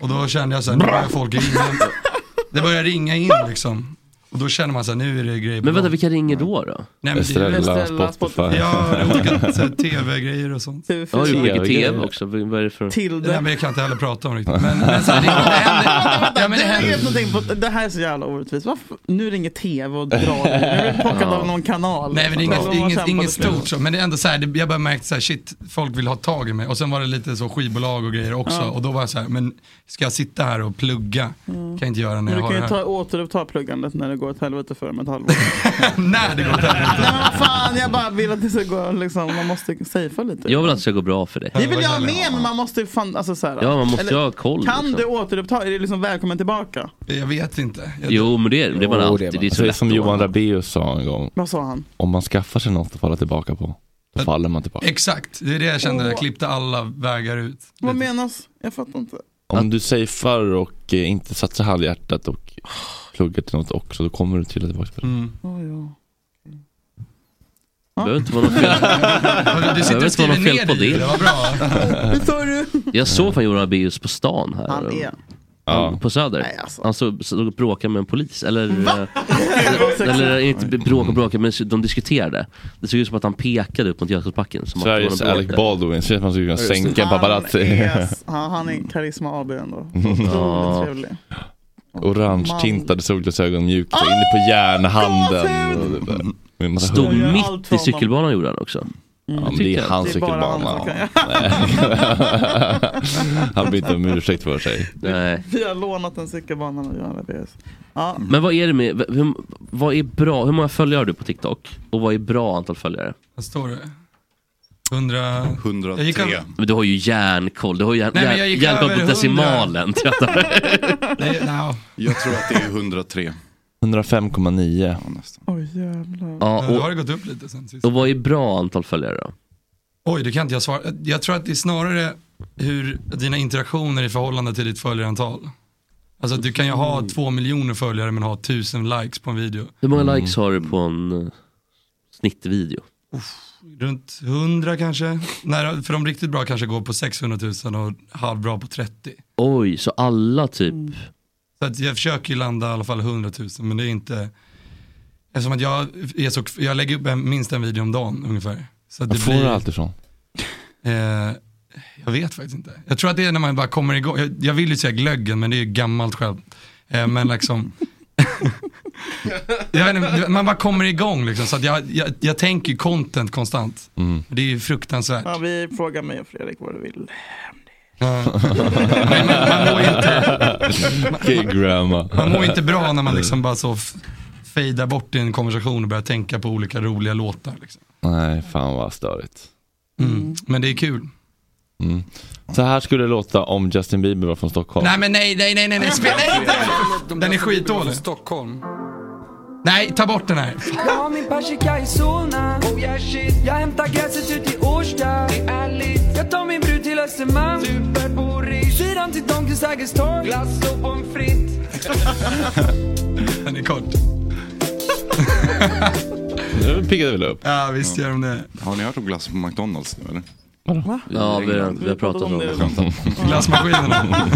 Och då kände jag såhär, nu börjar folk ringa. Det börjar ringa in liksom. Och då känner man såhär, nu är det grejer på Men vänta, gång. vilka ringer då då? Nej, men det är väl- Estrella, Estrella, Spotify. Ja, det är olika så här tv-grejer och sånt. Ja, TV4. det är mycket Tv-grejer. tv också. Vad är det för... Det där Tilde. men jag kan inte heller prata om riktigt. Men, men så här, det, det händer. Ja, men det Det här, händer. är någonting på, det här är så jävla orättvist. Varför? Nu ringer tv och drar. Jag blir plockad av någon kanal. Nej men det är Alltså, inget, de har inget, kämpat inget och stort så, men det är ändå så här, det, jag bara märkt så här, shit, folk vill ha tag i mig. Och sen var det lite så skivbolag och grejer också. Och då var jag så här, men ska jag sitta här och plugga? Mm. Kan jag inte göra när Men jag du har kan det ju här. ta, återuppta pluggandet när det går åt helvete för dem ett halvår. när det går åt helvete. Nej men vad fan, jag bara vill att det ska gå liksom, man måste safea lite. Jag vill att det ska gå bra för dig. det vill jag ha med, men man måste ju fan, alltså så här, Ja, man måste eller, ha koll. Kan liksom. du återuppta, är det liksom välkommen tillbaka? Jag vet inte. Jag, Jo, men det är det. är man Jo, det är man. alltid. Det är Alltså, så det är lätt. som Johan Rabaeus sa en gång. Vad sa han? Om man skaffar sig något att falla tillbaka på, då faller man tillbaka. Exakt, det är det jag kände, jag klippte alla vägar ut. Vad menas? Jag fattar inte. Om du safear och eh, inte satsar halvhjärtat och pluggar till något också, då kommer du trilla tillbaka på det. Mm. Oh, ja. Det behöver inte vara något fel. Du vet sitter inte och skriver vad det är ner fel på dig i det. det, vad bra. Hur sa du? Jag såg fan Johan Rabaeus på stan här. Han är, Ja. På Söder. nej alltså. Han såg, såg och bråkade med en polis, eller... eh, Det var sexigt. Eller inte bråka och bråka, men de diskuterade. Det såg ut som att han pekade upp mot Jakobsbacken. som att det var Sveriges någon bråte. Alec Baldwin, känns som man skulle kunna sänka Ah, en Han paparazzi. är, han, han Mm. är karisma AB ändå. Otroligt trevlig. Orange-tintade solglasögon, mjuka, inne på Ah, järnhanden. och det där. Med en massa Stod hugg. gör allt mitt för i honom. cykelbanan gjorde han också. Ja, men det är hans Det är bara han som cykelbana. kan- Han ber inte om ursäkt för sig. Nej. Vi har lånat en cykelbana av Johanna Beers. Ja, Men vad är det med, v- hur, vad är bra, hur många följare har du på TikTok? Och vad är bra antal följare? Vad står det? 100... 103. Jag gick av- Men du har ju järnkoll, du har ju järn, Nej, men jag järn, gick järnkoll över på decimalen. Nej, nej. Jag tror att det är 103. 105,9. Ja, nästan. oj jävlar. ja, Då och, har det gått upp lite sen sist. och vad är bra antal följare då? Oj, det kan inte jag svara. Jag tror att det är snarare hur dina interaktioner i förhållande till ditt följarantal. Alltså att du kan ju ha två miljoner följare men ha tusen likes på en video. Mm. Hur många likes har du på en eh, snittvideo? Runt 100 kanske. Nej, för de riktigt bra kanske går på 600 000 och halvbra på 30. Oj, så alla typ, Så att jag försöker ju landa i alla fall 100 000 men det är inte Eftersom att jag, är så, jag lägger upp en, minst en video om dagen ungefär. Så att Var det får blir, du allt ifrån? eh, jag vet faktiskt inte. Jag tror att det är när man bara kommer igång. Jag, jag vill ju säga glöggen, men det är ju gammalt själv. Eh, men liksom, jag vet inte, man bara kommer igång liksom. Så att jag, jag, jag tänker ju content konstant. Mm. Det är ju fruktansvärt. Ja, vi frågar mig och Fredrik vad du vill. Ja. Men man, man, mår ju inte, Okay, grandma. man mår ju inte bra när man liksom bara så f- fejdar bort i en konversation och börjar tänka på olika roliga låtar. Liksom. Nej, fan vad störigt. Mm. Men det är kul. Mm. Så här skulle det låta om Justin Bieber var från Stockholm. Nej men nej, nej, nej, nej, nej, spela inte den. Den är skitdålig. Stockholm. Nej, ta bort den här. Jag har min persika i Solna. Oh yeah shit. Jag hämtar gräset ut i Årsta. Det är ärligt. Jag tar min brud till Östermalm. Superboris. Fyran till Donken Sergels torg. Glass och pommes frites. Den är kort. Nu piggade vi väl upp. Ja, visst gör de det. Har ni hört om glass på McDonalds nu eller? Ja, vi, har- vi har pratat om det. Glassmaskinerna.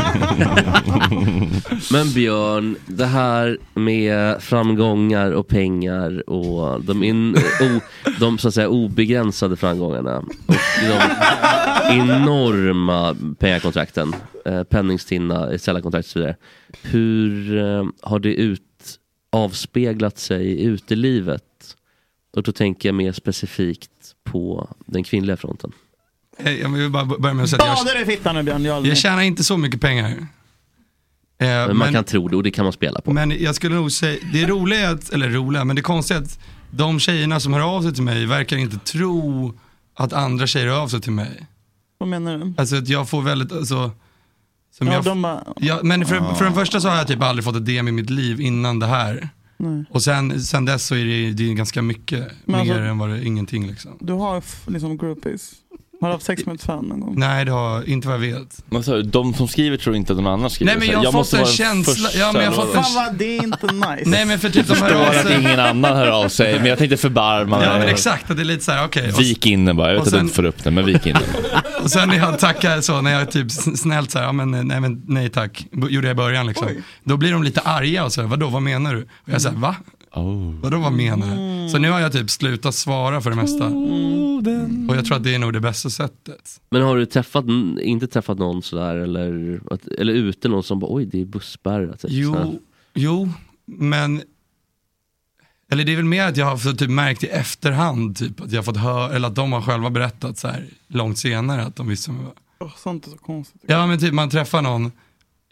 Men Björn, det här med framgångar och pengar och de, in, o, de så att säga obegränsade framgångarna och de enorma pengakontrakten, eh, penningstinna sällankontrakt och så vidare. Hur eh, har det ut, avspeglat sig i utelivet? Och då tänker jag mer specifikt på den kvinnliga fronten. Hej, Jag vill bara börja med att säga att Badar du i fittan nu Björn? Jag, jag, jag tjänar inte så mycket pengar. Eh, Men man kan tro det och det kan man spela på. Men jag skulle nog säga, det roliga, är att, eller roliga, men det konstiga är att de tjejerna som hör av sig till mig verkar inte tro att andra tjejer hör av sig till mig. Vad menar du? Alltså att jag får väldigt, alltså, som Ja, jag, de bara, jag, men för, för den första så har jag typ aldrig fått ett DM i mitt liv innan det här. Och sen, sen dess så är det, det är ganska mycket, Men mer alltså- än vad det är ingenting liksom. du har f- liksom groupies. Har du haft sex med ett fan någon gång? Nej det har, inte vad jag vet. Vad sa du? De som skriver tror inte att någon annan skriver. Nej, men Så jag har fått måste en vara den känsla- första ja, men jag har eller fått vad? en- Fan vad det är inte nice. Nej men för typ de hör av Förstår att sig. ingen annan hör av sig, men jag tänkte förbarma Ja men mig. exakt, att det är lite så här, okej. Och- Vik in den bara, jag vet Och att du sen- inte får upp den, men vik in den. Och sen när jag tackar så, när jag typ sn- snällt så här, ja men nej, men nej tack, B- gjorde jag i början liksom. Då blir de lite arga och så här, vadå vad menar du? Och jag säger Mm. va? Oh. Vadå vad menar du? Så nu har jag typ slutat svara för det mesta. Mm. Och jag tror att det är nog det bästa sättet. Men har du träffat, n- inte träffat någon sådär eller, att- eller ute någon som bara oj det är busspärrar? Typ, sådär. Jo, jo, men eller det är väl mer att jag har fått typ märkt i efterhand typ att jag har fått höra, eller att de har själva berättat så här långt senare att de visste om jag var- Åh, sånt är så konstigt. Ja men typ man träffar någon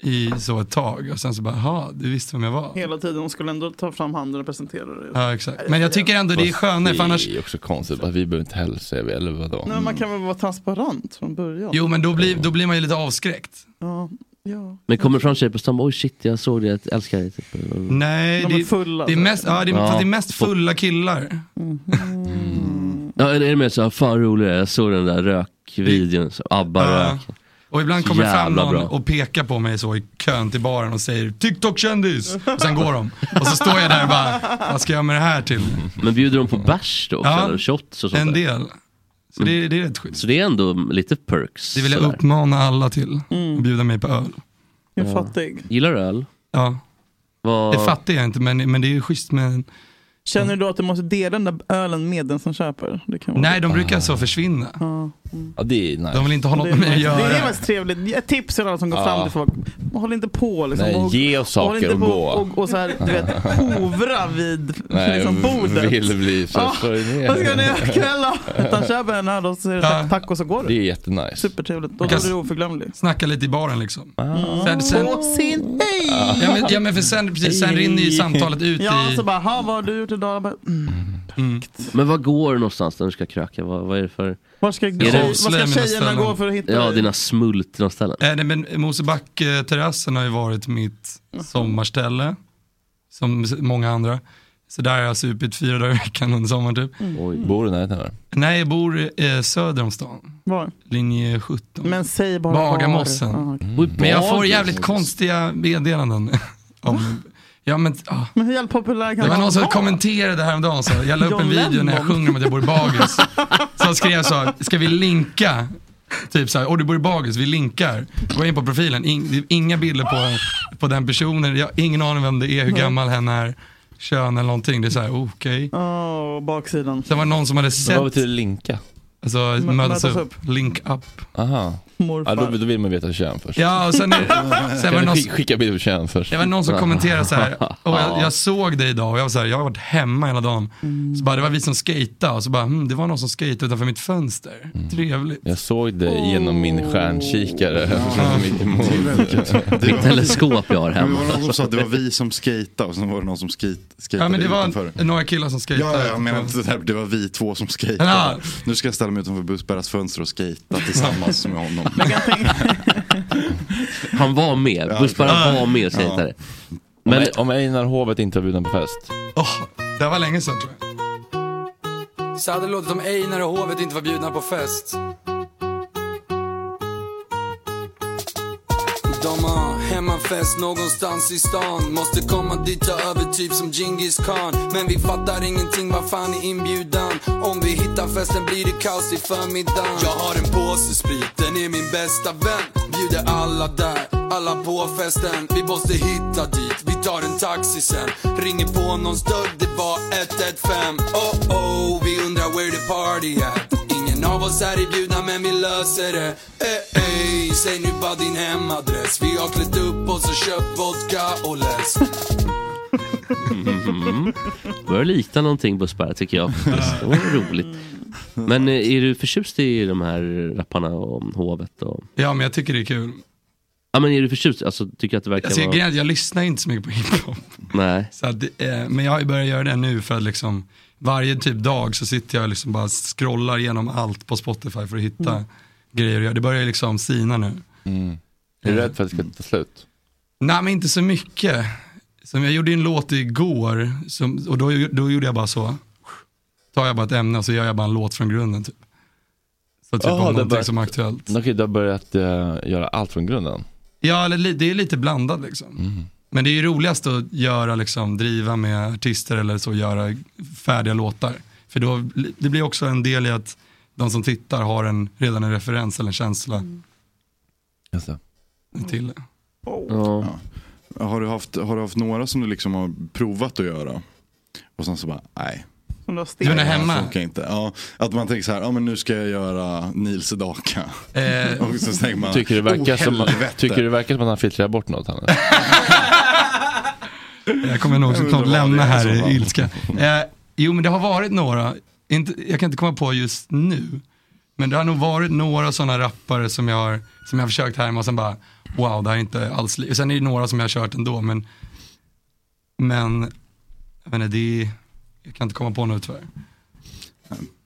i så ett tag och sen så bara, jaha, du visste vem jag var. Hela tiden, hon skulle ändå ta fram handen och presentera dig. Ja exakt. Men jag tycker ändå det är skönare för annars, Det är också konstigt, bara, vi behöver inte hälsa, eller vadå? Nej, man kan väl vara transparent från början? jo men då blir, då blir man ju lite avskräckt. Ja, ja. Men kommer fram tjejer på stan oj shit jag såg det, jag älskar dig. Typ. Nej, De är det, fulla. det, är mest, ja, det, är, Ja. fast det är mest fulla killar. Ja, eller är det mer såhär, fan roligare, jag såg den där rökvideon, så, ABBA Ja. rök. Och ibland kommer det fram Jävla någon bra. och pekar på mig så i kön till baren och säger TikTok-kändis. Och sen går de. Och så står jag där och bara, vad ska jag med det här till? Men bjuder de på bärs då också? Ja. Eller shots och sånt En där? Mm. del. Så det, är- det är rätt schysst. Så det är ändå lite perks. Det vill jag sådär. uppmana alla till. Att bjuda mig på öl. Mm. Jag är fattig. Gillar du öl? Ja, Vad- det fattar jag inte men, men det är ju schysst med en Känner du då att du måste dela den där ölen med den som köper? Det kan vara Nej, de brukar så försvinna. Ja, det är nice. De vill inte ha något mm. Det är, med mig att mest, det är göra. mest trevligt. Ett tips till alla som går fram till folk. Håll inte på liksom. Nej, och, ge oss håll saker inte och på gå. Och, och så här, du vet, hovra vid liksom, bordet. vill bli så Ja, för Vad ska ni ner. göra ikväll då? Utan köper en öl och så är det Ja. tack, tack och så går Det du. är jätenice. Supertrevligt. Då blir Ah. du oförglömlig. Snacka lite i baren liksom. Sen, sen, På sin hej! ja, men, ja men för sen, precis, sen rinner ju samtalet ut Ja, i... så bara, ha vad har du gjort idag? Jag Bara, mm. Men vad går du någonstans när du ska kröka? Vad, vad är det för, Var ska, det- tjej, var Avslöja ska mina tjejerna ställen. gå för att hitta ja dig? dina smultna ställen? Äh, nej, men Mosebacke-terrassen har ju varit mitt sommarställe, som s- många andra. Så där har jag supit fyra dagar i veckan under sommaren typ. Mm. Oj. Bor du i närheten här? Nej, jag bor eh, söder om stan, Var? linje 17. Men, Men säg bara Bagarmossen. var. Ja, okej. Mm. Bor i jag får Bagis. jävligt konstiga meddelanden. om, ja, men, ah. Men hur jävla populär Det kan var man någon som vara? kommenterade häromdagen, så jag la upp en John video när jag Lennon. sjunger om att jag bor i Bagis. Som skrev så, ska vi linka? Typ såhär, åh du bor i Bagis, vi linkar. Gå in på profilen, in, det är inga bilder på, på den personen, jag har ingen aning vem det är, hur gammal hen är. kön eller någonting. Det är såhär, okej. Åh, baksidan. Sen var det någon som hade Men Vad sett, betyder linka? alltså mötas upp. link up. Aha. Ja, då, Morfar. då vill man veta kön först. Ja, och sen, är- sen var Kan det vi någon, skick- skicka bild på kön först? det var någon som kommenterade så här, och jag, jag såg dig idag och jag var så här, jag har varit hemma hela dagen. Så bara, det var vi som skejtade och så bara, hm, det var någon som skejtade utanför mitt fönster. Mm. Trevligt. Jag såg dig genom min stjärnkikare. Från mitt emot. Det var, Teleskop jag har men det hemma. var någon som sa att det var vi som skejtade och sen var det någon som skejt, skejtade Ja men det utanför. var några killar som skejtade. Ja, ja, jag menar inte det här, det var vi två som skejtade. Ja. Nu ska jag ställa mig utanför Bussbergas fönster och skejta tillsammans med honom. Han var med, bussbäraren var med säger jag inte det. Men Men om Einar Hovet inte var bjuden på fest. Åh, det här var länge sedan tror jag. Så hade det låtit om Einar och hovet inte var bjudna på fest. De har hemmafest någonstans i stan. Måste komma dit, ta över typ som Genghis Khan. Men vi fattar ingenting, vad fan är inbjudan? Om vi hittar festen blir det kaos i förmiddagen. Jag har en påse sprit, den är min bästa vän. Bjuder alla där, alla på festen. Vi måste hitta dit, vi tar en taxi sen. Ringer på någons dörr, det var 115. Oh oh, vi undrar where the party at. Ingen av oss är inbjudna men vi löser det. Eh, eh, säg nu bara din hemadress. Vi har klätt upp oss och köpt vodka och läsk. Mm. börjar likna någonting bussbärare tycker jag. faktiskt. Det var roligt. Men eh, är du förtjust i de här rapparna om hovet? Och... Ja men jag tycker det är kul. Ja men är du förtjust? Alltså tycker du att det verkar Alltså, jag, vara... grejen är att jag lyssnar inte så mycket på hiphop. Nej. Så att, det är- men jag har ju börjat göra det nu för att liksom varje typ dag så sitter jag och liksom bara scrollar igenom allt på Spotify för att hitta Mm. grejer att göra. Det börjar ju liksom sina nu. Är du rädd för att det ska ta slut? Nej men inte så mycket. Som jag gjorde ju en låt igår som, och då, då gjorde jag bara så. Tar jag bara ett ämne och så gör jag bara en låt från grunden typ. Så typ Jaha, om det någonting börjar- som är aktuellt. Okej, du har börjat eh, göra allt från grunden. Ja eller li- det är lite blandat liksom. Mm. Men det är ju roligast att göra liksom, driva med artister eller så, göra färdiga låtar. För då, det blir också en del i att de som tittar har en, redan en referens eller en känsla Just det. till det. Ja. Har du, haft, har du haft några som du liksom har provat att göra? Och sen så bara, nej. Som du har Du menar stekt. Det här hemma? funkar inte. Ja, att man tänker så här, ja men nu ska jag göra Nils Sedaka. Eh, Och så tänker man, Tycker du verkar, som, helvete. tycker du verkar som att han filtrerar bort något? Han? Jag kommer nog Jag undrar såklart vad det lämna är här som var. i ilska. Eh, jo men det har varit några, inte, jag kan inte komma på just nu, men det har nog varit några sådana rappare som jag har som jag har försökt härma och sen bara, wow det här är inte alls li-" Sen är det några som jag har kört ändå men, men, jag vet inte, det är, jag kan inte komma på nu tyvärr.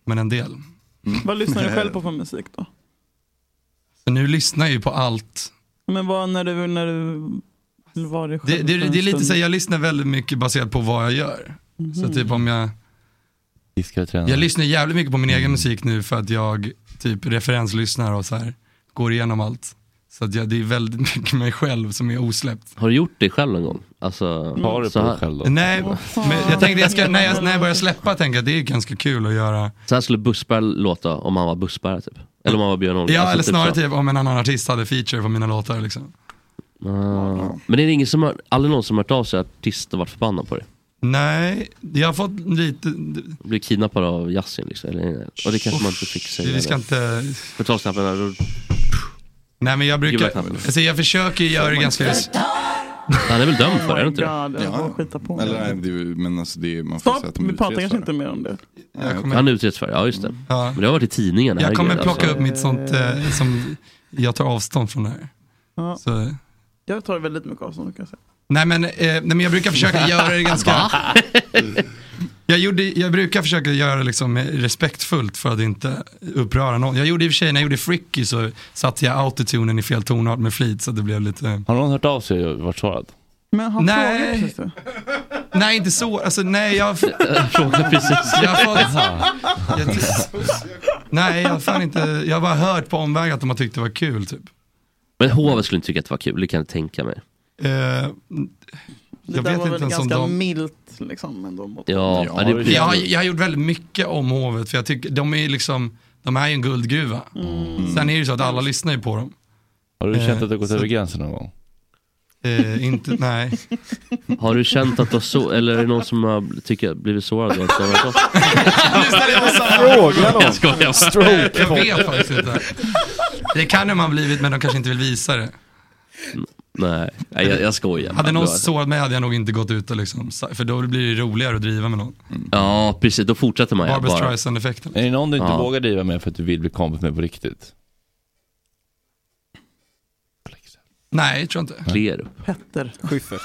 Men en del. Vad lyssnar du Mm. själv på för musik då? Så nu lyssnar jag ju på allt Men vad när du, när du var dig Det, själv det, för en det är lite stund? så här, jag lyssnar väldigt mycket baserat på vad jag gör. Så typ om jag, Diskar och jag tränar. lyssnar jävligt mycket på min Mm. egen musik nu för att jag typ referenslyssnar och så här går igenom allt. Så att jag, det är väldigt mycket mig själv som är osläppt. Har du gjort det själv någon gång? Alltså, Har du så på dig här, själv då? Nej, fan. men jag tänkte jag ska, när, jag, när jag börjar släppa tänker jag att det är ganska kul att göra. så här skulle bussbärare låta om han var bussbärare typ. Eller om han var Björn Olsson. Ja, Alltså, eller typ snarare så. typ om en annan artist hade feature på mina låtar liksom. Ah. Men är det ingen som har, aldrig någon som har hört av sig artist och varit förbannad på det? Nej, jag har fått lite, Blir kidnappad av Yasin liksom. Eller, och det kanske man inte fick säga. vi ska inte Förtalsknappen här. Nej men jag brukar, Gula knappen. alltså jag försöker göra det ganska, Han är väl dömd för det, Oh är det my inte det? god, jag Ja, får skita på Eller nej, mig. det, är ju- men alltså det, är- man får säga Stopp, att de vi pratar utredsar kanske inte det. mer om det. jag kommer Han utreds för det, ja just det. Ja. Men det har varit i tidningen. Jag kommer herregud, alltså. plocka upp mitt sånt eh, som jag tar avstånd från det här. Ja. Så. Jag tar väldigt mycket avstånd kan jag säga. Nej, men, eh, nej men jag brukar försöka göra det ganska... Jag, gjorde, jag brukar försöka göra det liksom eh, respektfullt för att inte uppröra någon. Jag gjorde i och för sig, när jag gjorde Fricky så satte jag autotunen i fel tonart med flit så att det blev lite... Har någon hört av sig och varit svarad? Men han Nej. frågar precis det. Nej inte så, alltså nej jag, Fråga precis. jag har fått... Jag, nej jag har fan inte, jag har bara hört på omväg att de har tyckt det var kul typ. Men hovet skulle inte tycka att det var kul, det kan jag tänka mig. Eh, Det Jag där vet var inte väl ens om ganska de- milt liksom ändå. Mot. Ja, Ja, ja, det, det- Jag har, jag har gjort väldigt mycket om hovet för jag tycker, de är ju liksom, de är ju en guldgruva. Sen är det ju så att alla lyssnar ju på dem. Har du Eh, känt att du har gått så- över gränsen någon gång? Eh, inte, nej. Har du känt att du har så, eller är det någon som har tycker, blivit sårad? av att du har varit off? Fråga någon. Jag skojar. Stroke Jag vet faktiskt inte. Det kan de ha blivit men de kanske inte vill visa det. Nej, nej, jag, jag skojar. Hade någon Det var- sårat mig hade jag nog inte gått ut och liksom, sa- för då blir det roligare att driva med någon. Ja, precis. Då fortsätter man ju Barbra bara. Streisand-effekten. Är det någon du inte Ja. vågar driva med för att du vill bli kompis med på riktigt? Nej, tror jag inte. Klerup. Petter. Schyffert.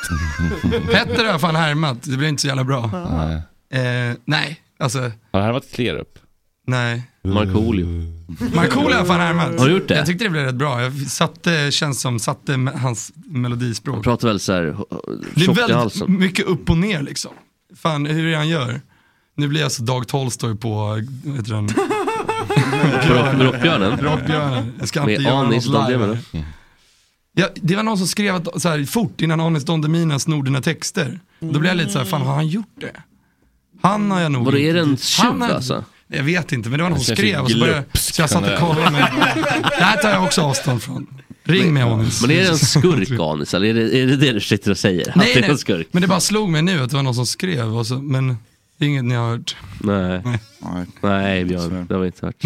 Petter har jag fan härmat, det blir inte så jävla bra. Nej. Eh, nej, alltså, Har det här varit Mm. Klerup? nej. Markoolio. Markoolio har jag fan härmat. Har du gjort det? Jag tyckte det blev rätt bra. Jag satte, känns som, satte m- hans Han melodispråk. pratar väl såhär Det är tjockt i väldigt halsen. mycket upp och ner liksom. Fan, hur han gör. Nu blir jag så Dag Tolstoj på, vad heter den, Rock- Rockbjörnen. Rockbjörnen. Jag ska inte Med göra Anis Don något live. Demina. här. Ja, det var någon som skrev att, så här, fort innan Anis Don Demina snor dina texter. Då blev jag lite så här, fan har han gjort det? Han har jag nog Vadå, är det en inte- tjuv, Han har- alltså? Jag vet inte, men det var någon som känns ju skrev och så, började, glupsk, så jag satt och kollade. Men, det här tar jag också avstånd från. Ring mig Anis. Men är det en skurk Anis? Eller är det, är det det du sitter och säger? att det är en skurk? Men det bara slog mig nu att det var någon som skrev, och så, men det är inget ni har hört. Nej. Nej. Nej Tyvärr. Björn, det har vi inte hört.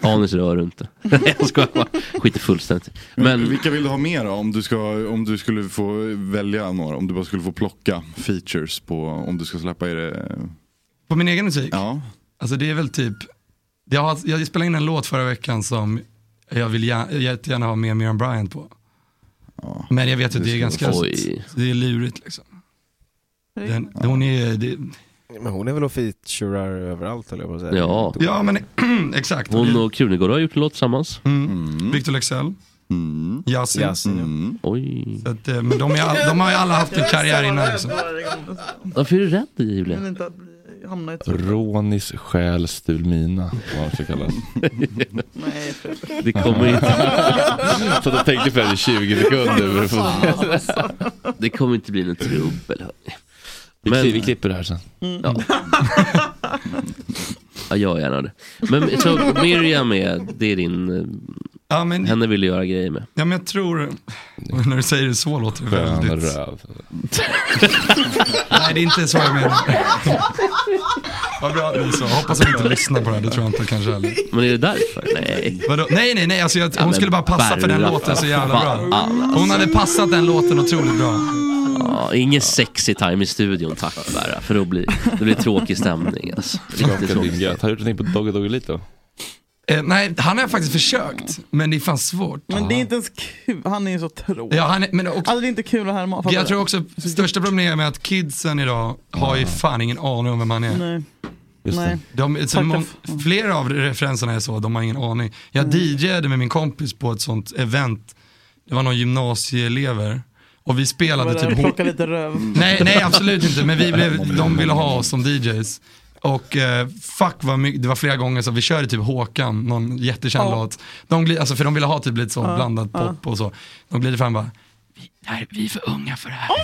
Anis rör du inte. Nej, jag skojar bara. Skiter fullständigt. Men Men vilka vill du ha mer då? Om du, ska, om du skulle få välja några, om du bara skulle få plocka features på, om du ska släppa er... eh, På min egen musik? Ja. Alltså det är väl typ, jag, har, jag spelade in en låt förra veckan som jag vill gär, jag jättegärna ha med Miriam Bryant på. Ja. Men jag vet att det är ganska, oj. det är lurigt liksom. Den, Hon är, det, Men hon är väl och featurar överallt eller vad säger Ja. ja men exakt. Hon och Krunegård har gjort en låt tillsammans. mm. Victor Lexell, Mm. Yasin. Mm. Oj. Så att, eh, men de, är all, de har ju alla haft en karriär innan liksom. Varför är du rädd Men Julia? inte att bli- hamna i ett... Ronis själ stul mina, vad det ska kallas. Nej, Fredrik. Det kommer inte, Så att jag tänkte på det i 20 sekunder. för att få- alltså. det kommer inte bli någon trubbel. hörni. Vi, Men- kli- vi klipper det här sen. Mm. Ja, jag gärna det. Men så Miriam är, det är din, eh, Ja men, henne vill du göra grejer med. ja men jag tror, när du säger det så låter det Skön väldigt, röv. nej det är inte så jag menar. Vad bra att du sa, hoppas att du inte lyssnar på det här, det tror jag inte kanske heller. Men är det därför? Nej. Vadå? Nej, nej, nej. Alltså jag, hon men skulle bara passa för den Berra, låten så jävla fan, bra. Hon hade passat den låten otroligt bra. Ja, ingen sexy time i studion tack Berra, för då blir det blir tråkig stämning alltså. Riktigt Skaka din tråkigt. gött. Har du gjort någonting på Dogge Doggelito? Eh, nej, han har faktiskt försökt, men det är fan svårt. Men det är inte ens kul. Han är ju så tråkig. Ja, han är, men också, Alltså det är inte kul att härma. Fattar jag du? tror också största problemet är med att kidsen idag har ju fan ingen aning om vem han är. Nej. Just Nej. De, så Tack, mm. mång, tack. flera av referenserna är så, de har ingen aning. Jag Mm. DJade med min kompis på ett sånt event, det var någon gymnasieelever. Och vi spelade Bara typ plocka lite röv. Nej, nej absolut inte, men vi blev, de ville ha oss som DJs. Och eh, fuck vad mycket, det var flera gånger så vi körde typ Håkan, någon jättekänd Ja. låt. De glid, alltså, för de ville ha typ lite så blandat pop och så. De glider fram och bara, vi, det här, vi är för unga för det här.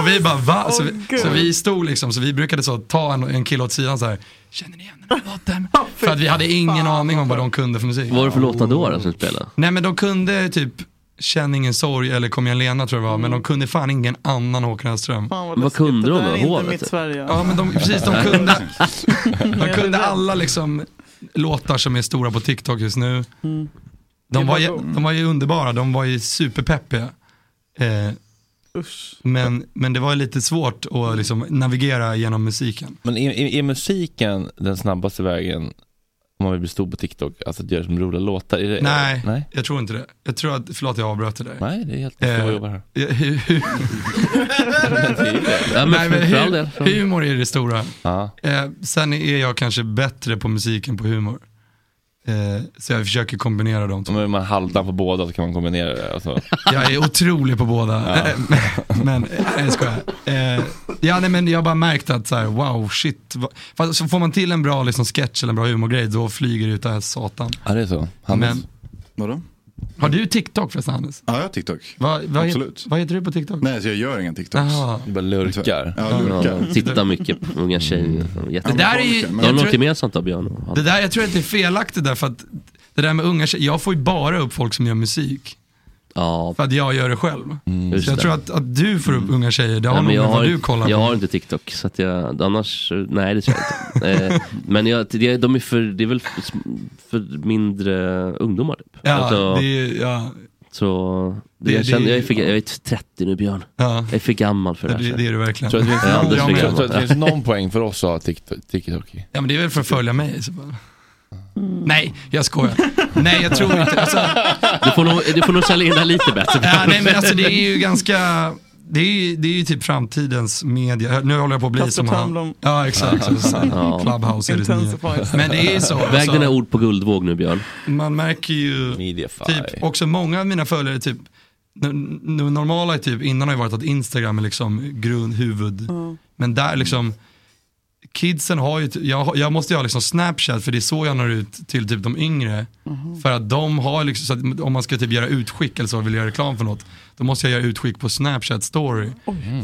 och vi bara va? Så vi, Åh, så gud. vi stod liksom, så vi brukade så ta en, en kille åt sidan så här, känner ni igen den här låten? för att vi hade ingen aning om vad alltså. de kunde för musik. Vad var det för låtar då, då som du spelade? Nej men de kunde typ Känn ingen sorg eller Kom igen Lena tror jag det var, men de kunde fan ingen annan Håkan Hellström. Mm. Fan vad Vad läskigt. kunde Det där de då? är inte Hovet? mitt Sverige. Ja men de, precis, de kunde, de kunde alla liksom låtar som är stora på TikTok just nu. De, var ju, de var ju underbara, de var ju superpeppiga. Eh, Usch. men, men det var ju lite svårt att liksom navigera genom musiken. Men är, är, är musiken den snabbaste vägen om man vill bli stor på TikTok? Alltså att göra som roliga låtar? Är det, Nej, Eh, Nej, jag tror inte det. Jag tror att, förlåt jag avbröt det där. Nej, det är helt... Jag Eh, jobbar här. Ja, hu- hu- Ja, men, Nej, men för, för all del. hu- humor är det stora. Ja. Eh, sen är jag kanske bättre på musiken på humor. Eh, så jag försöker kombinera de två. Om man halvdan på båda så kan man kombinera det. Alltså. Jag är otrolig på båda. Eh, men, nej jag skojar. Eh, ja, nej, men jag har bara märkt att så här, wow, shit. vad- Fast, så får man till en bra liksom, sketch eller en bra humorgrej, då flyger det ut det här satan. Ja, det är så. Hannes. Men- Vadå? Har du TikTok förresten Hannes? Ja, jag har TikTok. Vad, vad, het- Absolut. vad heter du på TikTok? Nej, så jag gör inga TikToks. Jaha. Du bara lurkar. Ja, lurkar. Ja, titta mycket på unga tjejer. Jätte... Det där är ju, Amerikaner, men- De har jag, något tror, gemensamt då, Björn och det han. där, jag tror att det är felaktigt där för att det där med unga tjejer, jag får ju bara upp folk som gör musik. Ja, För att jag gör det själv. just Så jag det. Mm. tror att, att du får upp unga tjejer, det har Nej, men nog med jag, vad har, du kollar jag på. har inte TikTok, så att jag, annars, nej det tror jag inte. eh, men jag, det, de är för, det är väl för, för mindre ungdomar typ. Ja, Alltså, det, är- ja, så, det- jag, känner, det- jag, är för, jag är 30 nu Björn, ja, jag är för gammal för det här. det, så. det är du verkligen. Tror att det finns, Ja, det någon, skulle jag jag tror att det vara. finns någon poäng för oss att ha TikTok, TikTok i. Ja men det är väl för att följa mig i så fall. Nej, jag skojar. Nej, jag tror inte. Alltså, Du får nog, du får nog sälja in det här lite bättre. ja, nej, men alltså det är ju ganska, det är ju, det är ju typ framtidens media. Nu håller jag på att bli Kasta som han. Tumblr. Ja, exakt. Ja. Clubhouse är det nya. Intensifies. Men det är ju så. Väg dina Alltså, ord på guldvåg nu Björn. man märker ju Mediafy. typ också många av mina följare typ n- n- normala är typ, innan har ju varit att Instagram är liksom grund, huvud. Men där liksom, kidsen har ju, t- jag, har- jag måste ju ha liksom Snapchat för det är så jag når ut till typ de yngre. För att de har liksom, så att om man ska typ göra utskick eller så, vill göra reklam för något, då måste jag göra utskick på Snapchat story.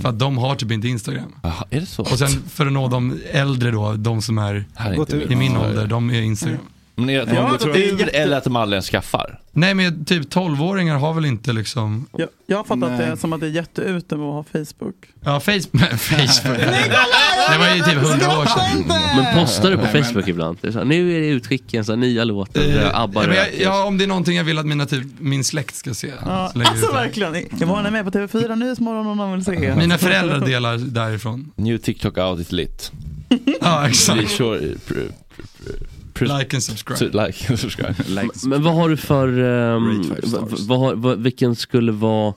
För att de har typ inte Instagram. Mm. Aha, är det så? Och sen för att nå de äldre då, de som är Här är Gått inte ut. i min. min ålder, de är Instagram. Men är det att Ja, man det går är ur jätte- eller att de aldrig ens skaffar? Nej men typ 12-åringar har väl inte liksom, Jag, jag har fattat Nej. det som att det är jätteute med att ha Facebook. ja Facebook, Facebook. det var ju typ 100 år sedan. Men postar du på Nej, men- Facebook ibland? Det är så här, nu är det utskicken, så här, nya låtar, eh, ABBA Eh, Ja, men jag, röker. ja, om det är någonting jag vill att mina, typ, min släkt ska se. Ja, så lägger jag alltså ut det. verkligen. Jag var med på TV4 Nyhetsmorgon om någon vill se. Mm. Mina föräldrar delar därifrån. New TikTok out is lit. Ja, Be exakt. sure pr- pr- pr- pr- Like and subscribe. to like and subscribe. Men vad har du för, ehm, Rate five vad, stars. vad, har- vad, vilken skulle vara,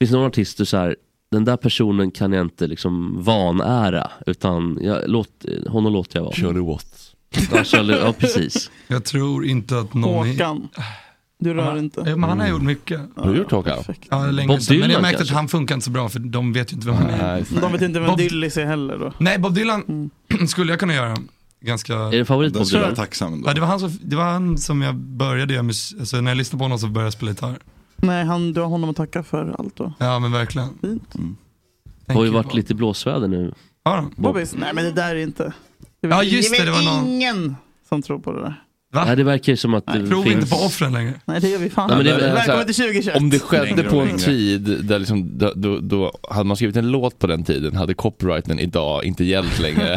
finns det några artister så här, den där personen kan jag inte liksom vanära, utan jag, låt, honom låter jag vara. Shirley Watts. Ja, Shirley, ja precis. Jag tror inte att någon... är- Håkan. Du rör Ja, inte. men han har gjort mycket. Har du gjort Håkan? Perfekt. Ja, länge Bob sedan. Men jag Dylan märkte kanske? att han funkar inte så bra för de vet ju inte vem han är. Nej. De vet inte vem Bob- Dillis är heller då. Mm. Nej, Bob Dylan skulle jag kunna göra ganska... Är det en favorit på Den skulle jag Dylan? vara tacksam ändå. Ja, det, var han som, det var han som jag började göra musik, alltså när jag lyssnade på honom så började jag spela gitarr. Nej, han, du har honom att tacka för allt då. Ja men verkligen. Fint. Thank Har ju you, varit Bob. lite blåsväder nu. Ja, då. Bobbys, nej men det där är inte. Det är Ja, väl- just det, är det väl var någon- ingen som tror på det där. Va? Nej, det verkar ju som att det Prova finns... inte på offren längre. Nej det gör vi fan Nej, men det alltså, är inte. väl- så här- Välkommen till 2021. alltså, Om det skedde Längre och på en längre. tid där liksom, då, då, då hade man skrivit en låt på den tiden, hade copyrighten idag inte gällt längre.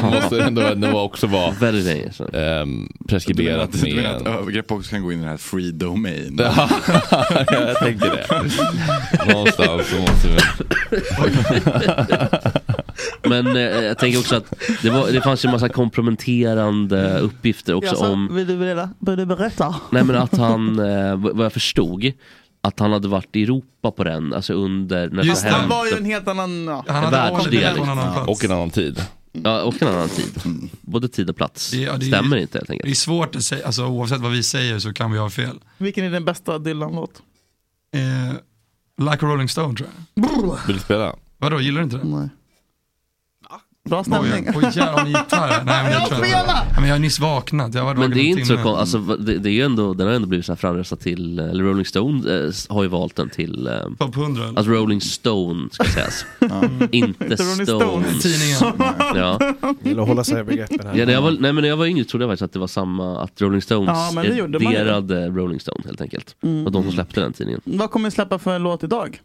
då måste det ändå ändå också vara Väldigt länge sedan. ehm, Du menar preskriberat att, du menar att med... övergrepp också kan gå in i det här free domain? Ja, jag tänkte det. Någonstans så måste vi... Men eh, jag tänker också att det, var, det fanns ju en massa komprometterande uppgifter också Jaså, om Vill du, berätta? vill du berätta? Nej men att han, eh, vad vad jag förstod, att han hade varit i Europa på den, alltså under när Just det det, Han hände. var ju en helt annan... Ja. Han hade Världsdel, alibi på liksom. någon annan plats. Och en annan tid. Ja, och en annan tid. Både tid och plats. Ja, det är ju- Stämmer inte helt Det är enkelt. svårt att säga, alltså oavsett vad vi säger så kan vi ha fel. Vilken är den bästa Dylan-låt? Eh, like a Rolling Stone tror jag. Vill du spela? Vadå, gillar du inte det? Nej. Bra Oj, stämning. oj jävlar har ni gitarr här? Nej men jag tror inte det. Nej, men jag har nyss vaknat, jag har varit Men vaken det är en inte så timme. kon- alltså, va- det, det är ju ändå, den har ändå blivit så här framröstad till, eller Rolling Stone eh, s- har ju valt den till, eh, Topp 100 eller? alltså Rolling Stone ska sägas. Inte Inte Rolling Stones. Stones. Tidningen. Ja. Det gäller att hålla sig i begreppen här. Ja, när, jag var, nej, men när jag var yngre trodde jag faktiskt att det var samma, att Rolling Stones Ja, men det gjorde man ju. Mm. edderade Rolling Stone helt enkelt. Och de som släppte den tidningen. Vad kommer vi släppa för låt idag?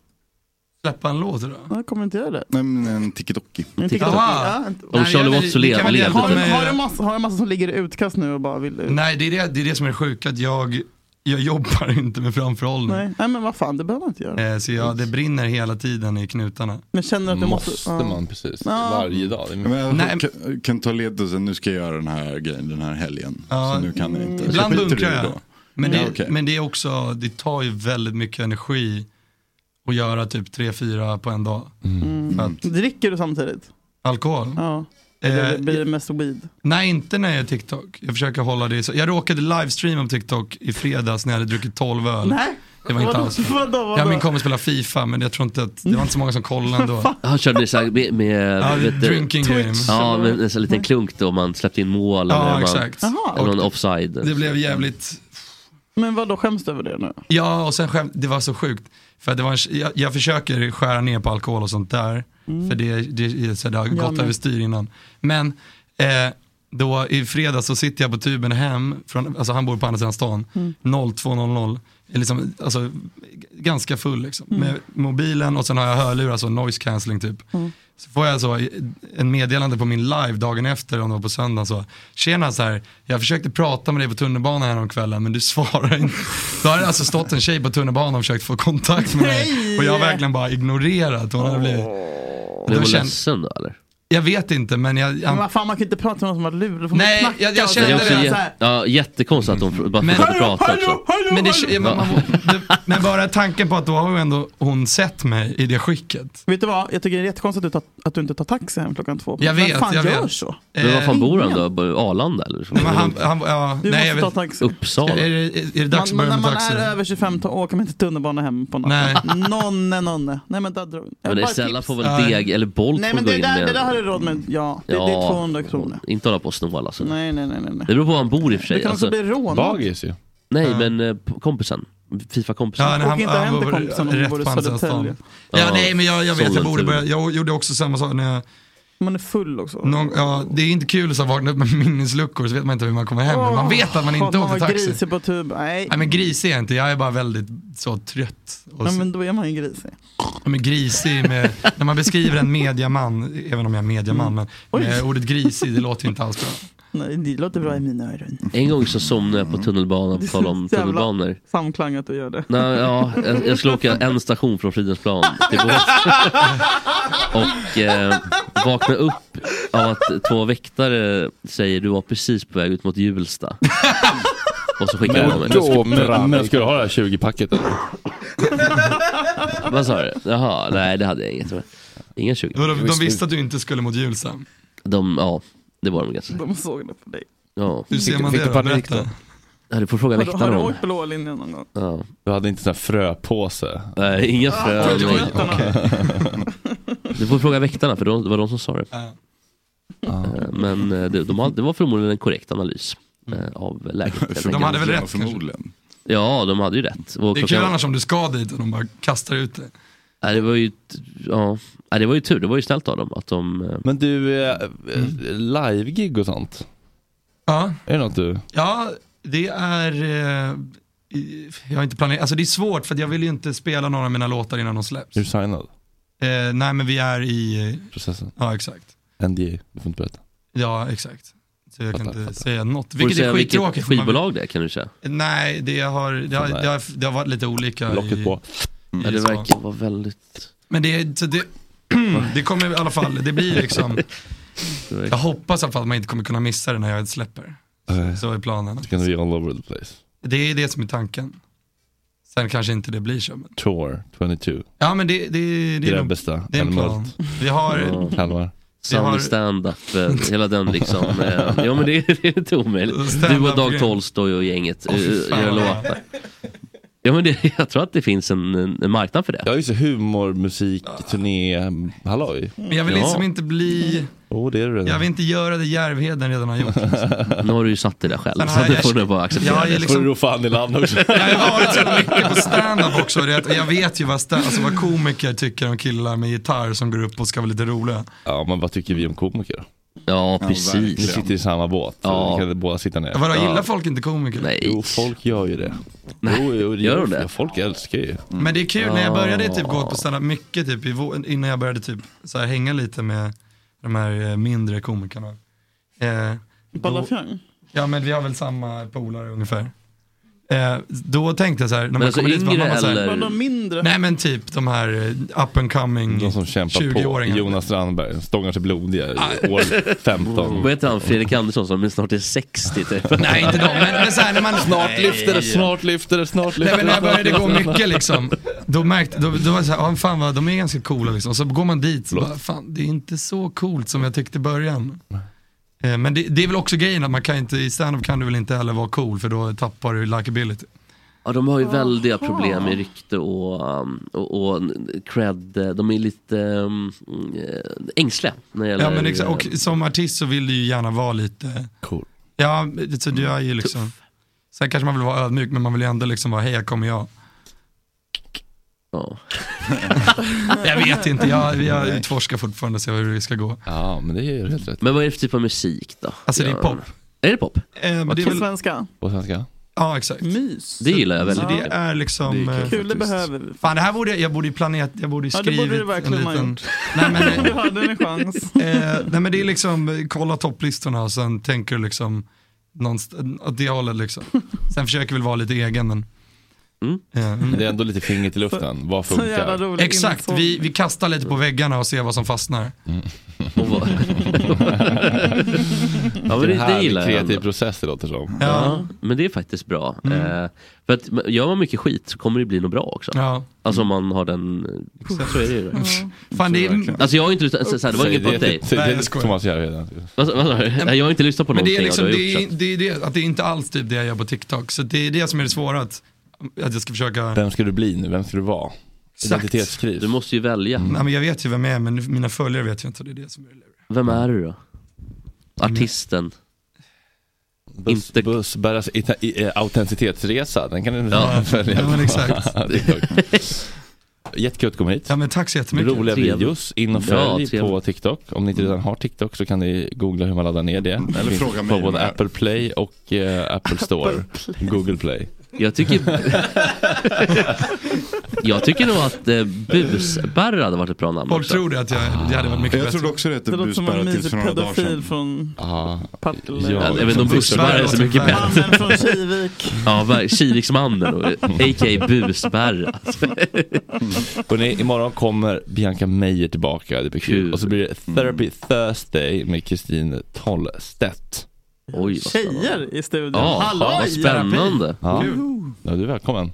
Släppa en låt idag. Jag kommer inte göra det. Nej men en tiki-doki. En TikTok. Aha. Ja, inte- Om Nej, Charlie jag- Watts och ni kan Lea väl hjälpa levde. Har, typ. mig. har, du massa, har du massa som ligger i utkast nu och bara vill ut? Nej det är det, det är det som är sjukt, att jag, jag jobbar inte med framförhållning. Nej. Nej men vad fan, det behöver man inte göra. Eh, så jag, det brinner hela tiden i knutarna. Men känner att du måste... Måste ja. man precis. Ja. Varje dag. Det är mycket. Men jag Nej. kan, kan ta ledet och sen nu ska jag göra den här grejen den här helgen. Ja. Så nu kan jag inte. Så Mm. Ibland skiter du bunkrar i det jag. då. Men det, Ja, okej. men det är också, det tar ju väldigt mycket energi att göra typ 3-4 på en dag. Mm. För att, Mm. Dricker du samtidigt? alkohol? Ja. Eller Eh, blir det mest weed? nej, inte när jag är TikTok. Jag försöker hålla det så. Jag råkade livestreama på TikTok i fredags när jag hade druckit 12 öl. Nej. Det var inte Vadå? alls Vadå? vadå? Jag och min kompis spelade Fifa men jag tror inte att, det var inte så många som kollade ändå. Han körde så här med, med Ja, vet du- drinking game. Ja, men en sån liten klunk då man släppte in mål eller Ja, man, exakt. eller Jaha. någon offside. Det blev jävligt Men vadå, skäms du över det nu? Ja, och sen skämt, det var så sjukt. För att det var en, jag, jag försöker skära ner på alkohol och sånt där. För det, det, är så här, det har gått men- överstyr innan. Men eh, då i fredags så sitter jag på tuben hem, från, alltså han bor på andra sidan stan, 02.00, liksom, alltså, g- ganska full liksom, med mobilen och sen har jag hörlurar, alltså noise cancelling typ. Så får jag så en meddelande på min live dagen efter, om det var på söndagen, så, tjena så här, jag försökte prata med dig på tunnelbanan här om kvällen men du svarar inte. Då har det alltså stått en tjej på tunnelbanan och försökt få kontakt med mig och jag har verkligen bara ignorerat. Hon hade blivit, Du Då var känn- ledsen då eller? jag vet inte men jag, Men jag vad fan man kan inte prata med någon som har lur. Då får Nej, man knacka jag- jag och känner Det säga är också så här, jä- ja, jättekonstigt att de fr- bara Men- fortsätter prata liksom. också. Men, det, ja, men, man, det, men bara tanken på att då har ju ändå hon sett mig i det skicket. Vet du vad? Jag tycker det är jättekonstigt att du, tar- att du inte tar taxi hem klockan två. Jag Vem vet, fan jag gör vet. så? Men var Eh, fan bor han då? Bor- Arlanda eller? Så? men han, han, ja, Du nej, jag måste ta vet, taxi. Uppsala? är, det, är det dags Man, att börja när med man taxi? är över 25 ta, åker man inte tunnelbana hem på natten. Nonne, nonne. Nej men där drog jag Men bara Estella tips. får Ja. väl deg eller Bolt Nej får men gå det in där, med. det där har du råd med. Ja, det, det är 200 kronor. Inte hålla på och snåla alltså. Nej, nej, nej. nej, nej. Det beror på var han bor i och för Du sig. kan också Alltså, bli rånad. Bagis ju. nej men eh, p- kompisen. Fifa-kompisen. Ja, nej, Åk inte hem till bor kompisen om du rätt bor i på andra sidan Södertälje. stan. Ja, Ja, nej men jag, jag vet, jag borde Sollentuna. börja, jag gjorde också samma sak när jag, Man är full också. någon, ja, det är inte kul att så vakna upp med minnesluckor så vet man inte hur man kommer hem. men man vet att man inte Åh, åkte var taxi. grisig på tub. Nej. Nej men grisig är jag inte, jag är bara väldigt så trött. Och Ja, så- men då är man ju grisig. Ja, men grisig, med, när man beskriver en mediaman, även om jag är mediaman, men Mm. Oj. med ordet grisig, det låter ju inte alls bra. Nej, det låter bra i mina öron. En gång så somnade jag på tunnelbanan, på tal om Mm. Så jävla- tunnelbanor. Samklang att du gör det. Nej, ja, jag, jag skulle åka en station från Fridhemsplan till Borås. Och eh, vakna upp av att två väktare säger du var precis på väg ut mot Hjulsta. Och så skickar de mig. Då Men, men ska du ha det här 20-packet eller? Vad sa du? Jaha, nej det hade jag inget. Ingen 20. Vadå, De visste att du inte skulle mot Julsam. De, ja, det var de ganska säkra. De såg det på dig. Ja, Hur ser man fick det du då? panik Berätta. Ja, du får fråga Har du, har väktarna du om. åkt blå linjen någon gång? Ja. Du hade inte sån här fröpåse? Nej, inga frön. Oj, nej. oj, oj. Du får fråga väktarna för de- det var de som sa det. Ja. Eh, Men eh, det, de hade, det var förmodligen en korrekt analys eh, av läget. helt Förmodligen, enkelt. hade väl rätt, kanske? Förmodligen. Ja, de hade ju rätt. Och Det är kul klockan- annars om du ska dit och de bara kastar ut det. Nej, det var ju, ja, nej, det var ju tur, det var ju snällt av dem att de... eh, Men du, eh, eh, live-gig och sånt? Ja, Är det något du... ja det är... Eh, i- jag har inte planerat, alltså det är svårt för att jag vill ju inte spela några av mina låtar innan de släpps. Är du signad? Eh, nej men vi är i, eh, Processen? ja exakt. NDA, du får inte berätta. Ja exakt. Så jag kan Fattar, inte fattar. säga något. Får du Vilket säga är skittråkigt. vilket för man vill- skivbolag det är, kan du säga? Nej, det har, det, har, det, har, det har varit lite olika. Locket i- på. Ja, det så. verkar vara väldigt... Men det, så det, det kommer i alla fall, det blir liksom, jag hoppas i alla fall att man inte kommer kunna missa det när jag släpper. Eh, Så är planen. It's gonna be all over the place. Det är det som är tanken. Sen kanske inte det blir så. Men, Tour 22. ja men det, Det det, det, är är, den nog- bästa. Mm. det är en plan. Älmhult, Vi har, Ja, Kalmar. Sunny har- stand-up, eh, hela den liksom. eh, ja men det, är- det är inte omöjligt. Stand-up Du och Dag grej. Tolstoj och gänget Åh, fy eh, fan. gör låtar. Ja men det, jag tror att det finns en, en marknad för det. Ja just det, humor, musik, turné, halloj. men jag vill Ja. liksom inte bli, Åh det är du jag redan. vill inte göra det Järvheden redan har gjort. Nu har du ju satt dig där själv, Men så här- nu jag får du ska- bara acceptera Jag är det. Får du liksom, ro fan i land också. jag har varit så mycket på stand-up också. Det är att jag vet ju vad, stand, alltså vad komiker tycker om killar med gitarr som går upp och ska vara lite roliga. ja men vad tycker vi om komiker då? Ja Ni precis. sitter i samma båt. Ja. Ja. Ni kan båda sitta ner. Vadå, ja. gillar folk inte komiker? Nej. Jo folk gör ju det. Nej, Jo, jo, det gör de det? Folk älskar ju. Men det är kul, när jag började typ gå Ja. på stand-up mycket typ i vå- innan jag började typ så här, hänga lite med de här eh, mindre komikerna. Eh, då, Palafjang. ja men vi har väl samma polare ungefär. Eh, då tänkte jag så här, när man alltså kommer dit så bara, yngre man bara så här, eller- Var de mindre? nej men typ de här eh, up and coming De som kämpar Ah, på. 20-åringar. Jonas Strandberg, stångar sig blodiga Ah. i år 15. Vad heter han, Fredrik Andersson som snart är 60 typ? Nej inte de, men, men så här, när man snart Lyfter det, snart lyfter det, snart Nej, lyfter men när jag började gå mycket liksom, då märkte då, då var jag såhär, ja, fan vad, de är ganska coola liksom. Så går man dit, så bara, fan det är inte så coolt som jag tyckte i början. Eh, Men det, det är väl också grejen att man kan inte, i standup kan du väl inte heller vara cool för då tappar du likability. Ja, de har ju väldiga problem med rykte och, um, och, och cred. De är lite um, eh, ängsliga när det gäller... eh, Ja, men exa- och som artist så vill du ju gärna vara lite, Cool. ja så du är ju liksom, sen kanske man vill vara ödmjuk men man vill ju ändå liksom vara, hej här kommer jag. ja. jag vet inte, jag, jag utforskar fortfarande så hur det ska gå. Ja, men det är helt rätt. Men vad är det för typ av musik då? Alltså det är Gör pop. de? Är det pop? Eh, men det är väl, svenska. På svenska? ja, exakt. Mys. Det gillar jag Så väldigt det mycket. är liksom... Det är eh, Kul, det faktiskt. behöver vi. Fan, det här borde jag, jag borde ju planerat, jag borde ju Ja, det borde skrivit du verkligen en ha liten... gjort. Nej men, Du hade en chans. eh, nej men det är liksom, eh, kolla topplistorna och sen tänker du liksom, någonst- åt det hållet liksom. Sen försöker väl vara lite egen men. Mm. Eh, mm. Det är ändå lite fingret i luften. Vad Så jävla funkar? rolig Exakt, insåg. vi, vi kastar lite på väggarna och ser vad som fastnar. Mm. Och vad- ja, men Vilken det, det härlig gillar jag. kreativ ändå. process det låter som. Ja, Mm. Ja, men det är faktiskt bra. Eh, för att men gör man mycket skit så kommer det bli något bra också. ja. Alltså om man har den... Så är det ju. Fan det är, verkligen. Alltså jag har inte lyssnat, så, så här, det var inget på dig. Det, det, Nej, det, jag det skojar. Thomas gör redan. Vad sa- vad sa du? Nej, Jag har inte lyssnat på Men någonting det är liksom, av det det du har är, gjort. så att- det är det, att det är inte alls typ det jag gör på TikTok. Så det är det som är det svåra, att, att jag ska försöka... Vem ska du bli nu? Vem ska du vara? Exakt. Mm. Identitetskris. Du måste ju välja. Nej men jag vet ju vem jag är, men mina följare vet ju inte, det är det som är det luriga. Vem är du då? Mm. Artisten. Buss, Inte- buss, bäras ita- i- eh, autenticitetsresa. Den kan du Ja. följa. Ja, men exakt. TikTok. Jättekul att komma hit. Ja men tack så jättemycket. Roliga Trevligt. videos. In och Ja, följ trevligt. på TikTok. Om ni inte redan har TikTok så kan ni googla hur man laddar ner det. Det finns fråga mig På om det både här. Apple Play och eh, Apple Store. Google Play. Jag tycker... jag tycker nog att eh, busbärra hade varit ett bra namn Folk också. tror det att jag, det hade varit mycket Jag bättre. trodde också det hette Det låter som en busspärra tills mysig för några dagar pedofil sedan. från Ah, Partille. Ja. Jag vet inte om busbärra är så mycket bättre. Mannen från Kivik. Ja, ver- Kiviksmannen, och- a.k.a. busbärra. Mm. Hörrni, imorgon kommer Bianca Meijer tillbaka. Det blir kul. Kul. Mm. Och så blir det Therapy Thursday med Kristin Tollstedt. Oj, vad spännande. Tjejer i studion. Ja, Hallå, vad spännande. Ja. ja, du är välkommen.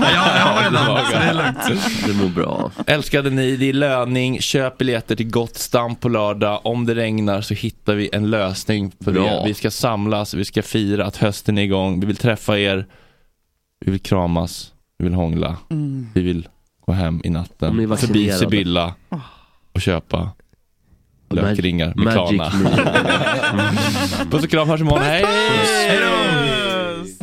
Ja, jag har ju den, så det är lugnt. Det mår bra. Älskade ni, det är löning. Köp biljetter till Gott Stam på lördag. Om det regnar så hittar vi en lösning för Bra. det. Vi ska samlas, vi ska fira att hösten är igång. Vi vill träffa er. Vi vill kramas, vi vill hångla. Vi vill gå hem i Om ni är natten. Förbi vaccinerade. Sibylla och köpa lökringar med Magic Klarna. Meal. Puss och kram, hörs imorgon. Hej! Hej då! Puss.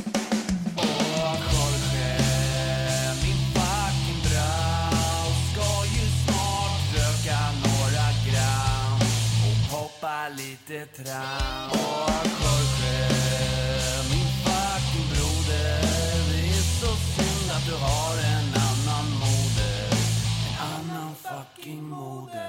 Fucking moder